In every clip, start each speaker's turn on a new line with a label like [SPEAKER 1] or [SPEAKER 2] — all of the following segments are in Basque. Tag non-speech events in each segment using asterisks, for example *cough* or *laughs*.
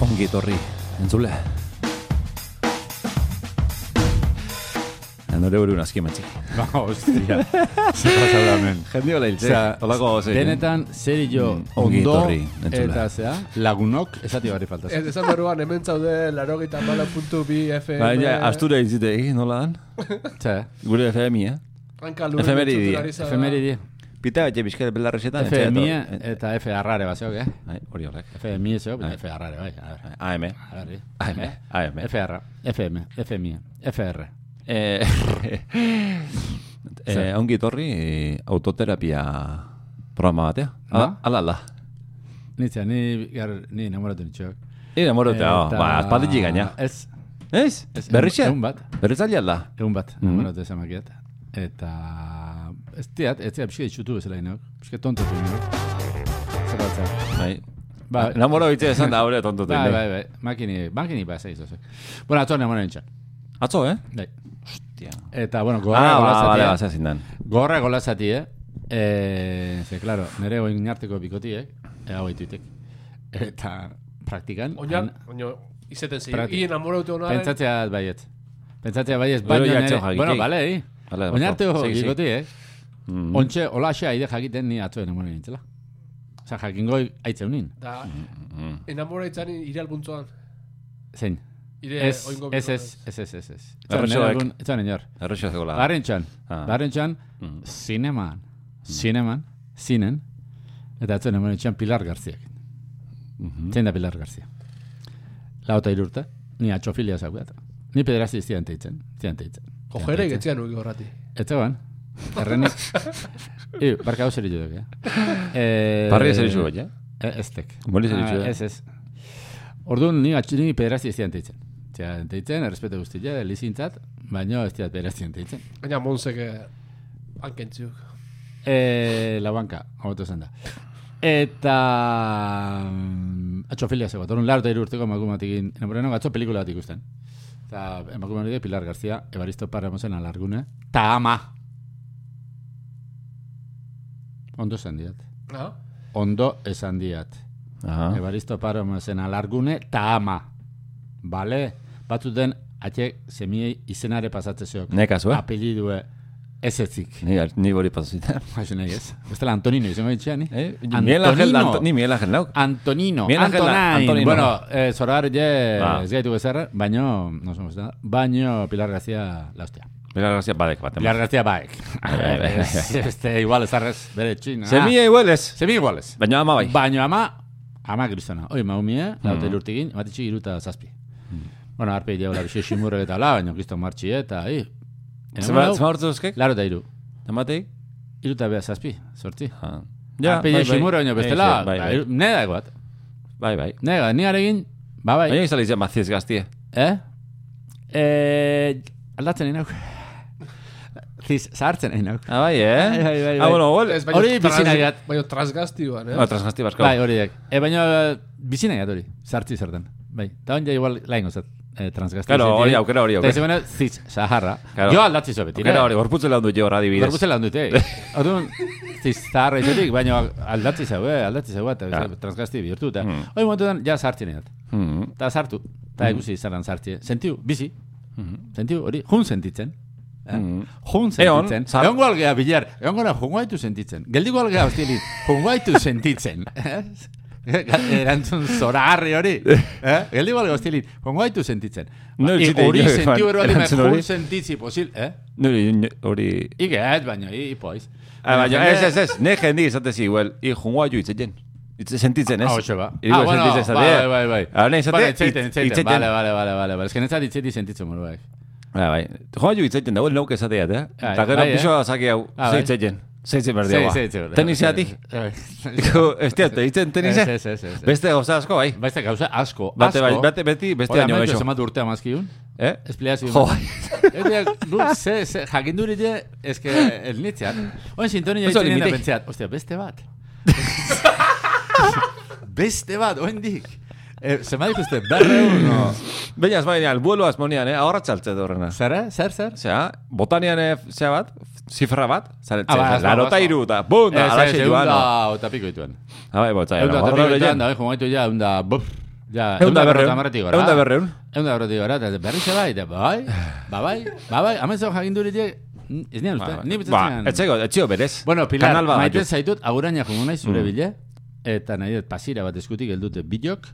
[SPEAKER 1] ongi etorri, entzule. Nore buru nazki matzik.
[SPEAKER 2] *laughs* Ba, hostia. Zer pasa da hemen.
[SPEAKER 1] Jende hola hiltze,
[SPEAKER 2] Osea,
[SPEAKER 1] holako zein.
[SPEAKER 2] Denetan, zer jo,
[SPEAKER 1] Mm, ongi
[SPEAKER 2] ondo,
[SPEAKER 1] etorri, entzule.
[SPEAKER 2] eta zea, lagunok, esati barri falta.
[SPEAKER 3] Ez esan beruan, hemen zaude, laro gita puntu bi FM...
[SPEAKER 2] Bai,
[SPEAKER 1] Baina, astura hiltzite egin, nola dan?
[SPEAKER 2] Zer,
[SPEAKER 1] Gure FMI, eh?
[SPEAKER 3] Hanka lurren
[SPEAKER 1] Efemeridi.
[SPEAKER 3] entzuten ari zara.
[SPEAKER 2] efemeridi,
[SPEAKER 1] Pita bat jebizkare belarrezetan.
[SPEAKER 2] F mie eta F arrare bat zeok, eh?
[SPEAKER 1] Ai, Eh, bai, hori horrek. E.
[SPEAKER 2] F mie zeok,
[SPEAKER 1] Eh.
[SPEAKER 2] eta F arrare, bai, a ver.
[SPEAKER 1] AM.
[SPEAKER 2] A ver,
[SPEAKER 1] AM.
[SPEAKER 2] eh?
[SPEAKER 1] AM.
[SPEAKER 2] F arra, F M, F mie, F R.
[SPEAKER 1] Eh, *laughs* eh, ongi etorri autoterapia programa batea. Ala,
[SPEAKER 2] Ba?
[SPEAKER 1] ala, ala.
[SPEAKER 2] Nitzea, ni, gar, ni namoratu nitxok.
[SPEAKER 1] Ira morotea,
[SPEAKER 2] Eta-
[SPEAKER 1] ba, espalditik gaina.
[SPEAKER 2] Ez,
[SPEAKER 1] Ez?
[SPEAKER 2] Ez,
[SPEAKER 1] Berrixe?
[SPEAKER 2] egun bat.
[SPEAKER 1] Berritzaldi alda.
[SPEAKER 2] egun bat,
[SPEAKER 1] Mhm.
[SPEAKER 2] namoratu mm -hmm. Eta, ez diat, ez diat, pixka itxutu bezala inok, pixka tontotu inok. Zer bat zen.
[SPEAKER 1] Bai.
[SPEAKER 2] Ba,
[SPEAKER 1] Namora bitxe esan da, hori tontotik.
[SPEAKER 2] Bai, bai, bai. Makini, makini ba, zaiz, zaiz. Bueno, atzo nemoen entxan.
[SPEAKER 1] Atzo, eh?
[SPEAKER 2] Bai.
[SPEAKER 1] Hostia.
[SPEAKER 2] Eta, bueno,
[SPEAKER 1] Ah,
[SPEAKER 2] gorra
[SPEAKER 1] ba, bale,
[SPEAKER 2] golazati,
[SPEAKER 1] ba, zehazin dan.
[SPEAKER 2] eh? Gorra golazati, eh? E, ze, claro, nire oinarteko bikotiek, eh, hau ituitek. Eta, praktikan,
[SPEAKER 3] Oinan,
[SPEAKER 2] han-
[SPEAKER 3] oino, izeten zi.
[SPEAKER 2] Pratik.
[SPEAKER 3] I enamoratu honaren...
[SPEAKER 2] pentsatzea baiet. Pentsatzea baiet,
[SPEAKER 1] Gero
[SPEAKER 2] baina
[SPEAKER 1] ja
[SPEAKER 2] nire,
[SPEAKER 1] atzo jakik,
[SPEAKER 2] bueno,
[SPEAKER 1] eh?
[SPEAKER 2] bale, eh?
[SPEAKER 1] Bale, Mm. oso.
[SPEAKER 2] Oinarteko
[SPEAKER 1] Segi, segi.
[SPEAKER 2] bikotiek, eh? ontxe, olaxe aide jakiten ni atzo nemoen nintzela. Osa, jakingoi aitzeunin.
[SPEAKER 3] Da,
[SPEAKER 2] mm,
[SPEAKER 3] enamora itzan iralbuntzoan.
[SPEAKER 2] Zein?
[SPEAKER 3] Ire
[SPEAKER 2] Ez,
[SPEAKER 3] oingo
[SPEAKER 2] ez,
[SPEAKER 3] bilduan.
[SPEAKER 2] ez, ez, ez, ez, ez.
[SPEAKER 1] Erresoek.
[SPEAKER 2] Etxan inor.
[SPEAKER 1] Errexo zegoela.
[SPEAKER 2] Barrentxan,
[SPEAKER 1] Ah. Mm.
[SPEAKER 2] barrentxan, zineman, zineman, zinen, eta atzen hemen etxean Pilar Garziak.
[SPEAKER 1] Mm.
[SPEAKER 2] Zein da Pilar Garzia? Lau eta irurte, ni atxofilia zaukat. Ni pederazti zidan teitzen, zidan teitzen.
[SPEAKER 3] Ojere getzean ugi horrati.
[SPEAKER 2] Ez zegoen, errenik. Iu, barka hau zer dut, eh? Eh,
[SPEAKER 1] Parri zer izu bat, ja?
[SPEAKER 2] Eh, Ez tek.
[SPEAKER 1] Moli zer
[SPEAKER 2] Ah,
[SPEAKER 1] izu,
[SPEAKER 2] Ez, ez. Orduan, ni, atx- ni pederazti zidan teitzen. Zidan teitzen, errespete guztia, elizintzat, baina ez zidan pederazti zidan teitzen.
[SPEAKER 3] Baina monzek hankentziuk.
[SPEAKER 2] E, la banka, hobeto zen da. Eta... mm, Atxofilia zegoet, orduan laro eta hiru urteko emakumatekin, enamoreno gatzo pelikula bat ikusten. Eta emakume hori da Pilar García, Evaristo Parramosen alargune, ta ama! Ondo esan diat.
[SPEAKER 3] Ha?
[SPEAKER 2] Ondo esan diat.
[SPEAKER 1] Aha.
[SPEAKER 2] Evaristo Parramosen alargune, ta ama! Bale, batzuten atxek semiei izenare pasatzezeok.
[SPEAKER 1] Ne kasu, eh?
[SPEAKER 2] Apelidue ez ezik.
[SPEAKER 1] Ni, ni bori pasuzita.
[SPEAKER 2] Kaixo nahi ez. Bestela Antonino izango ditxean,
[SPEAKER 1] Eh?
[SPEAKER 2] *laughs* eh? Ah.
[SPEAKER 1] Miguel Angel, Anto- ni Miguel Angel nauk.
[SPEAKER 2] Antonino.
[SPEAKER 1] Miguel Ángel da-
[SPEAKER 2] Antonain.
[SPEAKER 1] Antonino.
[SPEAKER 2] Bueno, eh, zorar je,
[SPEAKER 1] Ba.
[SPEAKER 2] ez gaitu bezarra, baino, no somos da, baino Pilar García la hostia.
[SPEAKER 1] Pilar García badek bat.
[SPEAKER 2] Pilar García baek.
[SPEAKER 1] bai,
[SPEAKER 2] *laughs*
[SPEAKER 1] bai, bai.
[SPEAKER 2] Ez- Este, igual ezarrez, bere txina.
[SPEAKER 1] Semilla iguales.
[SPEAKER 2] Semilla iguales.
[SPEAKER 1] Baina ama bai.
[SPEAKER 2] Baino ama, ama kristona. Oi,
[SPEAKER 1] Mm.
[SPEAKER 2] maumie, laute lurtigin, matitxik iruta zazpi. Bueno, arpe jau labixi simurrek eta la, baino kriston martxi eta, i.
[SPEAKER 1] Zema zema hortu euskek?
[SPEAKER 2] Laro eta iru.
[SPEAKER 1] Amateik?
[SPEAKER 2] Iruta beha zazpi, sortzi.
[SPEAKER 1] Ah.
[SPEAKER 2] Ja, Arpegi bai,
[SPEAKER 1] Simuro
[SPEAKER 2] baino bestela,
[SPEAKER 1] Bai,
[SPEAKER 2] ba,
[SPEAKER 1] bai.
[SPEAKER 2] ne da egoat.
[SPEAKER 1] Bai, bai.
[SPEAKER 2] Ne da, ni aregin, ba bai.
[SPEAKER 1] Baina izalitzen maziz gaztie.
[SPEAKER 2] Eh? Eh, aldatzen inauk. Ziz, zahartzen inauk.
[SPEAKER 1] Ah, bai, eh?
[SPEAKER 2] Bai, bai, bai,
[SPEAKER 1] Ah,
[SPEAKER 2] bai.
[SPEAKER 1] bueno, gol.
[SPEAKER 3] Ez, baina
[SPEAKER 2] Hori
[SPEAKER 3] tras-
[SPEAKER 2] bizina gat.
[SPEAKER 3] Baina trasgaztioan, eh?
[SPEAKER 1] Ah, transgazti barkau.
[SPEAKER 2] Bai, hori dek. E, baina, bizina gat hori, zahartzi zertan. Bai, eta hon ja igual laingo zat, eh, transgazti.
[SPEAKER 1] Claro, hori aukera hori
[SPEAKER 2] Eta
[SPEAKER 1] aukera.
[SPEAKER 2] izan ziz, zaharra.
[SPEAKER 1] Claro.
[SPEAKER 2] Jo aldatzi zo beti, eh?
[SPEAKER 1] Okera hori, gorputzen lan du jo hor adibidez.
[SPEAKER 2] Gorputzen lan dute.
[SPEAKER 1] *laughs*
[SPEAKER 2] Orduan, ziz, zaharra izatik, baina aldatzi zaue, aldatzi zaue, eta transgazti bihurtu. Eta,
[SPEAKER 1] Hmm.
[SPEAKER 2] hori momentuan, ja zahartzen inaut.
[SPEAKER 1] Mhm.
[SPEAKER 2] Eta sartu, eta
[SPEAKER 1] Hmm.
[SPEAKER 2] ikusi zaran sartzie. Sentiu, bizi. Sentiu, hori, jun sentitzen. Eh? Jun sentitzen.
[SPEAKER 1] Egon, Hmm. zar-
[SPEAKER 2] Egon algea bilar, egon gara jungaitu sentitzen. Geldiko algea hostili, jungaitu
[SPEAKER 1] *laughs*
[SPEAKER 2] sentitzen. Eh? Erantzun zoragarri hori. Eh? Geldiko algea hostili, jungaitu sentitzen.
[SPEAKER 1] No, ez
[SPEAKER 2] I-
[SPEAKER 1] zite
[SPEAKER 2] Hori
[SPEAKER 1] inor
[SPEAKER 2] sentiu
[SPEAKER 1] eman
[SPEAKER 2] erori,
[SPEAKER 1] erantzun
[SPEAKER 2] jun
[SPEAKER 1] hori.
[SPEAKER 2] sentitzi posil, eh?
[SPEAKER 1] Nuri, nuri- hori...
[SPEAKER 2] Ike ez, baina, i- ipoiz.
[SPEAKER 1] Ah, baina,
[SPEAKER 2] jende-
[SPEAKER 1] ez, ez, ez, ne jendi izatezi, igual, i jungoa jo itzetzen. Itze sentitzen, ez?
[SPEAKER 2] Ah, hoxe ba.
[SPEAKER 1] Iriko
[SPEAKER 2] ah, bueno,
[SPEAKER 1] sentitzen
[SPEAKER 2] bai,
[SPEAKER 1] izatea.
[SPEAKER 2] bai, bai, bai.
[SPEAKER 1] Ahora nahi
[SPEAKER 2] Bueno,
[SPEAKER 1] izatea,
[SPEAKER 2] itzaiten,
[SPEAKER 1] itz-
[SPEAKER 2] itzaiten.
[SPEAKER 1] itzaiten.
[SPEAKER 2] Bale, bale, bale, bale, bale. Ez que netzat itzeti sentitzen moruak.
[SPEAKER 1] Bai, bai. Jungoa jo itzetzen dago, nauk ezatea, eta?
[SPEAKER 2] Bai,
[SPEAKER 1] Eta gero
[SPEAKER 2] bai, eh?
[SPEAKER 1] pixo zaki hau,
[SPEAKER 2] Ah,
[SPEAKER 1] ze
[SPEAKER 2] bai.
[SPEAKER 1] itzetzen. Ze itzen
[SPEAKER 2] Ze,
[SPEAKER 1] berdia,
[SPEAKER 2] ze, ze.
[SPEAKER 1] ba. Tenisiatik? Ez teat, itzen tenise?
[SPEAKER 2] Ez, ez, ez, ez.
[SPEAKER 1] Beste gauza asko, bai.
[SPEAKER 2] Beste gauza asko,
[SPEAKER 1] Bate,
[SPEAKER 2] asko.
[SPEAKER 1] bai, bate, beti, beste
[SPEAKER 2] Hora,
[SPEAKER 1] año
[SPEAKER 2] amaitu,
[SPEAKER 1] geixo.
[SPEAKER 2] zenbat urte amazkiun?
[SPEAKER 1] Eh?
[SPEAKER 2] Espliazio.
[SPEAKER 1] Jo,
[SPEAKER 2] *laughs*
[SPEAKER 1] bai.
[SPEAKER 2] Eta, du, ze, ze, jakinduri je, eske, elnitziat. Oin sintonia
[SPEAKER 1] Oso
[SPEAKER 2] ditzen nien da
[SPEAKER 1] limitek.
[SPEAKER 2] pentseat, ostia,
[SPEAKER 1] *laughs*
[SPEAKER 2] beste bat. beste bat, oin dik. Eh, zenbat ikuste, berreun, no?
[SPEAKER 1] Baina, ez baina, albuelo azmonean, eh? Ahorra txaltze horrena.
[SPEAKER 2] Zara, zer, zer?
[SPEAKER 1] Osea, botanean, eh, zea bat, zifra bat, zaretzen,
[SPEAKER 2] Ah, ba, ez, ba,
[SPEAKER 1] larota
[SPEAKER 2] ba.
[SPEAKER 1] iru, eta bum, da,
[SPEAKER 2] Ez, ez,
[SPEAKER 1] alaxe
[SPEAKER 2] egun
[SPEAKER 1] joan.
[SPEAKER 2] da,
[SPEAKER 1] no.
[SPEAKER 2] otapiko dituen.
[SPEAKER 1] Ah, bai, botza,
[SPEAKER 2] Egun da, eh,
[SPEAKER 1] horra
[SPEAKER 2] otapiko dituen,
[SPEAKER 1] lehian.
[SPEAKER 2] da, oin jomaitu ja, egun da, bop, Ja,
[SPEAKER 1] Egun da berreun.
[SPEAKER 2] berrogeita hamarretik gora.
[SPEAKER 1] Egun da berreun.
[SPEAKER 2] Egun da berrogetik gora, eta berri zela, eta bai, ba bai, ba bai, amezau jakin duritek, ez nian uste,
[SPEAKER 1] Ba, ba,
[SPEAKER 2] ni bitzatzen.
[SPEAKER 1] etzeko, etxio berez.
[SPEAKER 2] Bueno, Pilar,
[SPEAKER 1] Kanal bat
[SPEAKER 2] maite
[SPEAKER 1] gaitu.
[SPEAKER 2] zaitut, aguraina jongo naiz zure
[SPEAKER 1] Mm.
[SPEAKER 2] bile, eta nahi dut pasira bat eskutik heldute bilok,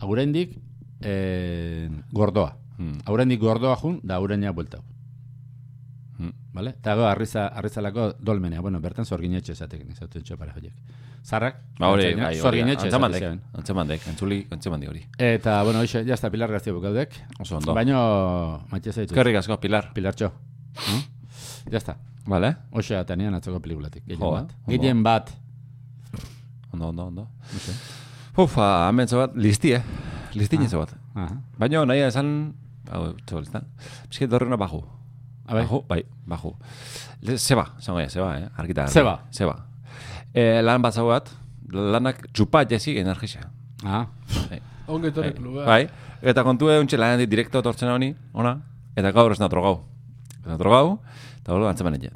[SPEAKER 2] aguraindik eh, gordoa.
[SPEAKER 1] Mm.
[SPEAKER 2] Aguraindik gordoa jun, da aguraina bueltau.
[SPEAKER 1] Mm.
[SPEAKER 2] Vale? Eta go, arriza, arrizalako dolmenea. Bueno, bertan zorginetxe esatek, nezatu etxo pare joiek. Zarrak,
[SPEAKER 1] Ba, hori,
[SPEAKER 2] antzainak,
[SPEAKER 1] bai, hori.
[SPEAKER 2] zorginetxe esatek
[SPEAKER 1] Antzamandek,
[SPEAKER 2] zeuen.
[SPEAKER 1] antzamandek, entzuli, antzamandi hori.
[SPEAKER 2] Eta, bueno, hoxe, jazta, Pilar Gaztia bukaudek.
[SPEAKER 1] Oso ondo.
[SPEAKER 2] Baina, maite zaitut.
[SPEAKER 1] Eskerrik asko, Pilar.
[SPEAKER 2] Pilartxo. Mm? Jazta,
[SPEAKER 1] Vale?
[SPEAKER 2] hoxe atanean atzoko pelikulatik. Gehien
[SPEAKER 1] Jo,
[SPEAKER 2] bat.
[SPEAKER 1] ondo.
[SPEAKER 2] Gehien bat.
[SPEAKER 1] Ondo, ondo, ondo. Uf, ah, hemen bat, listie. Listin ah. bat.
[SPEAKER 2] Aha.
[SPEAKER 1] Baina nahi esan, hau, txol, ezta? Bizket dorrena baju.
[SPEAKER 2] A bai.
[SPEAKER 1] Baju, bai, baju. Le, zeba, zango ya, zeba, eh? Arkita.
[SPEAKER 2] Zeba.
[SPEAKER 1] Zeba. Eh, lan bat zau bat, lanak txupa jesi
[SPEAKER 2] *laughs*
[SPEAKER 1] energisa.
[SPEAKER 2] Ah,
[SPEAKER 3] Ongi etorri
[SPEAKER 1] Bai,
[SPEAKER 3] kluba.
[SPEAKER 1] Bai, eta kontu egun txela handi direkto tortzen honi, ona, eta gaur ez natrogau. Ez natrogau, eta hori antzeman egin.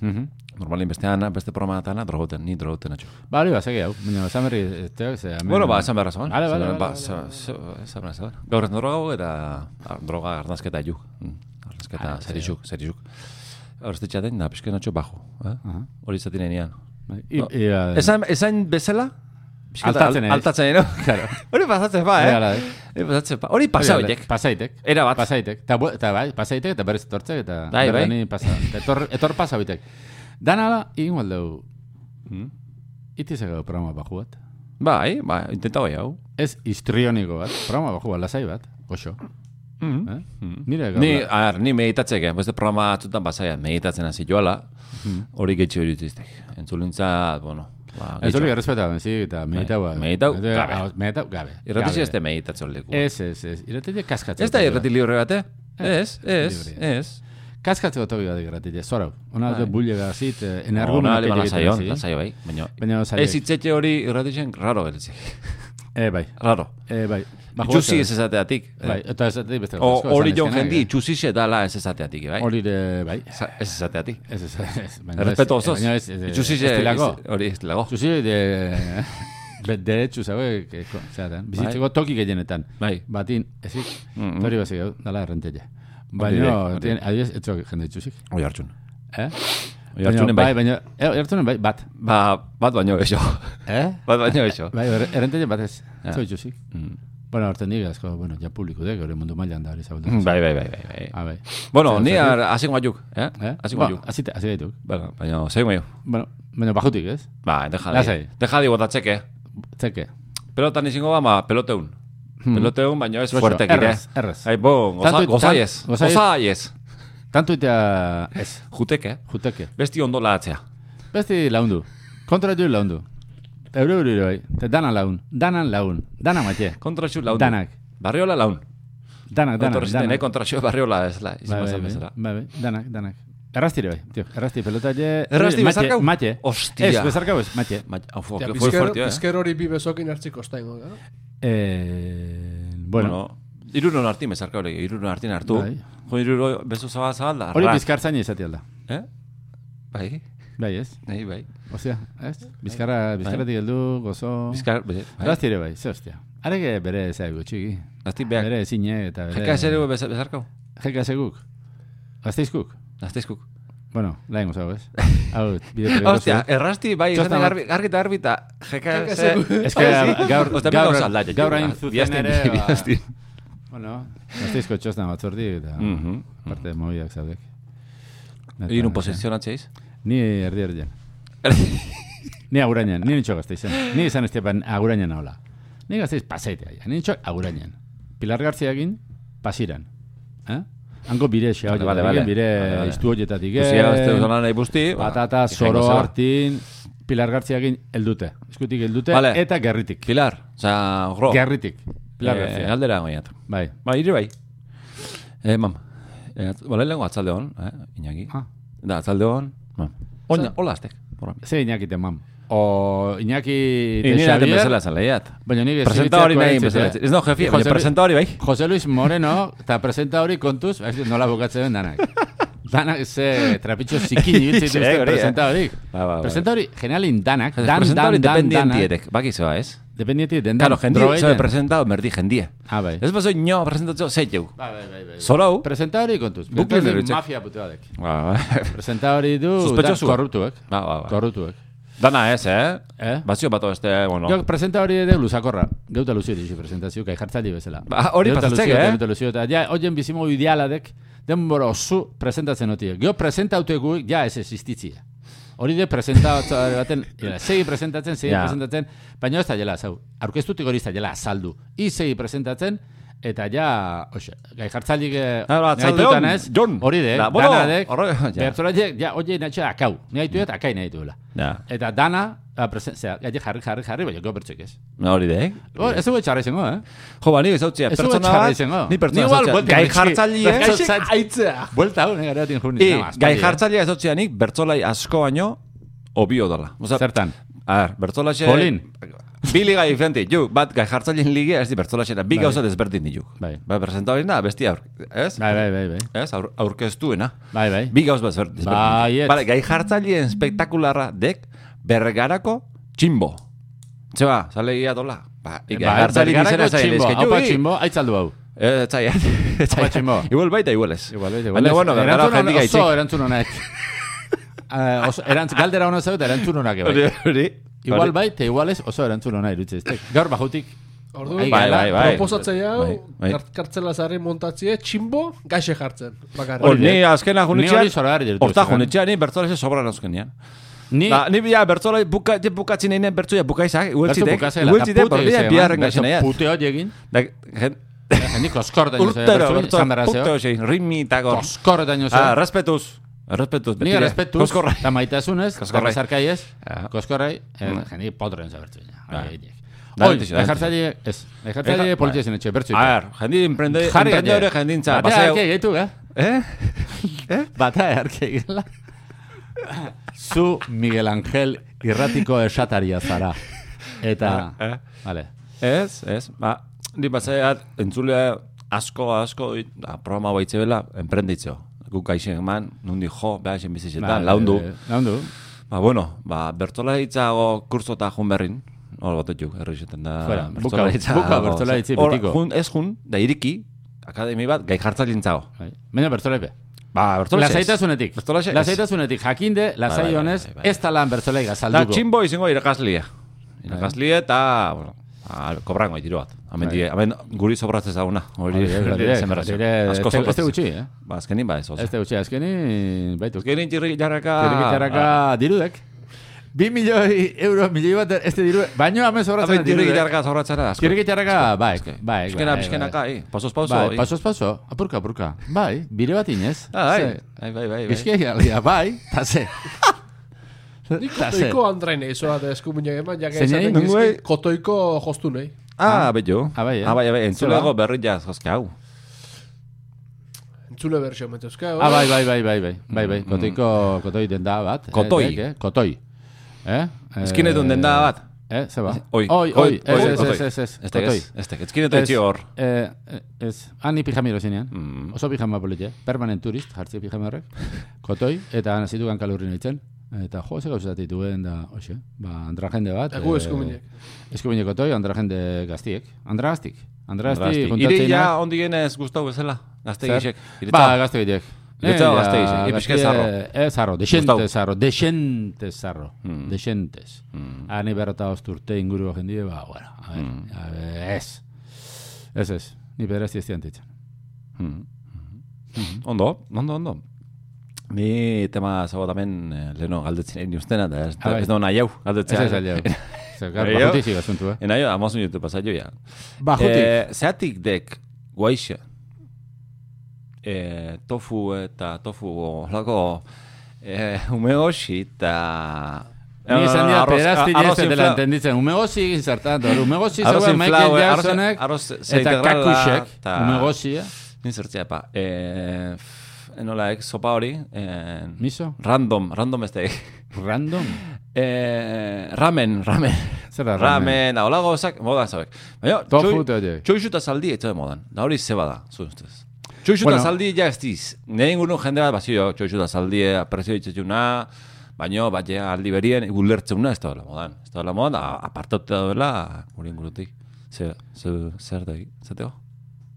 [SPEAKER 2] mhm.
[SPEAKER 1] Normalin bestean, beste programatan, drogoten, ni drogoten atxo.
[SPEAKER 2] Ba, hori bazegi hau, baina esan berri ez teok, ze... hemen-
[SPEAKER 1] Bueno, ba, esan beharra zeban.
[SPEAKER 2] Vale, vale,
[SPEAKER 1] Zeban,
[SPEAKER 2] vale,
[SPEAKER 1] ba, ze- ze- esan beharra zeban. Gaur ez natrogau eta ah, droga arnazketa juk. Mm, Arnazketa
[SPEAKER 2] Ah,
[SPEAKER 1] zerizuk, zerizuk. Gaur ez ditxaten, da, pixken atxo bajo. Eh?
[SPEAKER 2] Aha.
[SPEAKER 1] Hori zaten enean.
[SPEAKER 2] Bai,
[SPEAKER 1] ba.
[SPEAKER 2] I, i, eh,
[SPEAKER 1] Esan, esan bezala, pixket
[SPEAKER 2] Altatzen
[SPEAKER 1] al-
[SPEAKER 2] ari.
[SPEAKER 1] altatzen ero.
[SPEAKER 2] *laughs* Claro.
[SPEAKER 1] Hori pasatzen ba,
[SPEAKER 2] Bai, hala,
[SPEAKER 1] eh?
[SPEAKER 2] eh.
[SPEAKER 1] Hori pasatzen ba. Hori pasa horiek.
[SPEAKER 2] Pasaitek.
[SPEAKER 1] Era bat.
[SPEAKER 2] Pasaitek. Eta, bu- eta bai, pasaitek eta berriz etortzek eta...
[SPEAKER 1] Bai, bai.
[SPEAKER 2] berdan ni Pasa,
[SPEAKER 1] *laughs*
[SPEAKER 2] etor, etor pasa bitek. Dana da, igual dugu...
[SPEAKER 1] Hmm?
[SPEAKER 2] Itizeko programa baju bat.
[SPEAKER 1] Bai, ba, intenta bai hau.
[SPEAKER 2] Ez histrioniko bat, programa baju bat, lasai bat, goxo. Eh? Nire gaur.
[SPEAKER 1] Hmm. Ni, ar, ni meditatzeke, beste programa atzutan bazaia, meditatzen hasi joala,
[SPEAKER 2] Mhm.
[SPEAKER 1] hori getxi hori dituztek. Entzulintza, bueno, ba,
[SPEAKER 2] Ez hori
[SPEAKER 1] getxi.
[SPEAKER 2] errespeta, benzik, eta meditau.
[SPEAKER 1] Bai,
[SPEAKER 2] eh.
[SPEAKER 1] meditau,
[SPEAKER 2] Eta-
[SPEAKER 1] gabe.
[SPEAKER 2] ah, Meditau, gabe.
[SPEAKER 1] Irratitzi
[SPEAKER 2] gabe.
[SPEAKER 1] ez da meditatzen leku.
[SPEAKER 2] Ez, ez, ez. Irratitze kaskatzen.
[SPEAKER 1] Ez da irrati libre bate? Ez, ez,
[SPEAKER 2] Eh, Libre.
[SPEAKER 1] ez.
[SPEAKER 2] Kaskatzeko toki bat irratite, zorau.
[SPEAKER 1] Bai.
[SPEAKER 2] Ona dut bulle gazit, eh,
[SPEAKER 1] Bueno,
[SPEAKER 2] energumen
[SPEAKER 1] hale, ba,
[SPEAKER 2] apetite
[SPEAKER 1] lasaio,
[SPEAKER 2] egiten hasi.
[SPEAKER 1] lasaio bai, baina...
[SPEAKER 2] Baina zaio.
[SPEAKER 1] Ez itzete hori irratitzen raro gertzik.
[SPEAKER 2] Eh, bai.
[SPEAKER 1] Raro.
[SPEAKER 2] Eh, bai. Ba,
[SPEAKER 1] Itxusi
[SPEAKER 2] jokatzen.
[SPEAKER 1] ez ezateatik. eh.
[SPEAKER 2] Bai, eta ez dut beste.
[SPEAKER 1] O-
[SPEAKER 2] gauza asko
[SPEAKER 1] Hori
[SPEAKER 2] esan
[SPEAKER 1] joan
[SPEAKER 2] ezkenak,
[SPEAKER 1] jendi,
[SPEAKER 2] eh.
[SPEAKER 1] itxusi dala ez ezateatik, bai.
[SPEAKER 2] Hori de, bai.
[SPEAKER 1] Za- Ez ezateatik.
[SPEAKER 2] Ez, ez, ez. baina ez-
[SPEAKER 1] Errespeto osoz.
[SPEAKER 2] Baina ez, ez.
[SPEAKER 1] Itxusi
[SPEAKER 2] Eh, ez
[SPEAKER 1] ez
[SPEAKER 2] tilako.
[SPEAKER 1] hori ez lago.
[SPEAKER 2] Itxusi de... *laughs* de- Derechu, zabe, que, ko- zeatan, bizitzeko toki gehienetan.
[SPEAKER 1] Bai.
[SPEAKER 2] Batin, ezik,
[SPEAKER 1] Mm, mm.
[SPEAKER 2] hori bazik, hau, dala errentella.
[SPEAKER 1] da,
[SPEAKER 2] Baina,
[SPEAKER 1] hori da.
[SPEAKER 2] tien- adibidez, etxo jende itxusik.
[SPEAKER 1] Oi hartzun.
[SPEAKER 2] Eh?
[SPEAKER 1] Oi hartzunen bai.
[SPEAKER 2] Baina, eh, oiartzunen bai, bat.
[SPEAKER 1] Ba, bat baino eso.
[SPEAKER 2] Eh?
[SPEAKER 1] *laughs* Bat baino eso.
[SPEAKER 2] Bai, errentelen batez,
[SPEAKER 1] Ja.
[SPEAKER 2] ez hau itxuzik.
[SPEAKER 1] Mm.
[SPEAKER 2] Bueno, horten dik, asko, bueno, ja publikudek, hori eh, mundu mailan da hori zabaldu.
[SPEAKER 1] Bai, bai, bai, bai, bai.
[SPEAKER 2] Ah, bai.
[SPEAKER 1] Bueno,
[SPEAKER 2] Zer,
[SPEAKER 1] ni
[SPEAKER 2] zer,
[SPEAKER 1] ar- hasi guaiuk, eh?
[SPEAKER 2] Eh?
[SPEAKER 1] Hasi
[SPEAKER 2] Ba,
[SPEAKER 1] guaiuk.
[SPEAKER 2] azite- hasi gaituk.
[SPEAKER 1] Bueno, baina, zein guaiuk.
[SPEAKER 2] Bueno, baina bajutik, ez?
[SPEAKER 1] Ba, deja
[SPEAKER 2] Lasai.
[SPEAKER 1] di. Deja di botatzek, eh?
[SPEAKER 2] Txeke.
[SPEAKER 1] Pelotan izango ba, ma, peloteun. Peloteun, baina ez fuertek, eh?
[SPEAKER 2] Errez, errez.
[SPEAKER 1] Ai, bon, goza-
[SPEAKER 2] Hmm. Tanto-
[SPEAKER 1] gozaiez.
[SPEAKER 2] tan- gozaiez.
[SPEAKER 1] Gozaiez.
[SPEAKER 2] Tanto eta ez,
[SPEAKER 1] Jutek, eh?
[SPEAKER 2] juteke.
[SPEAKER 1] Besti ondo latzea.
[SPEAKER 2] Beste laundu. Kontratu laundu. Euro euro euro, bai. Eta dana laun. Danan laun. Dana maite.
[SPEAKER 1] Kontra xu laun.
[SPEAKER 2] Danak.
[SPEAKER 1] Barriola laun.
[SPEAKER 2] Danak, danak,
[SPEAKER 1] Danak, danak.
[SPEAKER 2] danak.
[SPEAKER 1] Kontra xu barriola ez la.
[SPEAKER 2] Bai,
[SPEAKER 1] izan
[SPEAKER 2] bai,
[SPEAKER 1] zen
[SPEAKER 2] bai,
[SPEAKER 1] bezala.
[SPEAKER 2] bai, bai. danak, danak. Erraztire bai, tio. Errazti pelota je...
[SPEAKER 1] Errazti
[SPEAKER 2] Mate-
[SPEAKER 1] bezarkau? Oh,
[SPEAKER 2] Mate.
[SPEAKER 1] Hostia.
[SPEAKER 2] Ez, bezarkau ez, mate.
[SPEAKER 1] Ma- au, fo,
[SPEAKER 3] Ja,
[SPEAKER 1] que fue
[SPEAKER 3] bizker,
[SPEAKER 1] fuerte, eh?
[SPEAKER 3] bizker hori bi besokin hartziko ostaingo, gara?
[SPEAKER 2] Eh, bueno,
[SPEAKER 1] Bueno, irunon hartin bezarka hori, irunon hartin hartu.
[SPEAKER 2] Bai.
[SPEAKER 1] Jo, iruro bezu zabal zabal da.
[SPEAKER 2] hori
[SPEAKER 1] arra.
[SPEAKER 2] bizkartzaina izatea da.
[SPEAKER 1] Eh? Bai,
[SPEAKER 2] Bai, ez?
[SPEAKER 1] nahi, bai.
[SPEAKER 2] Ostia, ez? Bizkarra, bizkarratik heldu, gozo...
[SPEAKER 1] Bizkar, bai.
[SPEAKER 2] Errazti ere bai, ze ostia. Arege bere zaigu txiki.
[SPEAKER 1] Azti beak.
[SPEAKER 2] Bere ezine eta bere...
[SPEAKER 1] Jeka ez ere bez- bezarkau.
[SPEAKER 2] Jeka zeguk. Gazteizkuk.
[SPEAKER 1] Azteizkuk.
[SPEAKER 2] Bueno, lain gozau, ez?
[SPEAKER 1] *laughs*
[SPEAKER 2] Hau, bide
[SPEAKER 1] Hostia, errasti bai,
[SPEAKER 2] Txostan
[SPEAKER 1] esaten garbi,
[SPEAKER 2] bat.
[SPEAKER 1] argi eta garbi eta jeka
[SPEAKER 3] Jeka
[SPEAKER 1] ze...
[SPEAKER 3] ze-
[SPEAKER 2] Ez que gaur,
[SPEAKER 1] Osta,
[SPEAKER 2] gaur-
[SPEAKER 1] gauza aldaia,
[SPEAKER 2] gaur hain
[SPEAKER 1] jura.
[SPEAKER 2] zuzen
[SPEAKER 1] Biazten,
[SPEAKER 2] ere...
[SPEAKER 1] *laughs*
[SPEAKER 2] ba,
[SPEAKER 1] biazten.
[SPEAKER 2] Bueno, gazteizko txostan batzordi eta...
[SPEAKER 1] Mhm.
[SPEAKER 2] Parte mobidak zaudek. Eta-
[SPEAKER 1] Egin un posizionatzeis.
[SPEAKER 2] Ni erdi erdian. ni agurainan, ni nintxo gazteizen. Ni izan estepan agurainan hola. Ni gazteiz pasaitea, ja. ni nintxo agurainan. Pilar Gartziakin, pasiran. Eh? Hango bire xea
[SPEAKER 1] Vale, vale, vale.
[SPEAKER 2] bire
[SPEAKER 1] Vale, vale.
[SPEAKER 2] iztu horietatik.
[SPEAKER 1] Zuzia gazte duzan nahi busti. ba,
[SPEAKER 2] patata,
[SPEAKER 1] jeka
[SPEAKER 2] zoro
[SPEAKER 1] zela.
[SPEAKER 2] hartin, Pilar Gartziakin eldute. Eskutik eldute
[SPEAKER 1] Vale.
[SPEAKER 2] eta gerritik.
[SPEAKER 1] Pilar, oza, gro.
[SPEAKER 2] Gerritik. Pilar
[SPEAKER 1] Eh,
[SPEAKER 2] Gartzia.
[SPEAKER 1] Aldera goiat.
[SPEAKER 2] Bai.
[SPEAKER 1] Ba, iri bai. Eh, mam. Eh, Bale, lengo atzalde hon, eh, Iñaki.
[SPEAKER 2] Ah.
[SPEAKER 1] Da, atzalde hon. mam. Oina, hola aztek. Horra.
[SPEAKER 2] Ze Iñaki temam. O Iñaki te
[SPEAKER 1] Inira den
[SPEAKER 2] Xavier.
[SPEAKER 1] bezala zan lehiat.
[SPEAKER 2] Baina nik ez
[SPEAKER 1] Presenta hori
[SPEAKER 2] iritziako
[SPEAKER 1] nahi
[SPEAKER 2] erantzute.
[SPEAKER 1] bezala. Ez no, jefi,
[SPEAKER 2] Jose
[SPEAKER 1] baina
[SPEAKER 2] Lu-
[SPEAKER 1] presenta hori bai.
[SPEAKER 2] Jose Luis Moreno, eta presenta hori kontuz, ez dut nola bukatzen den danak. danak ze trapitxo
[SPEAKER 1] *laughs*
[SPEAKER 2] zikin ibiltzen
[SPEAKER 1] Xe, hori,
[SPEAKER 2] dituzte
[SPEAKER 1] eh.
[SPEAKER 2] presenta hori.
[SPEAKER 1] Ba, ba, ba.
[SPEAKER 2] Presenta hori, generalin danak, dan,
[SPEAKER 1] Presenta
[SPEAKER 2] dan,
[SPEAKER 1] hori
[SPEAKER 2] dan, danak.
[SPEAKER 1] dependientietek. Bakizoa, ez?
[SPEAKER 2] Dependiente den
[SPEAKER 1] Claro, jendia, zoe presenta, merdi jendia.
[SPEAKER 2] Ah, bai.
[SPEAKER 1] Ez bazo ino presentatzeo zeiteu.
[SPEAKER 2] Bai, bai, bai, bai.
[SPEAKER 1] Zola hau?
[SPEAKER 2] Presenta hori kontuz.
[SPEAKER 1] Buklen
[SPEAKER 2] Presenta hori
[SPEAKER 1] derecha.
[SPEAKER 2] Mafia puteadek.
[SPEAKER 1] Ba, *laughs* ba.
[SPEAKER 2] Presenta hori du...
[SPEAKER 1] Suspetxosu.
[SPEAKER 2] da, Korruptuek.
[SPEAKER 1] Ba, ba, ba.
[SPEAKER 2] Korruptuek.
[SPEAKER 1] Dana ez, eh?
[SPEAKER 2] Eh?
[SPEAKER 1] Bazio bat beste, bueno.
[SPEAKER 2] Gauk presenta hori ere luzakorra. Geuta luzio ditxu presentazio, kai jartzaldi bezala.
[SPEAKER 1] Ba, hori
[SPEAKER 2] Geuta
[SPEAKER 1] pasatzek,
[SPEAKER 2] luzio eta
[SPEAKER 1] eh?
[SPEAKER 2] Geuta luzio eta ja, hoien bizimo idealadek denbora oso presentatzen otiek. Geo presentauteku ja ez existitzia. Hori de presenta *laughs* baten, jela, segi presentatzen, segi
[SPEAKER 1] Ja.
[SPEAKER 2] presentatzen, baina ez da jela, zau, aurkeztutik hori ez da jela, saldu. I segi presentatzen, eta ja, hoxe, gai jartzalik
[SPEAKER 1] Ara, arratsalde on, Jon.
[SPEAKER 2] hori de,
[SPEAKER 1] Da, bueno,
[SPEAKER 2] danadek,
[SPEAKER 1] horre- ja.
[SPEAKER 2] bertzoratek, ja, oie natxea akau, nahi duet, akai nahi duela.
[SPEAKER 1] Ja.
[SPEAKER 2] Eta dana, a, presen, zera, gaile jarri, jarri, jarri, baina gero bertxek ez.
[SPEAKER 1] Na hori de, eh?
[SPEAKER 2] Hor, Ez dugu etxarra izango, eh?
[SPEAKER 1] Jo, ba, ni ez hau txea,
[SPEAKER 2] Ez du
[SPEAKER 1] pertsona
[SPEAKER 2] txarra
[SPEAKER 1] bat,
[SPEAKER 2] izango.
[SPEAKER 1] ni pertsona
[SPEAKER 2] Ni
[SPEAKER 1] ez
[SPEAKER 2] igual
[SPEAKER 1] hau txea.
[SPEAKER 2] buelta
[SPEAKER 1] Gai
[SPEAKER 2] iritsi.
[SPEAKER 1] jartzaile,
[SPEAKER 2] Gaixo-
[SPEAKER 1] eh?
[SPEAKER 2] Gaixek-
[SPEAKER 3] aitzea.
[SPEAKER 2] Buelta hau, nire gareatin jurni.
[SPEAKER 1] Eh, gai
[SPEAKER 2] bai,
[SPEAKER 1] jartzailea ez hau txea nik, bertzolai asko baino, obio dala. Osa,
[SPEAKER 2] bai. Zertan?
[SPEAKER 1] A ver, bertzolaxe...
[SPEAKER 2] Polin.
[SPEAKER 1] Bi liga diferente, juk, bat gai jartzaileen ligia, ez di bertzolaxera, bi gauza desberdin dijuk.
[SPEAKER 2] Bai.
[SPEAKER 1] Ba, presentabarena, bestia, aur- ez?
[SPEAKER 2] Bai, bai, bai, bai.
[SPEAKER 1] Ez, aur, aurkeztuena.
[SPEAKER 2] Bai, bai.
[SPEAKER 1] Bi gauz bat desberdin.
[SPEAKER 2] Baietz.
[SPEAKER 1] Bale, gai jartzaileen espektakularra dek bergarako tximbo. Txeba, sale ia dola. Ba, gai
[SPEAKER 2] Ba,
[SPEAKER 1] jartzaileen
[SPEAKER 2] bergarako
[SPEAKER 1] izena zaila
[SPEAKER 2] tximbo,
[SPEAKER 1] izkeju.
[SPEAKER 2] haupa tximbo, aitzaldu hau.
[SPEAKER 1] Eh,
[SPEAKER 2] *laughs*
[SPEAKER 1] zaila.
[SPEAKER 2] Apa tximbo.
[SPEAKER 1] Igual baita, igual ez.
[SPEAKER 2] Igual, igual.
[SPEAKER 1] Baina,
[SPEAKER 2] ez.
[SPEAKER 1] bueno, bergara
[SPEAKER 2] Erantzun
[SPEAKER 1] jendik
[SPEAKER 2] hon-
[SPEAKER 1] gaitzik.
[SPEAKER 2] Oso erantzun
[SPEAKER 1] *laughs*
[SPEAKER 2] honek. Eh, oso- erantz- Galdera hona zeu eta erantzun honak
[SPEAKER 1] Hori,
[SPEAKER 2] ebai.
[SPEAKER 1] hori.
[SPEAKER 2] Igual bai, eta igual ez oso erantzun hona irutze ez. Gaur bajutik,
[SPEAKER 3] Ordu,
[SPEAKER 2] Bai,
[SPEAKER 1] bai, bai, bai.
[SPEAKER 3] Proposatzaile hau,
[SPEAKER 1] Bai, bai.
[SPEAKER 3] kar- kartzela zarri montatzie, tximbo, gaixe jartzen. Bakarra.
[SPEAKER 1] Hor, ni azkena
[SPEAKER 2] Ni
[SPEAKER 1] junitxean,
[SPEAKER 2] hori zoragarri diritu
[SPEAKER 1] horta
[SPEAKER 2] ezan.
[SPEAKER 1] junitxean, ni bertzolaxe sobran azkenean.
[SPEAKER 2] ni
[SPEAKER 1] Da, ni bia bertzola buka, je bukatzen nenen bertzoia bukaizak,
[SPEAKER 2] bertzu
[SPEAKER 1] ueltzitek,
[SPEAKER 2] bukazela, eta
[SPEAKER 1] ueltzitek,
[SPEAKER 2] pute
[SPEAKER 1] borbidean
[SPEAKER 2] izan,
[SPEAKER 1] biharren
[SPEAKER 2] bertzu
[SPEAKER 1] gaixen egin.
[SPEAKER 2] Pute hori egin,
[SPEAKER 1] Da, jen-
[SPEAKER 2] jendik oskordaino zeu,
[SPEAKER 1] urtero
[SPEAKER 2] bertzu izan
[SPEAKER 1] bertzola,
[SPEAKER 2] behar zeu.
[SPEAKER 1] pute hoxe, ritmi eta gor.
[SPEAKER 2] Koskordaino zeu.
[SPEAKER 1] Ah, respetuz, respetuz.
[SPEAKER 2] Ni
[SPEAKER 1] betire.
[SPEAKER 2] respetuz,
[SPEAKER 1] Koskorra.
[SPEAKER 2] eta maitasunez, eta
[SPEAKER 1] Koskorrai.
[SPEAKER 2] bezarkaiez,
[SPEAKER 1] Ja.
[SPEAKER 2] koskorrai, eh,
[SPEAKER 1] Ah. Mm.
[SPEAKER 2] jendik potren zeu bertzu. ja, hori
[SPEAKER 1] Ah.
[SPEAKER 2] egin.
[SPEAKER 1] Da,
[SPEAKER 2] Hoi,
[SPEAKER 1] betixe, da,
[SPEAKER 2] ejartzaile, ez, ejartzaile
[SPEAKER 1] Eja-
[SPEAKER 2] politia zen etxe, bertzu.
[SPEAKER 1] A ver, jende emprende,
[SPEAKER 2] Jarri
[SPEAKER 1] emprendedore
[SPEAKER 2] gaine.
[SPEAKER 1] jendintza.
[SPEAKER 2] Batea
[SPEAKER 1] paseo-
[SPEAKER 2] arke gehitu, eh?
[SPEAKER 1] Eh?
[SPEAKER 2] Bata erke gela. Zu Miguel Angel irratiko esataria zara. Eta,
[SPEAKER 1] Eh, eh.
[SPEAKER 2] vale.
[SPEAKER 1] Ez, ez. Ba, ni pasaiat, entzulea asko, asko, i- da, programa baitze bela, emprenditzo. Guk gaixen eman, nundi jo, behaxen bizitzetan, laundu.
[SPEAKER 2] Ba, eh, Laundu.
[SPEAKER 1] Ba, bueno, ba, bertolaritzago kurso eta jun berrin, hor bat etuk, errixeten da...
[SPEAKER 2] Fuera, buka-
[SPEAKER 1] bertsolaritza-
[SPEAKER 2] buka bertsolaritzi
[SPEAKER 1] Hor,
[SPEAKER 2] betiko.
[SPEAKER 1] jun, ez jun, da iriki, akademi bat, gai jartzalin zago.
[SPEAKER 2] Bai. Baina bertolaipe.
[SPEAKER 1] Ba, bertolaritza ez.
[SPEAKER 2] Lasaitasunetik.
[SPEAKER 1] Bertolaxe ez.
[SPEAKER 2] Lasaitasunetik jakinde, lasai
[SPEAKER 1] bai, bai,
[SPEAKER 2] honez,
[SPEAKER 1] bai, bai.
[SPEAKER 2] ez talan bertolai
[SPEAKER 1] Da,
[SPEAKER 2] gazalduko.
[SPEAKER 1] txinbo izango irakaslia.
[SPEAKER 2] Bai.
[SPEAKER 1] Irakaslia eta, bueno, a- kobrango itiro bat. Hemen
[SPEAKER 2] Bai.
[SPEAKER 1] dire, hemen guri sobratzen zauna. Hori, hori, zenberrazio. Asko
[SPEAKER 2] Este
[SPEAKER 1] sobratzen.
[SPEAKER 2] gutxi, eh?
[SPEAKER 1] Ba, azkenin ba ez oso.
[SPEAKER 2] Este gutxi, azkeni, baitu.
[SPEAKER 1] Azkenin txirri jarraka...
[SPEAKER 2] Tirrikitarraka dirudek. Ah, Bi milioi euro, milioi bat, este diru, baino hemen sobratzen
[SPEAKER 1] Hemen
[SPEAKER 2] da
[SPEAKER 1] txirri
[SPEAKER 2] dirudek.
[SPEAKER 1] Ba, jarraka zorratzara asko.
[SPEAKER 2] Tirrikitarraka, bai, bai, bai.
[SPEAKER 1] Bizkena,
[SPEAKER 2] bai,
[SPEAKER 1] bizkenaka, eh. Pasos pauso.
[SPEAKER 2] Bai,
[SPEAKER 1] eh.
[SPEAKER 2] pasoz paso, apurka, apurka. Bai, bire bat inez.
[SPEAKER 1] Ah, bai, bai, bai, bai. bai.
[SPEAKER 2] Bizkia galia, bai, ta ze. Ta ze.
[SPEAKER 3] Kotoiko Andrain eizoa da eskuminak eman, jaka
[SPEAKER 2] Zeinei?
[SPEAKER 3] esaten
[SPEAKER 1] Nongoei?
[SPEAKER 3] gizki, kotoiko jostu nahi.
[SPEAKER 1] Ah, bello.
[SPEAKER 2] Ah, bai, eh.
[SPEAKER 1] Ah, bai, bai. Entzulego
[SPEAKER 2] Zeba.
[SPEAKER 1] berri jaz, jozke hau.
[SPEAKER 3] Entzule bersio metuzka.
[SPEAKER 2] Ah, bai, bai, bai, bai, bai, bai, bai, kotoiko, kotoi denda bat. eh,
[SPEAKER 1] Kotoi.
[SPEAKER 2] dek, eh, Kotoi. Eh?
[SPEAKER 1] Eskinetun denda bat.
[SPEAKER 2] Eh, ze ba?
[SPEAKER 1] Oi,
[SPEAKER 2] oi, oi, ez, ez, ez,
[SPEAKER 1] oi.
[SPEAKER 2] ez, ez,
[SPEAKER 1] Este
[SPEAKER 2] kotoi.
[SPEAKER 1] ez, este ez. Ezkinetu etxi hor.
[SPEAKER 2] Eh, eh, ez, han ni pijamiro zinean.
[SPEAKER 1] Mm.
[SPEAKER 2] Oso pijama politia. Permanent turist, hartzi pijama horrek. Kotoi, eta han azitu kankalurri nintzen. Eta jo, ze gauzatik duen da, oxe, ba, andra jende bat.
[SPEAKER 3] Egu
[SPEAKER 2] eh,
[SPEAKER 3] eskuminak.
[SPEAKER 2] Eskubinek otoi, andra jende gaztiek. Andra gaztik. Andra gazti,
[SPEAKER 1] Iri
[SPEAKER 2] kontatzen
[SPEAKER 1] ja ondigenez guztau bezala. Gazte gizek.
[SPEAKER 2] Ba, gazte gizek.
[SPEAKER 1] Iretzao gazte gizek, ipizke zarro.
[SPEAKER 2] Ez eh, zarro, desente
[SPEAKER 1] Gustau.
[SPEAKER 2] zarro, desente zarro,
[SPEAKER 1] Mm,
[SPEAKER 2] desentez. Hane berreta osturte inguru jendie, ba, bueno, a ver,
[SPEAKER 1] Mm.
[SPEAKER 2] a ver, ez. Ez ez, ni beraz ez diantitzen.
[SPEAKER 1] mm, Ondo, ondo, ondo. Ni tema zagotamen eh, leheno galdetzen egin ustena, da ez,
[SPEAKER 2] Ah, bai.
[SPEAKER 1] ez da nahi hau,
[SPEAKER 2] Ez
[SPEAKER 1] galdetzea. *laughs*
[SPEAKER 2] ez alde hau. Zer, gaur,
[SPEAKER 1] Eo.
[SPEAKER 2] bajutik zigazuntu, eh?
[SPEAKER 1] Enaio, amazun jute pasaio ja.
[SPEAKER 2] Bajutik.
[SPEAKER 1] Eh, zeatik dek, guaixe, eh, tofu eta tofu holako eh, umeoshi eta...
[SPEAKER 2] Ni esan dira, pedazti
[SPEAKER 1] Eh, arroz
[SPEAKER 2] ez dela
[SPEAKER 1] infla-
[SPEAKER 2] entenditzen. Umegozi gizartatu, umegozi
[SPEAKER 1] Arroz
[SPEAKER 2] zegoen Michael
[SPEAKER 1] inflau, eh, arroz-
[SPEAKER 2] Jacksonek,
[SPEAKER 1] arroz ze
[SPEAKER 2] eta eh?
[SPEAKER 1] integrala,
[SPEAKER 2] kakusek,
[SPEAKER 1] eta-
[SPEAKER 2] umegozia.
[SPEAKER 1] Ni zertzea, pa. Eh, f- nola, ek, sopa hori... Eh,
[SPEAKER 2] Miso?
[SPEAKER 1] Random, random ez dek.
[SPEAKER 2] Random?
[SPEAKER 1] Eh, ramen, *laughs* ramen.
[SPEAKER 2] Zer da ramen?
[SPEAKER 1] ramen? da, hola gozak, modan zauek. Baina,
[SPEAKER 2] Tofu
[SPEAKER 1] txoi-
[SPEAKER 2] eta horiek.
[SPEAKER 1] txoixu eta zaldi ez da modan. Da hori zeba da, zu ustez. Txoixu eta
[SPEAKER 2] Bueno.
[SPEAKER 1] zaldi ja ez diz. Nire ingurun jende bat bazio, txoixu eta zaldi eh, prezio ditzezuna, Baina, bat ja, aldi berien, gulertzeuna ez da dela modan. Ez da dela modan, a- apartaute daudela gure ingurutik. Zer, zer, zer da, zateo?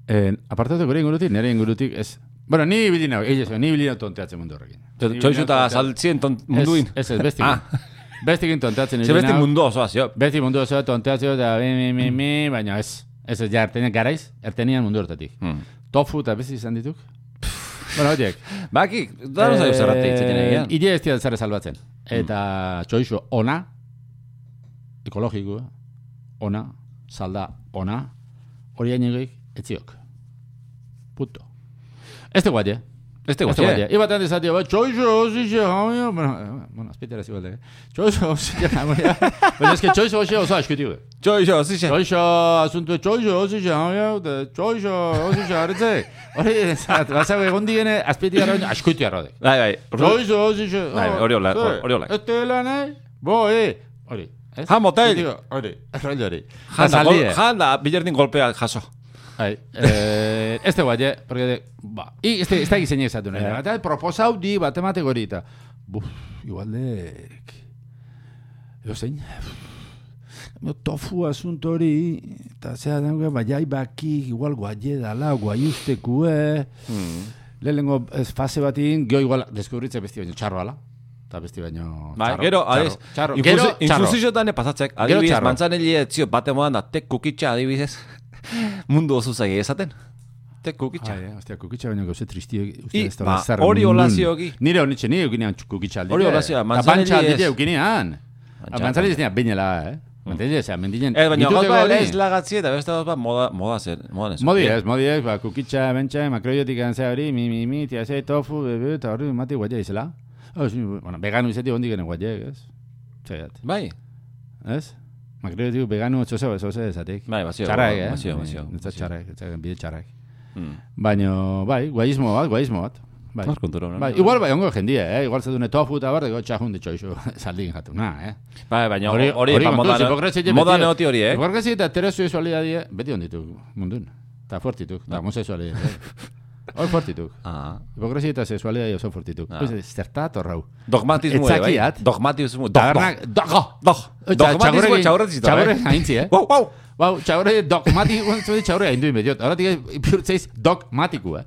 [SPEAKER 2] Eh, apartatu gure ingurutik, nire ingurutik, ez... Bueno, ni ibili nago, egia zuen, ni ibili nago tonteatzen mundu horrekin. Ni ibili
[SPEAKER 1] Txoizu
[SPEAKER 2] nau
[SPEAKER 1] eta
[SPEAKER 2] tontea-
[SPEAKER 1] saltzien ton- munduin.
[SPEAKER 2] Ez, ez, bestik.
[SPEAKER 1] Ah.
[SPEAKER 2] Bestikin
[SPEAKER 1] Ze
[SPEAKER 2] tonteatzen ibili
[SPEAKER 1] beste
[SPEAKER 2] nau.
[SPEAKER 1] mundu osoa, zio.
[SPEAKER 2] Beti mundu osoa tonteatzen eta mi, mi, mi, mi, baina ez. Ez, ez, ja, ertenian, garaiz, ertenian mundu hortatik.
[SPEAKER 1] Hmm.
[SPEAKER 2] Tofu eta beste izan dituk? bueno, horiek.
[SPEAKER 1] Baki, da no zaio
[SPEAKER 2] Eh,
[SPEAKER 1] zerrate itzeten egian.
[SPEAKER 2] Ile ez dira zerre salbatzen. Eta txoixo ona, ekologikoa, ona, salda ona, hori ainegoik etziok. Punto. Ez te guatia.
[SPEAKER 1] Ez
[SPEAKER 2] Ez
[SPEAKER 1] tegu,
[SPEAKER 2] te guatia. Iba tan desatia, ba, txoixo, ozixe, jamoia. Bueno, eh, bueno, azpitera zigualde. eh? Txoixo, ozixe, jamoia. Baina ez que txoixo, ozixe, oza, eskutiu.
[SPEAKER 1] Txoizu, zixe.
[SPEAKER 2] Txoixo, asuntu, txoixo, ozixe, jamoia. de- Txoixo, ozixe, hartze. Hori, ezat, bazago egon diene, azpitera, eskutiu arrodek.
[SPEAKER 1] Bai, bai. Ru-
[SPEAKER 2] Noiz, oiz, oiz,
[SPEAKER 1] Bai, hori hola, hor- hori hola.
[SPEAKER 2] oh, Este lan, eh? Bo, eh? Hori. ez?
[SPEAKER 1] Jan motel.
[SPEAKER 2] Digo, Hori, *laughs* hori, hori.
[SPEAKER 1] Janda,
[SPEAKER 2] Azaldi,
[SPEAKER 1] gol-
[SPEAKER 2] eh?
[SPEAKER 1] janda, bilerdin golpeak jaso.
[SPEAKER 2] Bai, eh, Este guai, eh? Porque, de- ba, i, este, esta gizein egizatu nahi.
[SPEAKER 1] Eh.
[SPEAKER 2] Eta proposau di bat emateko hori, eta, buf, igual de... Ego zein, *sighs* No, tofu asunto hori, eta zea dengo, baiai bai, baki, igual guaie dala, guai ustekue,
[SPEAKER 1] Hmm.
[SPEAKER 2] lehenengo ez fase batin, geho igual, deskubritze besti baino txarro ala, eta besti baino
[SPEAKER 1] Bai,
[SPEAKER 2] txarro,
[SPEAKER 1] gero, adez,
[SPEAKER 2] txarro, txarro, gero,
[SPEAKER 1] infusi-
[SPEAKER 2] txarro.
[SPEAKER 1] infusiotan epasatzek, adibidez,
[SPEAKER 2] txarro.
[SPEAKER 1] mantzaneli etzio, bate modan da, tek kukitxa adibidez, *laughs* mundu oso zagi esaten. Tek kukitxa.
[SPEAKER 2] Ai, eh, hostia, kukitxa baino gauze tristie,
[SPEAKER 1] I,
[SPEAKER 2] uste ez da
[SPEAKER 1] ba,
[SPEAKER 2] bazar hori nun.
[SPEAKER 1] olazioki.
[SPEAKER 2] Nire honitxe, nire eukinean txu- kukitxa aldite.
[SPEAKER 1] Hori olazioa,
[SPEAKER 2] Ta
[SPEAKER 1] manzanilli
[SPEAKER 2] bantxa aldite
[SPEAKER 1] ez.
[SPEAKER 2] eukinean.
[SPEAKER 1] Bantxa, Mm.
[SPEAKER 2] Mantzaneli ez nire, binela, eh? Mantzaneli ez, mendien.
[SPEAKER 1] Ez, Eh, baina
[SPEAKER 2] Mituteko
[SPEAKER 1] gauz bat
[SPEAKER 2] hori.
[SPEAKER 1] ez lagatzi eta beste gauz bat moda, moda zer, modan ez.
[SPEAKER 2] Modi ez, modi ez, ba, kukitxa, bentsa, makroiotik gantzea hori, mi, mi, mi, tia zei, tofu, bebe, eta hori mati guatia izela. Oh, sí, bueno, vegano izeti hondi gene guatia, ez? Zaiat,
[SPEAKER 1] Bai,
[SPEAKER 2] ez? Makroiotik vegano txoze, zoze ezatik.
[SPEAKER 1] bai, bazio.
[SPEAKER 2] Txarrak, eh?
[SPEAKER 1] Bazio, bazio.
[SPEAKER 2] Eta txarrak, eta bide txarrak.
[SPEAKER 1] Mm.
[SPEAKER 2] Baina, bai, guaismo bat, guaismo bat. Bai.
[SPEAKER 1] Nor kontura, no?
[SPEAKER 2] Bai, igual bai, ongo jendie, eh? Igual zedune tofu eta barreko txajun de *laughs* txoixo saldin jatu, na, eh?
[SPEAKER 1] Bai, baina hori, hori, ba,
[SPEAKER 2] kontuz,
[SPEAKER 1] modan-
[SPEAKER 2] hipokresia beti-
[SPEAKER 1] modan eoti hori, eh?
[SPEAKER 2] Hipokresia eta heterosexualidadea beti onditu mundun. Eta fuertituk, eta homosexualidadea. eh. Hor fuertituk.
[SPEAKER 1] Ah.
[SPEAKER 2] Hipokresia eta sexualidadea oso fuertituk. Ah. Zerta atorrau.
[SPEAKER 1] Dogmatismo, ere, bai.
[SPEAKER 2] Etzakiat.
[SPEAKER 1] Dogmatismo, dog, dog,
[SPEAKER 2] Tabernak, dago!
[SPEAKER 1] dog. Dogmatismo, txaurretzi zito,
[SPEAKER 2] Txaurre
[SPEAKER 1] eh?
[SPEAKER 2] haintzi, eh?
[SPEAKER 1] Wow, wow.
[SPEAKER 2] Bau, txaurre *laughs* dogmatiko, txaurre haindu inbediot. Ahora tigez, bihurtzeiz dogmatiko, eh?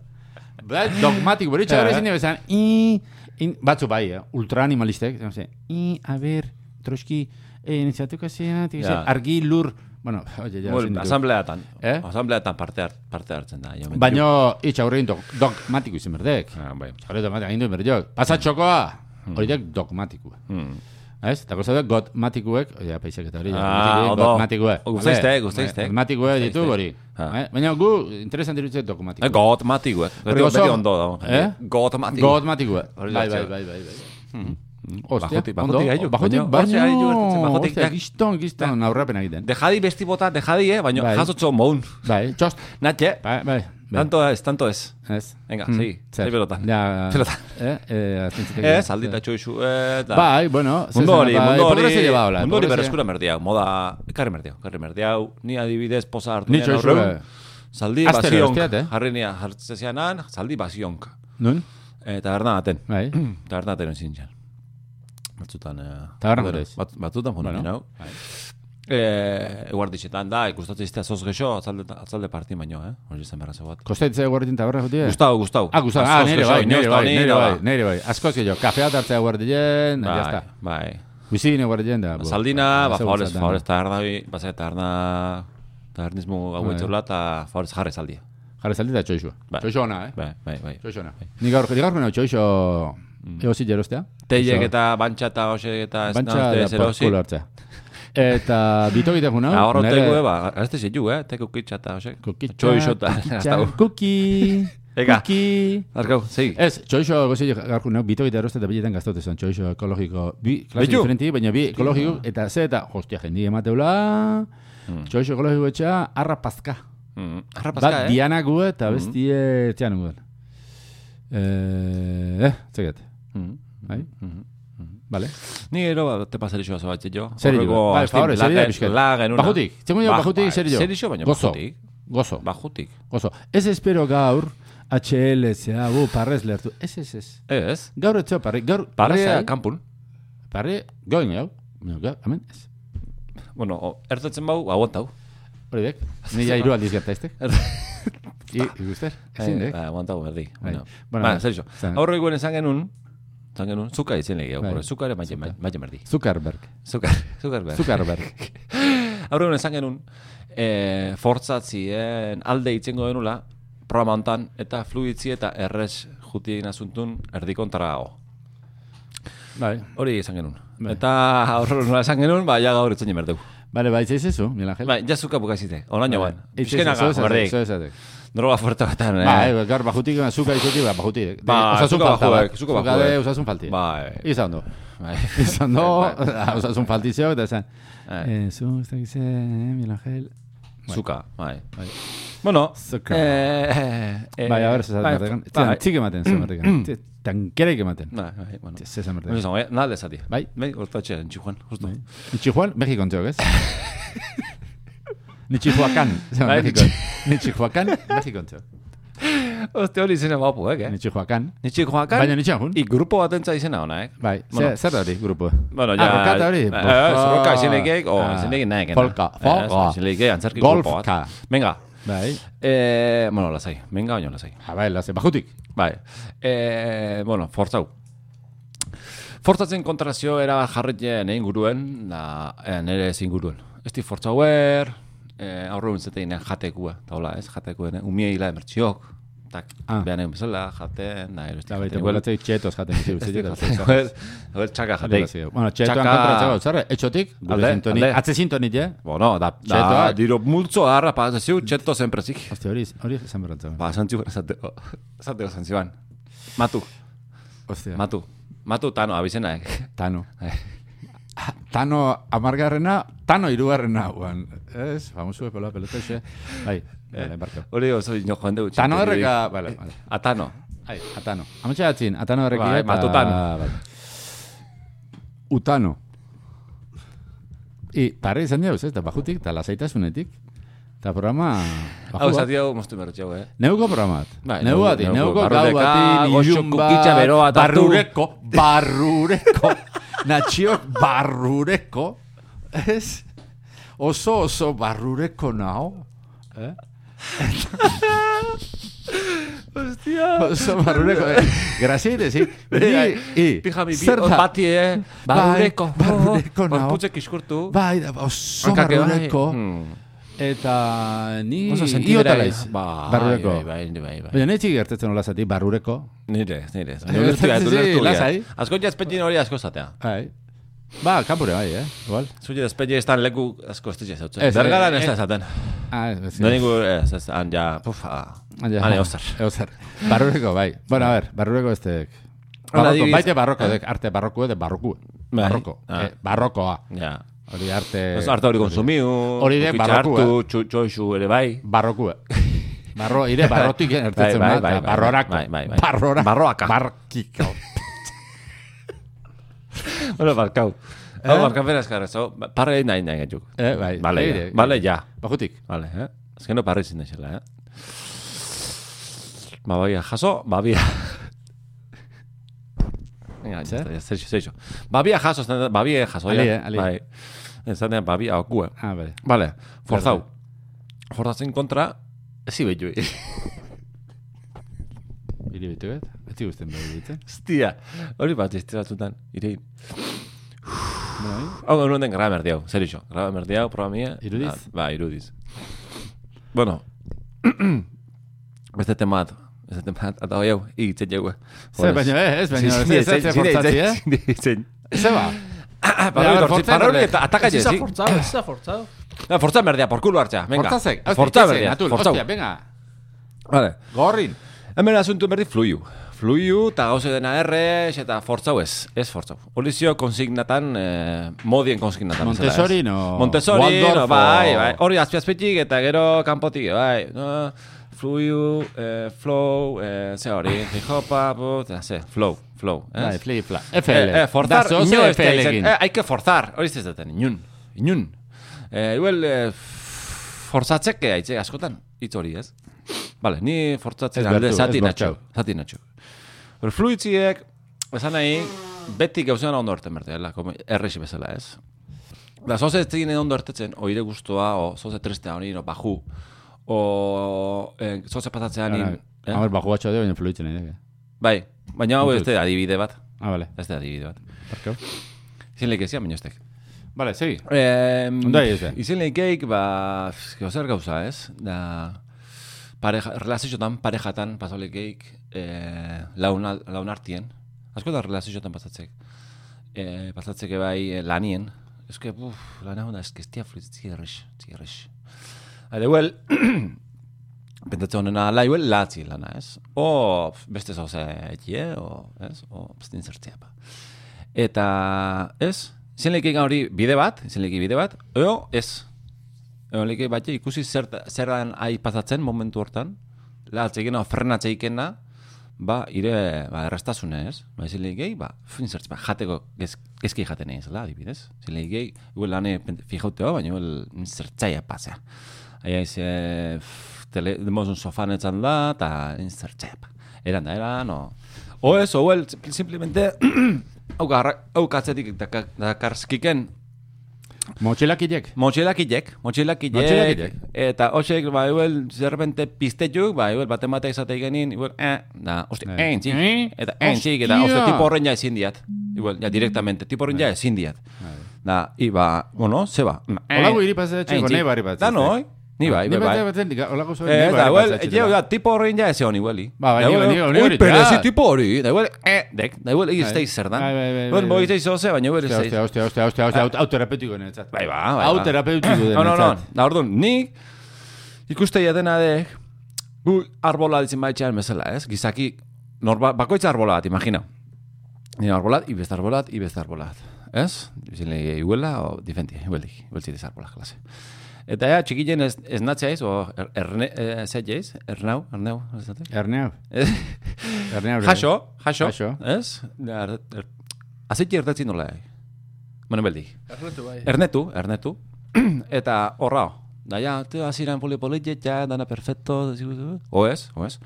[SPEAKER 2] Bai, dogmatiko, bori txaurre zine bezan, i, in, batzu bai, eh? ultraanimalistek, no sé, i, a ber, troski, eh, neziatuko zea, tigez,
[SPEAKER 1] Ja.
[SPEAKER 2] argi lur, bueno, *laughs* oye, ja,
[SPEAKER 1] Mol-
[SPEAKER 2] ezin ditu.
[SPEAKER 1] Asambleatan.
[SPEAKER 2] Eh?
[SPEAKER 1] Asambleatan parte, har- parte hartzen da. jo,
[SPEAKER 2] Baino, i, txaurre eh, dog, dogmatiko izin berdek.
[SPEAKER 1] Ah, bai.
[SPEAKER 2] Txaurre dogmatiko haindu inbediot. Pasatxokoa! Hori dek dogmatikoa.
[SPEAKER 1] Hmm.
[SPEAKER 2] Ez? Eta gozatu gotmatikuek, oia, peizak eta hori,
[SPEAKER 1] Ah, ondo.
[SPEAKER 2] gotmatikuek.
[SPEAKER 1] Gustaiztek, gustaiztek.
[SPEAKER 2] Gotmatikuek ditu hori.
[SPEAKER 1] Ah.
[SPEAKER 2] Eh? Baina gu, interesan dirutze dogmatikuek.
[SPEAKER 1] Got matiko, eh? Beti,
[SPEAKER 2] oso-
[SPEAKER 1] beti ondo dago.
[SPEAKER 2] Eh?
[SPEAKER 1] Got matiko.
[SPEAKER 2] Gotmatikuek.
[SPEAKER 1] Hori
[SPEAKER 2] Bai,
[SPEAKER 1] da,
[SPEAKER 2] bai, bai,
[SPEAKER 1] txar.
[SPEAKER 2] bai. bai. Ostia,
[SPEAKER 1] Bajotik-
[SPEAKER 2] ondo.
[SPEAKER 1] bajotik gailu,
[SPEAKER 2] Bajotik,
[SPEAKER 1] baina-
[SPEAKER 2] baino,
[SPEAKER 1] hortxe gailu hartzen, bajotik
[SPEAKER 2] ostia,
[SPEAKER 1] jak-
[SPEAKER 2] Kiston, kiston, aurrapena egiten.
[SPEAKER 1] Dejadi besti bota, dejadi, eh? Baina
[SPEAKER 2] Bai.
[SPEAKER 1] jasotxo moun.
[SPEAKER 2] Bai, txost.
[SPEAKER 1] Natxe,
[SPEAKER 2] Bai, bai. bai.
[SPEAKER 1] tanto ez, tanto ez.
[SPEAKER 2] Ez.
[SPEAKER 1] Venga,
[SPEAKER 2] Hmm,
[SPEAKER 1] segi,
[SPEAKER 2] zer.
[SPEAKER 1] segi pelotan.
[SPEAKER 2] Ja,
[SPEAKER 1] Pelotan.
[SPEAKER 2] Eh, eh, azkentziteke.
[SPEAKER 1] Ez, aldita txoixu, eh, da.
[SPEAKER 2] Bai, bueno. zer
[SPEAKER 1] Mundu
[SPEAKER 2] zen,
[SPEAKER 1] hori,
[SPEAKER 2] bai,
[SPEAKER 1] mundu hori,
[SPEAKER 2] hipokresia lleva hola,
[SPEAKER 1] mundu hori
[SPEAKER 2] hipokresia.
[SPEAKER 1] berreskura merdiau, moda, karri merdiau, karri merdiau, ni adibidez posa hartu
[SPEAKER 2] Ni
[SPEAKER 1] nian
[SPEAKER 2] txoixu,
[SPEAKER 1] aurreun,
[SPEAKER 2] eh.
[SPEAKER 1] zaldi
[SPEAKER 2] Astero,
[SPEAKER 1] bazionk,
[SPEAKER 2] usteat, eh?
[SPEAKER 1] jarri nia hartzezianan, zaldi bazionk,
[SPEAKER 2] Nun?
[SPEAKER 1] Eh, taberna baten,
[SPEAKER 2] *clears throat* Bai.
[SPEAKER 1] taberna baten ezin jan. Batzutan, eh,
[SPEAKER 2] Taberna
[SPEAKER 1] joder,
[SPEAKER 2] batez.
[SPEAKER 1] bat, batzutan joan
[SPEAKER 2] Bueno, bai.
[SPEAKER 1] bueno, hau. Eh, eguarditxetan da, ikustatzen iztea zoz gexo, atzalde, atzalde parti baino, eh? Hori zen berrazo bat.
[SPEAKER 2] Kostaitze guarretin taberra jutia?
[SPEAKER 1] Gustau, Gustau.
[SPEAKER 2] Ah, Gustavo, ah,
[SPEAKER 1] Zoz
[SPEAKER 2] nire
[SPEAKER 1] gexo,
[SPEAKER 2] bai, nire
[SPEAKER 1] inoiz da
[SPEAKER 2] bai,
[SPEAKER 1] honi,
[SPEAKER 2] nire
[SPEAKER 1] da,
[SPEAKER 2] bai,
[SPEAKER 1] ba.
[SPEAKER 2] nire bai. Askoz gehiago, kafea tartzea guardien, ja
[SPEAKER 1] Bai,
[SPEAKER 2] está.
[SPEAKER 1] bai.
[SPEAKER 2] Bizi gine guardien da. bo.
[SPEAKER 1] Saldina, ba,
[SPEAKER 2] Zer
[SPEAKER 1] favorez,
[SPEAKER 2] gustatzen.
[SPEAKER 1] favorez, taberna, bi- bazai, taberna, tabernismo
[SPEAKER 2] Bai.
[SPEAKER 1] hau etxola, eta favorez jarri zaldia.
[SPEAKER 2] Jarri zaldita txoixua.
[SPEAKER 1] Bai.
[SPEAKER 2] Txoixua ona, eh?
[SPEAKER 1] Bai, bai, bai.
[SPEAKER 2] Txoixua ona. Ni gaur, ni gaur menau txoixo ego zillerostea.
[SPEAKER 1] Teiek eta bantxa eta hoxe eta ez
[SPEAKER 2] Bantxa
[SPEAKER 1] nahazte
[SPEAKER 2] da
[SPEAKER 1] zer hauzi.
[SPEAKER 2] porkulo hartzea. Eta bitok egiten funau.
[SPEAKER 1] Ahorro
[SPEAKER 2] nere-
[SPEAKER 1] tegu eba, azte zitu, eh? Teko kitxa eta hoxe.
[SPEAKER 2] Kukitxa,
[SPEAKER 1] Txoixo eta,
[SPEAKER 2] kukitxa,
[SPEAKER 1] *laughs* hasta gu.
[SPEAKER 2] Kuki,
[SPEAKER 1] Ega.
[SPEAKER 2] kuki.
[SPEAKER 1] Arkau, segi.
[SPEAKER 2] Ez, txoixo gozi garku neu, bito eta eroste eta biletan gaztote zen, txoixo ekologiko, bi klase
[SPEAKER 1] Bitu?
[SPEAKER 2] diferenti, baina bi ekologiko, eta ze eta, hostia, jendi emateula, txoixo ekologiko etxea, arra pazka.
[SPEAKER 1] Mm, Hmm. Arra
[SPEAKER 2] Bat
[SPEAKER 1] paska, eh?
[SPEAKER 2] diana gu eta bestie etxean guen. Eh, eh, zekat,
[SPEAKER 1] Mm.
[SPEAKER 2] bai?
[SPEAKER 1] hmm.
[SPEAKER 2] Vale.
[SPEAKER 1] Ni gero bat te pasarixo azo bat jo.
[SPEAKER 2] Zer jo?
[SPEAKER 1] Horreko
[SPEAKER 2] Bai,
[SPEAKER 1] Austin
[SPEAKER 2] favore, zer jo
[SPEAKER 1] Lagen-
[SPEAKER 2] pixkat.
[SPEAKER 1] Lagen una.
[SPEAKER 2] Bajutik, txengo jo,
[SPEAKER 1] Ba-
[SPEAKER 2] bajutik,
[SPEAKER 1] bai,
[SPEAKER 2] zer jo.
[SPEAKER 1] zer jo, baina
[SPEAKER 2] Gozo.
[SPEAKER 1] bajutik. Ba.
[SPEAKER 2] Gozo,
[SPEAKER 1] Bajutik.
[SPEAKER 2] gozo. Ez espero gaur, HL, zea, bu, parrez lertu. Ez, ez, ez.
[SPEAKER 1] Ez?
[SPEAKER 2] Gaur etxeo parri, gaur...
[SPEAKER 1] Parrea
[SPEAKER 2] lasai.
[SPEAKER 1] kanpun.
[SPEAKER 2] Parri, going hau. Baina, ga- Hemen, ez.
[SPEAKER 1] Bueno, o- ertetzen bau, aguantau.
[SPEAKER 2] Hori dek, nire hiru
[SPEAKER 1] *laughs*
[SPEAKER 2] aldiz gertaiztek. I, ikuster, ezin
[SPEAKER 1] Eh,
[SPEAKER 2] dek.
[SPEAKER 1] ba, aguantau, berdi.
[SPEAKER 2] Bai.
[SPEAKER 1] Bueno,
[SPEAKER 2] Bueno,
[SPEAKER 1] bueno,
[SPEAKER 2] bai.
[SPEAKER 1] zer iso.
[SPEAKER 2] Zan-
[SPEAKER 1] Aurrekoen esan genuen, esan genuen, zuka izan legi, hau,
[SPEAKER 2] Bai.
[SPEAKER 1] porque zuka ere maite berdi.
[SPEAKER 2] Zuckerberg.
[SPEAKER 1] *laughs* Zukar, zukar behar. *laughs*
[SPEAKER 2] Zuckerberg.
[SPEAKER 1] Aurrekoen esan genuen, eh, fortzatzien alde itzengo denula, programa hontan, eta fluidzi eta errez jutien asuntun erdikontara hau.
[SPEAKER 2] bai.
[SPEAKER 1] Hori esan genuen.
[SPEAKER 2] Bai.
[SPEAKER 1] Eta aurrekoen nola esan genuen, ba, ja gaur etzen jemerdeu.
[SPEAKER 2] Bale, bai, zeiz ezu, Miguel Angel.
[SPEAKER 1] Ba, ja zuka bukazite, olaino ban.
[SPEAKER 2] Hitz
[SPEAKER 1] Bizkena
[SPEAKER 2] ezu,
[SPEAKER 1] gau,
[SPEAKER 2] zeu esatek,
[SPEAKER 1] berdi.
[SPEAKER 2] zeu esatek.
[SPEAKER 1] Droga fuerte batan, eh.
[SPEAKER 2] Ba, eh, gaur bajutik, zuka izutik, ba, bajutik.
[SPEAKER 1] Ba,
[SPEAKER 2] osasun
[SPEAKER 1] zuka
[SPEAKER 2] falta,
[SPEAKER 1] bajuek,
[SPEAKER 2] ba.
[SPEAKER 1] zuka
[SPEAKER 2] Zuka
[SPEAKER 1] bajuek.
[SPEAKER 2] de osasun falti.
[SPEAKER 1] Ba, eh,
[SPEAKER 2] Izan *laughs* do.
[SPEAKER 1] bai.
[SPEAKER 2] Izan do,
[SPEAKER 1] Bai.
[SPEAKER 2] *laughs* osasun faltizeo, eta esan.
[SPEAKER 1] Eh,
[SPEAKER 2] Eh, zu, ez dakize, eh, Miguel Angel.
[SPEAKER 1] Zuka, bai. Bueno,
[SPEAKER 2] Zuka.
[SPEAKER 1] eh, eh,
[SPEAKER 2] Bai, a ver, zezat
[SPEAKER 1] bai,
[SPEAKER 2] merdekan.
[SPEAKER 1] bai.
[SPEAKER 2] Txik
[SPEAKER 1] *clears throat*
[SPEAKER 2] ematen, zezat merdekan. Tankerek ematen.
[SPEAKER 1] Bai, bai, bueno.
[SPEAKER 2] Zezat
[SPEAKER 1] Bueno,
[SPEAKER 2] merdekan.
[SPEAKER 1] izango, eh? Nalde zati.
[SPEAKER 2] Bai.
[SPEAKER 1] Bai, hortatxe, entxuan, justo.
[SPEAKER 2] Nichijuan, México
[SPEAKER 1] *laughs*
[SPEAKER 2] enteo, ez? Nichihuacan.
[SPEAKER 1] Bai,
[SPEAKER 2] Nichihuacan, Nichihuacan, México enteo.
[SPEAKER 1] Oste hori izena bapu, eh?
[SPEAKER 2] Nichihuacan.
[SPEAKER 1] Nitxi joakan.
[SPEAKER 2] Baina Nichihuan.
[SPEAKER 1] I grupo bat entza izena ona, eh?
[SPEAKER 2] Bai,
[SPEAKER 1] Bueno.
[SPEAKER 2] zer zer da hori, grupo.
[SPEAKER 1] Bueno,
[SPEAKER 2] Ah,
[SPEAKER 1] ja...
[SPEAKER 2] rokata hori?
[SPEAKER 1] Eh, eh, Roka izenekek, o,
[SPEAKER 2] Ah,
[SPEAKER 1] izenek naek.
[SPEAKER 2] Folka, folka.
[SPEAKER 1] Izenekek, antzarki grupo bat.
[SPEAKER 2] Golfka.
[SPEAKER 1] Venga.
[SPEAKER 2] Bai,
[SPEAKER 1] Eh, bueno, lasai. Venga, baino, lasai.
[SPEAKER 2] ah, bai, laze, bajutik.
[SPEAKER 1] Bai. E, bueno, fortzau. Fortzatzen kontrazio era jarretzen egin guruen, da, eh, nire ezin guruen. Ez di fortzauer, e, aurre unzeteinean jatekua, eta hola ez, jatekuen, umie hila emertziok, tak,
[SPEAKER 2] Ah.
[SPEAKER 1] ah. behan egin bezala, jaten, da, ero, ez
[SPEAKER 2] Da,
[SPEAKER 1] di
[SPEAKER 2] bai, te
[SPEAKER 1] jatekuen.
[SPEAKER 2] guelatzei txetos jaten. bizi,
[SPEAKER 1] Ez
[SPEAKER 2] bizi,
[SPEAKER 1] di
[SPEAKER 2] jaten,
[SPEAKER 1] jatekuen,
[SPEAKER 2] jaten.
[SPEAKER 1] Hor, txaka jatek.
[SPEAKER 2] Jaten. Bueno, txetoan
[SPEAKER 1] Txaka-
[SPEAKER 2] kontra txako, zer, etxotik, gure
[SPEAKER 1] Alde,
[SPEAKER 2] e sintoni,
[SPEAKER 1] alde.
[SPEAKER 2] atze sintonit, ja?
[SPEAKER 1] Bueno, da, da
[SPEAKER 2] Txetoak.
[SPEAKER 1] diro multzo harra pasaziu, txeto zenprezik.
[SPEAKER 2] Oste, hori, hori esan berratza.
[SPEAKER 1] Ba, zantziu, zateo, zateo zantziuan. Matu,
[SPEAKER 2] Ostia,
[SPEAKER 1] matu, matu tano, abizena, eh?
[SPEAKER 2] Tano. *laughs* Tano amargarrena, Tano irugarrena, guan. Ez, famosu epola pelotexe. Bai, bale, barkatu.
[SPEAKER 1] *laughs* Hori oso ino joan dugu. Ah,
[SPEAKER 2] Tano erreka, bale, bale.
[SPEAKER 1] Atano.
[SPEAKER 2] Ai, atano. Ametxe atzin, atano
[SPEAKER 1] Bai,
[SPEAKER 2] erreki.
[SPEAKER 1] matutan.
[SPEAKER 2] Utano. I, parre izan dira, ez, eta bajutik, eta lasaitasunetik. Eta programa...
[SPEAKER 1] Hau
[SPEAKER 2] bajua.
[SPEAKER 1] zati hau moztu bertxeu,
[SPEAKER 2] *laughs*
[SPEAKER 1] eh?
[SPEAKER 2] Neuko programat.
[SPEAKER 1] Bai,
[SPEAKER 2] neuko bati,
[SPEAKER 1] neuko,
[SPEAKER 2] neuko gau
[SPEAKER 1] barrudeka,
[SPEAKER 2] bati,
[SPEAKER 1] goxo
[SPEAKER 2] ilun bat,
[SPEAKER 1] kukitza beroa tartu.
[SPEAKER 2] barrureko, barrureko, *laughs* natxiok barrureko, ez? Oso, oso barrureko nao. Eh?
[SPEAKER 1] *laughs* Hostia.
[SPEAKER 2] Oso barrureko, eh? Grazia
[SPEAKER 1] *laughs*
[SPEAKER 2] idezi.
[SPEAKER 1] Pijami, Bai, bi, hor bati, eh?
[SPEAKER 2] Bai,
[SPEAKER 1] Barureko.
[SPEAKER 2] barrureko nao.
[SPEAKER 1] Horputzek iskurtu.
[SPEAKER 2] Bai, da, oso
[SPEAKER 1] Hankak bai.
[SPEAKER 2] barrureko.
[SPEAKER 1] Hmm.
[SPEAKER 2] Eta ni
[SPEAKER 1] Oso
[SPEAKER 2] iota
[SPEAKER 1] sentibera
[SPEAKER 2] naiz,
[SPEAKER 1] ez. Ba,
[SPEAKER 2] barrureko.
[SPEAKER 1] Bai, bai, bai, bai, bai.
[SPEAKER 2] Baina netxik gertetzen hola zati, barrureko.
[SPEAKER 1] Nire, nire.
[SPEAKER 2] Eh,
[SPEAKER 1] Ulertu gait,
[SPEAKER 2] *laughs* sí,
[SPEAKER 1] ulertu
[SPEAKER 2] lasai.
[SPEAKER 1] gait. Asko jazpetin hori asko zatea.
[SPEAKER 2] Bai. Ba, kanpure bai, eh? Igual.
[SPEAKER 1] Zure despeñe estan leku asko ez dut zautzen.
[SPEAKER 2] Ez,
[SPEAKER 1] Bergaran
[SPEAKER 2] eh,
[SPEAKER 1] ez da
[SPEAKER 2] eh,
[SPEAKER 1] esaten.
[SPEAKER 2] Ah, ez, ez.
[SPEAKER 1] No ningu, ez, ez, han ja, puf, ah, han eozar.
[SPEAKER 2] Eozar. Barrureko, bai. Bueno, a ver, barrureko este... Barroko,
[SPEAKER 1] adibidez-
[SPEAKER 2] baite barroko, dek, arte barroko edo barroku.
[SPEAKER 1] Bai.
[SPEAKER 2] Barroko.
[SPEAKER 1] Ah.
[SPEAKER 2] Eh, barrokoa.
[SPEAKER 1] Ja.
[SPEAKER 2] Eh, Hori eh. arte...
[SPEAKER 1] Ez harta hori konsumiu,
[SPEAKER 2] Hori de
[SPEAKER 1] ukitxa
[SPEAKER 2] barrokua.
[SPEAKER 1] hartu, txu- txoixu ere bai.
[SPEAKER 2] Barroku. Barro, ire, barrotik gertatzen
[SPEAKER 1] Bai,
[SPEAKER 2] bai,
[SPEAKER 1] bai, bai, bai,
[SPEAKER 2] barrorako.
[SPEAKER 1] bai, bai, bai.
[SPEAKER 2] Barrora.
[SPEAKER 1] Barroaka.
[SPEAKER 2] Barkiko.
[SPEAKER 1] Hora barkau. Hau barkapera eskarrez, hau, parre egin nahi nahi gaituk.
[SPEAKER 2] Eh, bai.
[SPEAKER 1] Bale, ja.
[SPEAKER 2] Ire,
[SPEAKER 1] Bale, ja.
[SPEAKER 2] Bajutik.
[SPEAKER 1] Bale, eh? Azken no parre izin daixela, eh? Ba, baia, jaso, ba, bia.
[SPEAKER 2] *laughs*
[SPEAKER 1] Venga,
[SPEAKER 2] Zer?
[SPEAKER 1] jazta, jazta, zeixo, zeixo. Ba, bia jaso, esan da, ba, bia jaso,
[SPEAKER 2] Ali,
[SPEAKER 1] ja.
[SPEAKER 2] eh, ali.
[SPEAKER 1] Bai. Esan da, ba, bia okue.
[SPEAKER 2] Ah, bale.
[SPEAKER 1] Bale, forzau. Forzatzen kontra, ezi behitu.
[SPEAKER 2] Iri bitu bet. Ez dik usten bai bitu.
[SPEAKER 1] Hostia, hori bat iztiratzutan, irein.
[SPEAKER 2] Bai.
[SPEAKER 1] Hau gaur nuen graba merdiau, zer iso. Graba merdiau, programia.
[SPEAKER 2] Irudiz?
[SPEAKER 1] Ah, ba, irudiz. Bueno, *clears throat* beste temat, beste temat, eta hoi hau, igitzen jau.
[SPEAKER 2] Zer, baina, eh, ez, baina, ez, ez, ez, fortzatzi, eh?
[SPEAKER 1] Itzen.
[SPEAKER 2] Zeba.
[SPEAKER 1] Parroi,
[SPEAKER 2] *laughs* Baina,
[SPEAKER 1] tortzi-
[SPEAKER 2] fortzen
[SPEAKER 1] parroi
[SPEAKER 2] berdet.
[SPEAKER 1] eta ataka
[SPEAKER 3] Ez da
[SPEAKER 1] jezi.
[SPEAKER 3] forzado, ez da forzado.
[SPEAKER 1] Forza merdea, por culo hartzea, venga.
[SPEAKER 2] Fortzazek.
[SPEAKER 1] Forza merdea,
[SPEAKER 2] Fortzau.
[SPEAKER 1] forzau.
[SPEAKER 2] Venga.
[SPEAKER 1] Vale.
[SPEAKER 2] Gorrin.
[SPEAKER 1] Hemen asuntu berdi fluiu. Fluiu eta gauze dena errez eta fortzau ez. Ez fortzau. Olizio konsignatan, eh, modien konsignatan. bezala, ez?
[SPEAKER 2] Montesorino.
[SPEAKER 1] Montesori,
[SPEAKER 2] Waldorfo.
[SPEAKER 1] bai, bai. Hori azpiazpitik eta gero kanpotik, bai. No, fluiu, eh, flow, eh, ze hori, hip-hopa, bu, eta ze, flow, flow. ez?
[SPEAKER 2] Bai, flip-flap. FL.
[SPEAKER 1] Eh, eh, forzar,
[SPEAKER 2] Dazo,
[SPEAKER 1] ino
[SPEAKER 2] ze
[SPEAKER 1] ez da izan.
[SPEAKER 2] FL-ekin.
[SPEAKER 1] Eh, hay que forzar, hori ez daten, inun, inun. Eh, igual, eh, f- forzatzek eh, aitze askotan, hitz hori ez. Vale, ni forzatzen
[SPEAKER 2] Ez
[SPEAKER 1] alde
[SPEAKER 2] bertu,
[SPEAKER 1] zati
[SPEAKER 2] ez
[SPEAKER 1] natxo,
[SPEAKER 2] bortxau.
[SPEAKER 1] zati natxo. Pero fluitziek, esan nahi, beti gauzena ondo arte mertela, errexi bezala ez. Da, zoze ez zine ondo artetzen, oire guztua, o zoze tristea honi, no, baju, o eh, zoze pasatzea
[SPEAKER 2] Ara,
[SPEAKER 1] nin, eh?
[SPEAKER 2] A ber, bajo batxo deo, baina fluitzen nahi.
[SPEAKER 1] Bai, baina hau ez da adibide bat,
[SPEAKER 2] Ah, vale.
[SPEAKER 1] ez da adibide bat.
[SPEAKER 2] Barkau.
[SPEAKER 1] Izin lehik ezia, baina ez tek.
[SPEAKER 2] Vale, segi.
[SPEAKER 1] Eh,
[SPEAKER 2] Ondo ari ez da.
[SPEAKER 1] izin lehikeik, ba, zer gauza ez, da, pareja, relazioetan, parejatan, pasolekeik, eh, laun, launartien, asko da relazioetan pasatzek, eh, pasatzeke bai eh, lanien, eske, buf, lan hau da, eske, ez dia fritzi errex, ez errex. Hale, huel, *clears throat* pentsatzen honena, ala, huel, latzi lana, ez? O, pf, beste zauze etie, o, ez? O, pstin zertzea, ba. Eta, ez? Zenleik hori bide bat, zenleik bide bat, eo, ez. Eo, leke bat, ikusi zer, zerran ahi pasatzen momentu hortan, latzeikena, frenatzeikena, ba, ire, ba, errastasune, ez? Ba, zilei gehi, ba, fin zertz, ba, jateko gez, gezki jaten egin zela, adibidez. Zilei gehi, guen lane pent- fijauteo, baina guen zertzaia pasea. Aia ez, e, ff, tele, demozun sofan etzan da, eta zertzaia pa. Eran da, eran, o... O ez, o el, simplemente, *clears throat* hau garra- hau katzetik dakar- dakarskiken,
[SPEAKER 2] Motxilakilek.
[SPEAKER 1] Motxilakilek, motxilakilek,
[SPEAKER 2] Motxilakilek.
[SPEAKER 1] eta hoxek, ba, igual, zerbente piztetuk, ba, igual, baten batek zatei genin, igual, eh, da, hosti,
[SPEAKER 2] Eh.
[SPEAKER 1] eh, txik,
[SPEAKER 2] Eh?
[SPEAKER 1] eta, eh, txik, eta,
[SPEAKER 2] Hostia! Eh.
[SPEAKER 1] hosti, tipo horren ja ezin diat, igual, ja, directamente, tipo horren ja ezin diat, da, iba, bueno, ba. zeba,
[SPEAKER 2] Olago hiri pasa etxeko, nahi barri bat,
[SPEAKER 1] da,
[SPEAKER 2] ez,
[SPEAKER 1] no,
[SPEAKER 2] eh?
[SPEAKER 1] ni bai, bai, bai,
[SPEAKER 2] batzen, olago zuen.
[SPEAKER 1] Eh, da, igual, etxeo, da, tipo horren ja ezin iguali.
[SPEAKER 2] bai. Ba, bai,
[SPEAKER 1] Da,
[SPEAKER 2] ni-
[SPEAKER 1] igual,
[SPEAKER 2] ni- ni
[SPEAKER 1] ui,
[SPEAKER 2] hori,
[SPEAKER 1] pero
[SPEAKER 2] ja.
[SPEAKER 1] ezi tipo hori, da, igual, eh, dek, da, igual, egin
[SPEAKER 2] Bai.
[SPEAKER 1] zeiz zer dan,
[SPEAKER 2] Bai, bai, bai,
[SPEAKER 1] Igual,
[SPEAKER 2] bai,
[SPEAKER 1] bo
[SPEAKER 2] bai.
[SPEAKER 1] egin zeiz oze, baina igual,
[SPEAKER 2] Ostia,
[SPEAKER 1] zeiz,
[SPEAKER 2] ostia, ostia, ostia, ostia, hau- hau terapeutiko netzat.
[SPEAKER 1] Ah. Bai, ba, bai.
[SPEAKER 2] Hau
[SPEAKER 1] ba.
[SPEAKER 2] terapeutiko
[SPEAKER 1] *clears throat* *laughs* No, no, no.
[SPEAKER 2] denetzat.
[SPEAKER 1] Da, orduan, nik ikusteia dena dek, gu arbola ditzen baitxean bezala, ez? Gizaki, norba, bakoitza arbola bat, imagina. Nire arbolat, ibeste arbolat, ibeste arbolat. Ez? Zile, iguela, o difenti, igueldik, igueltzik arbola klase. Eta ja, txikilen ez, ez natzea ez, o er, erne, eh, zea jaiz, ernau, ernau, ez dut? *laughs*
[SPEAKER 2] Erneo, erneo.
[SPEAKER 1] Jaso, jaso,
[SPEAKER 2] Jaso.
[SPEAKER 1] ez? Da, Er, er, Azitxe ertatzen nola, eh? Manu beldik.
[SPEAKER 3] Erretu bai.
[SPEAKER 1] Ernetu, ernetu. *clears throat* eta horra, da ja, te aziran poli politia, ja, dana perfecto, oez, oez.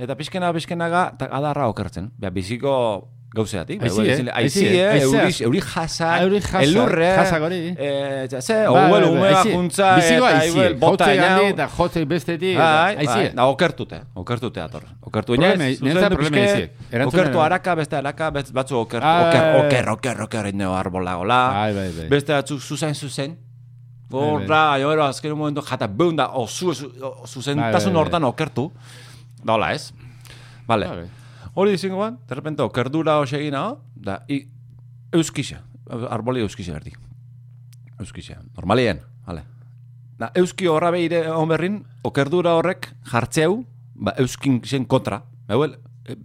[SPEAKER 1] Eta pixkena, pixkenaga, eta adarra okertzen. Bea, biziko gauzeatik.
[SPEAKER 2] Aizie,
[SPEAKER 1] aizie,
[SPEAKER 2] aizie,
[SPEAKER 1] aizie,
[SPEAKER 2] aizea.
[SPEAKER 1] eh? euri jasa,
[SPEAKER 2] eh? Ah, euri jasak,
[SPEAKER 1] elurre,
[SPEAKER 2] jasak hori.
[SPEAKER 1] eh, eta ze,
[SPEAKER 2] Bai,
[SPEAKER 1] oguel,
[SPEAKER 2] bai, bai,
[SPEAKER 1] umea
[SPEAKER 2] aizie.
[SPEAKER 1] juntza,
[SPEAKER 2] Biziko
[SPEAKER 1] eta
[SPEAKER 2] aizie.
[SPEAKER 1] iguel, bota
[SPEAKER 2] Jotzei
[SPEAKER 1] enau.
[SPEAKER 2] handi eta jotzei bestetik.
[SPEAKER 1] Bai,
[SPEAKER 2] eta
[SPEAKER 1] bai,
[SPEAKER 2] aizie.
[SPEAKER 1] da, okertute, okertute ator. Okertu
[SPEAKER 2] Problema-
[SPEAKER 1] inez,
[SPEAKER 2] niretzat
[SPEAKER 1] zuzendu
[SPEAKER 2] problema
[SPEAKER 1] pixke,
[SPEAKER 2] aiziek. Erantzuna-
[SPEAKER 1] okertu araka, beste araka, best- batzu oker,
[SPEAKER 2] Ah,
[SPEAKER 1] oker,
[SPEAKER 2] bai, bai.
[SPEAKER 1] oker, oker, oker, ineo arbola gola.
[SPEAKER 2] Bai, bai, bai.
[SPEAKER 1] Beste batzuk zuzen, zuzen.
[SPEAKER 2] Bai,
[SPEAKER 1] Gorra, joero, azken momentu, jata, beun da, ozu, ozu- o-
[SPEAKER 2] Bai,
[SPEAKER 1] zuzentasun
[SPEAKER 2] bai, bai.
[SPEAKER 1] hortan okertu. Da, hola, ez? Vale.
[SPEAKER 2] Bai, bai.
[SPEAKER 1] Hori dizingo ban, de repente, okerdura hoxegina, ho, da, i, euskixa, arboli euskixa erdi. Euskixa, normalien, vale. Da, euski horra behire onberrin, okerdura horrek jartzeu, ba, euskin zen kontra. Beuel, e,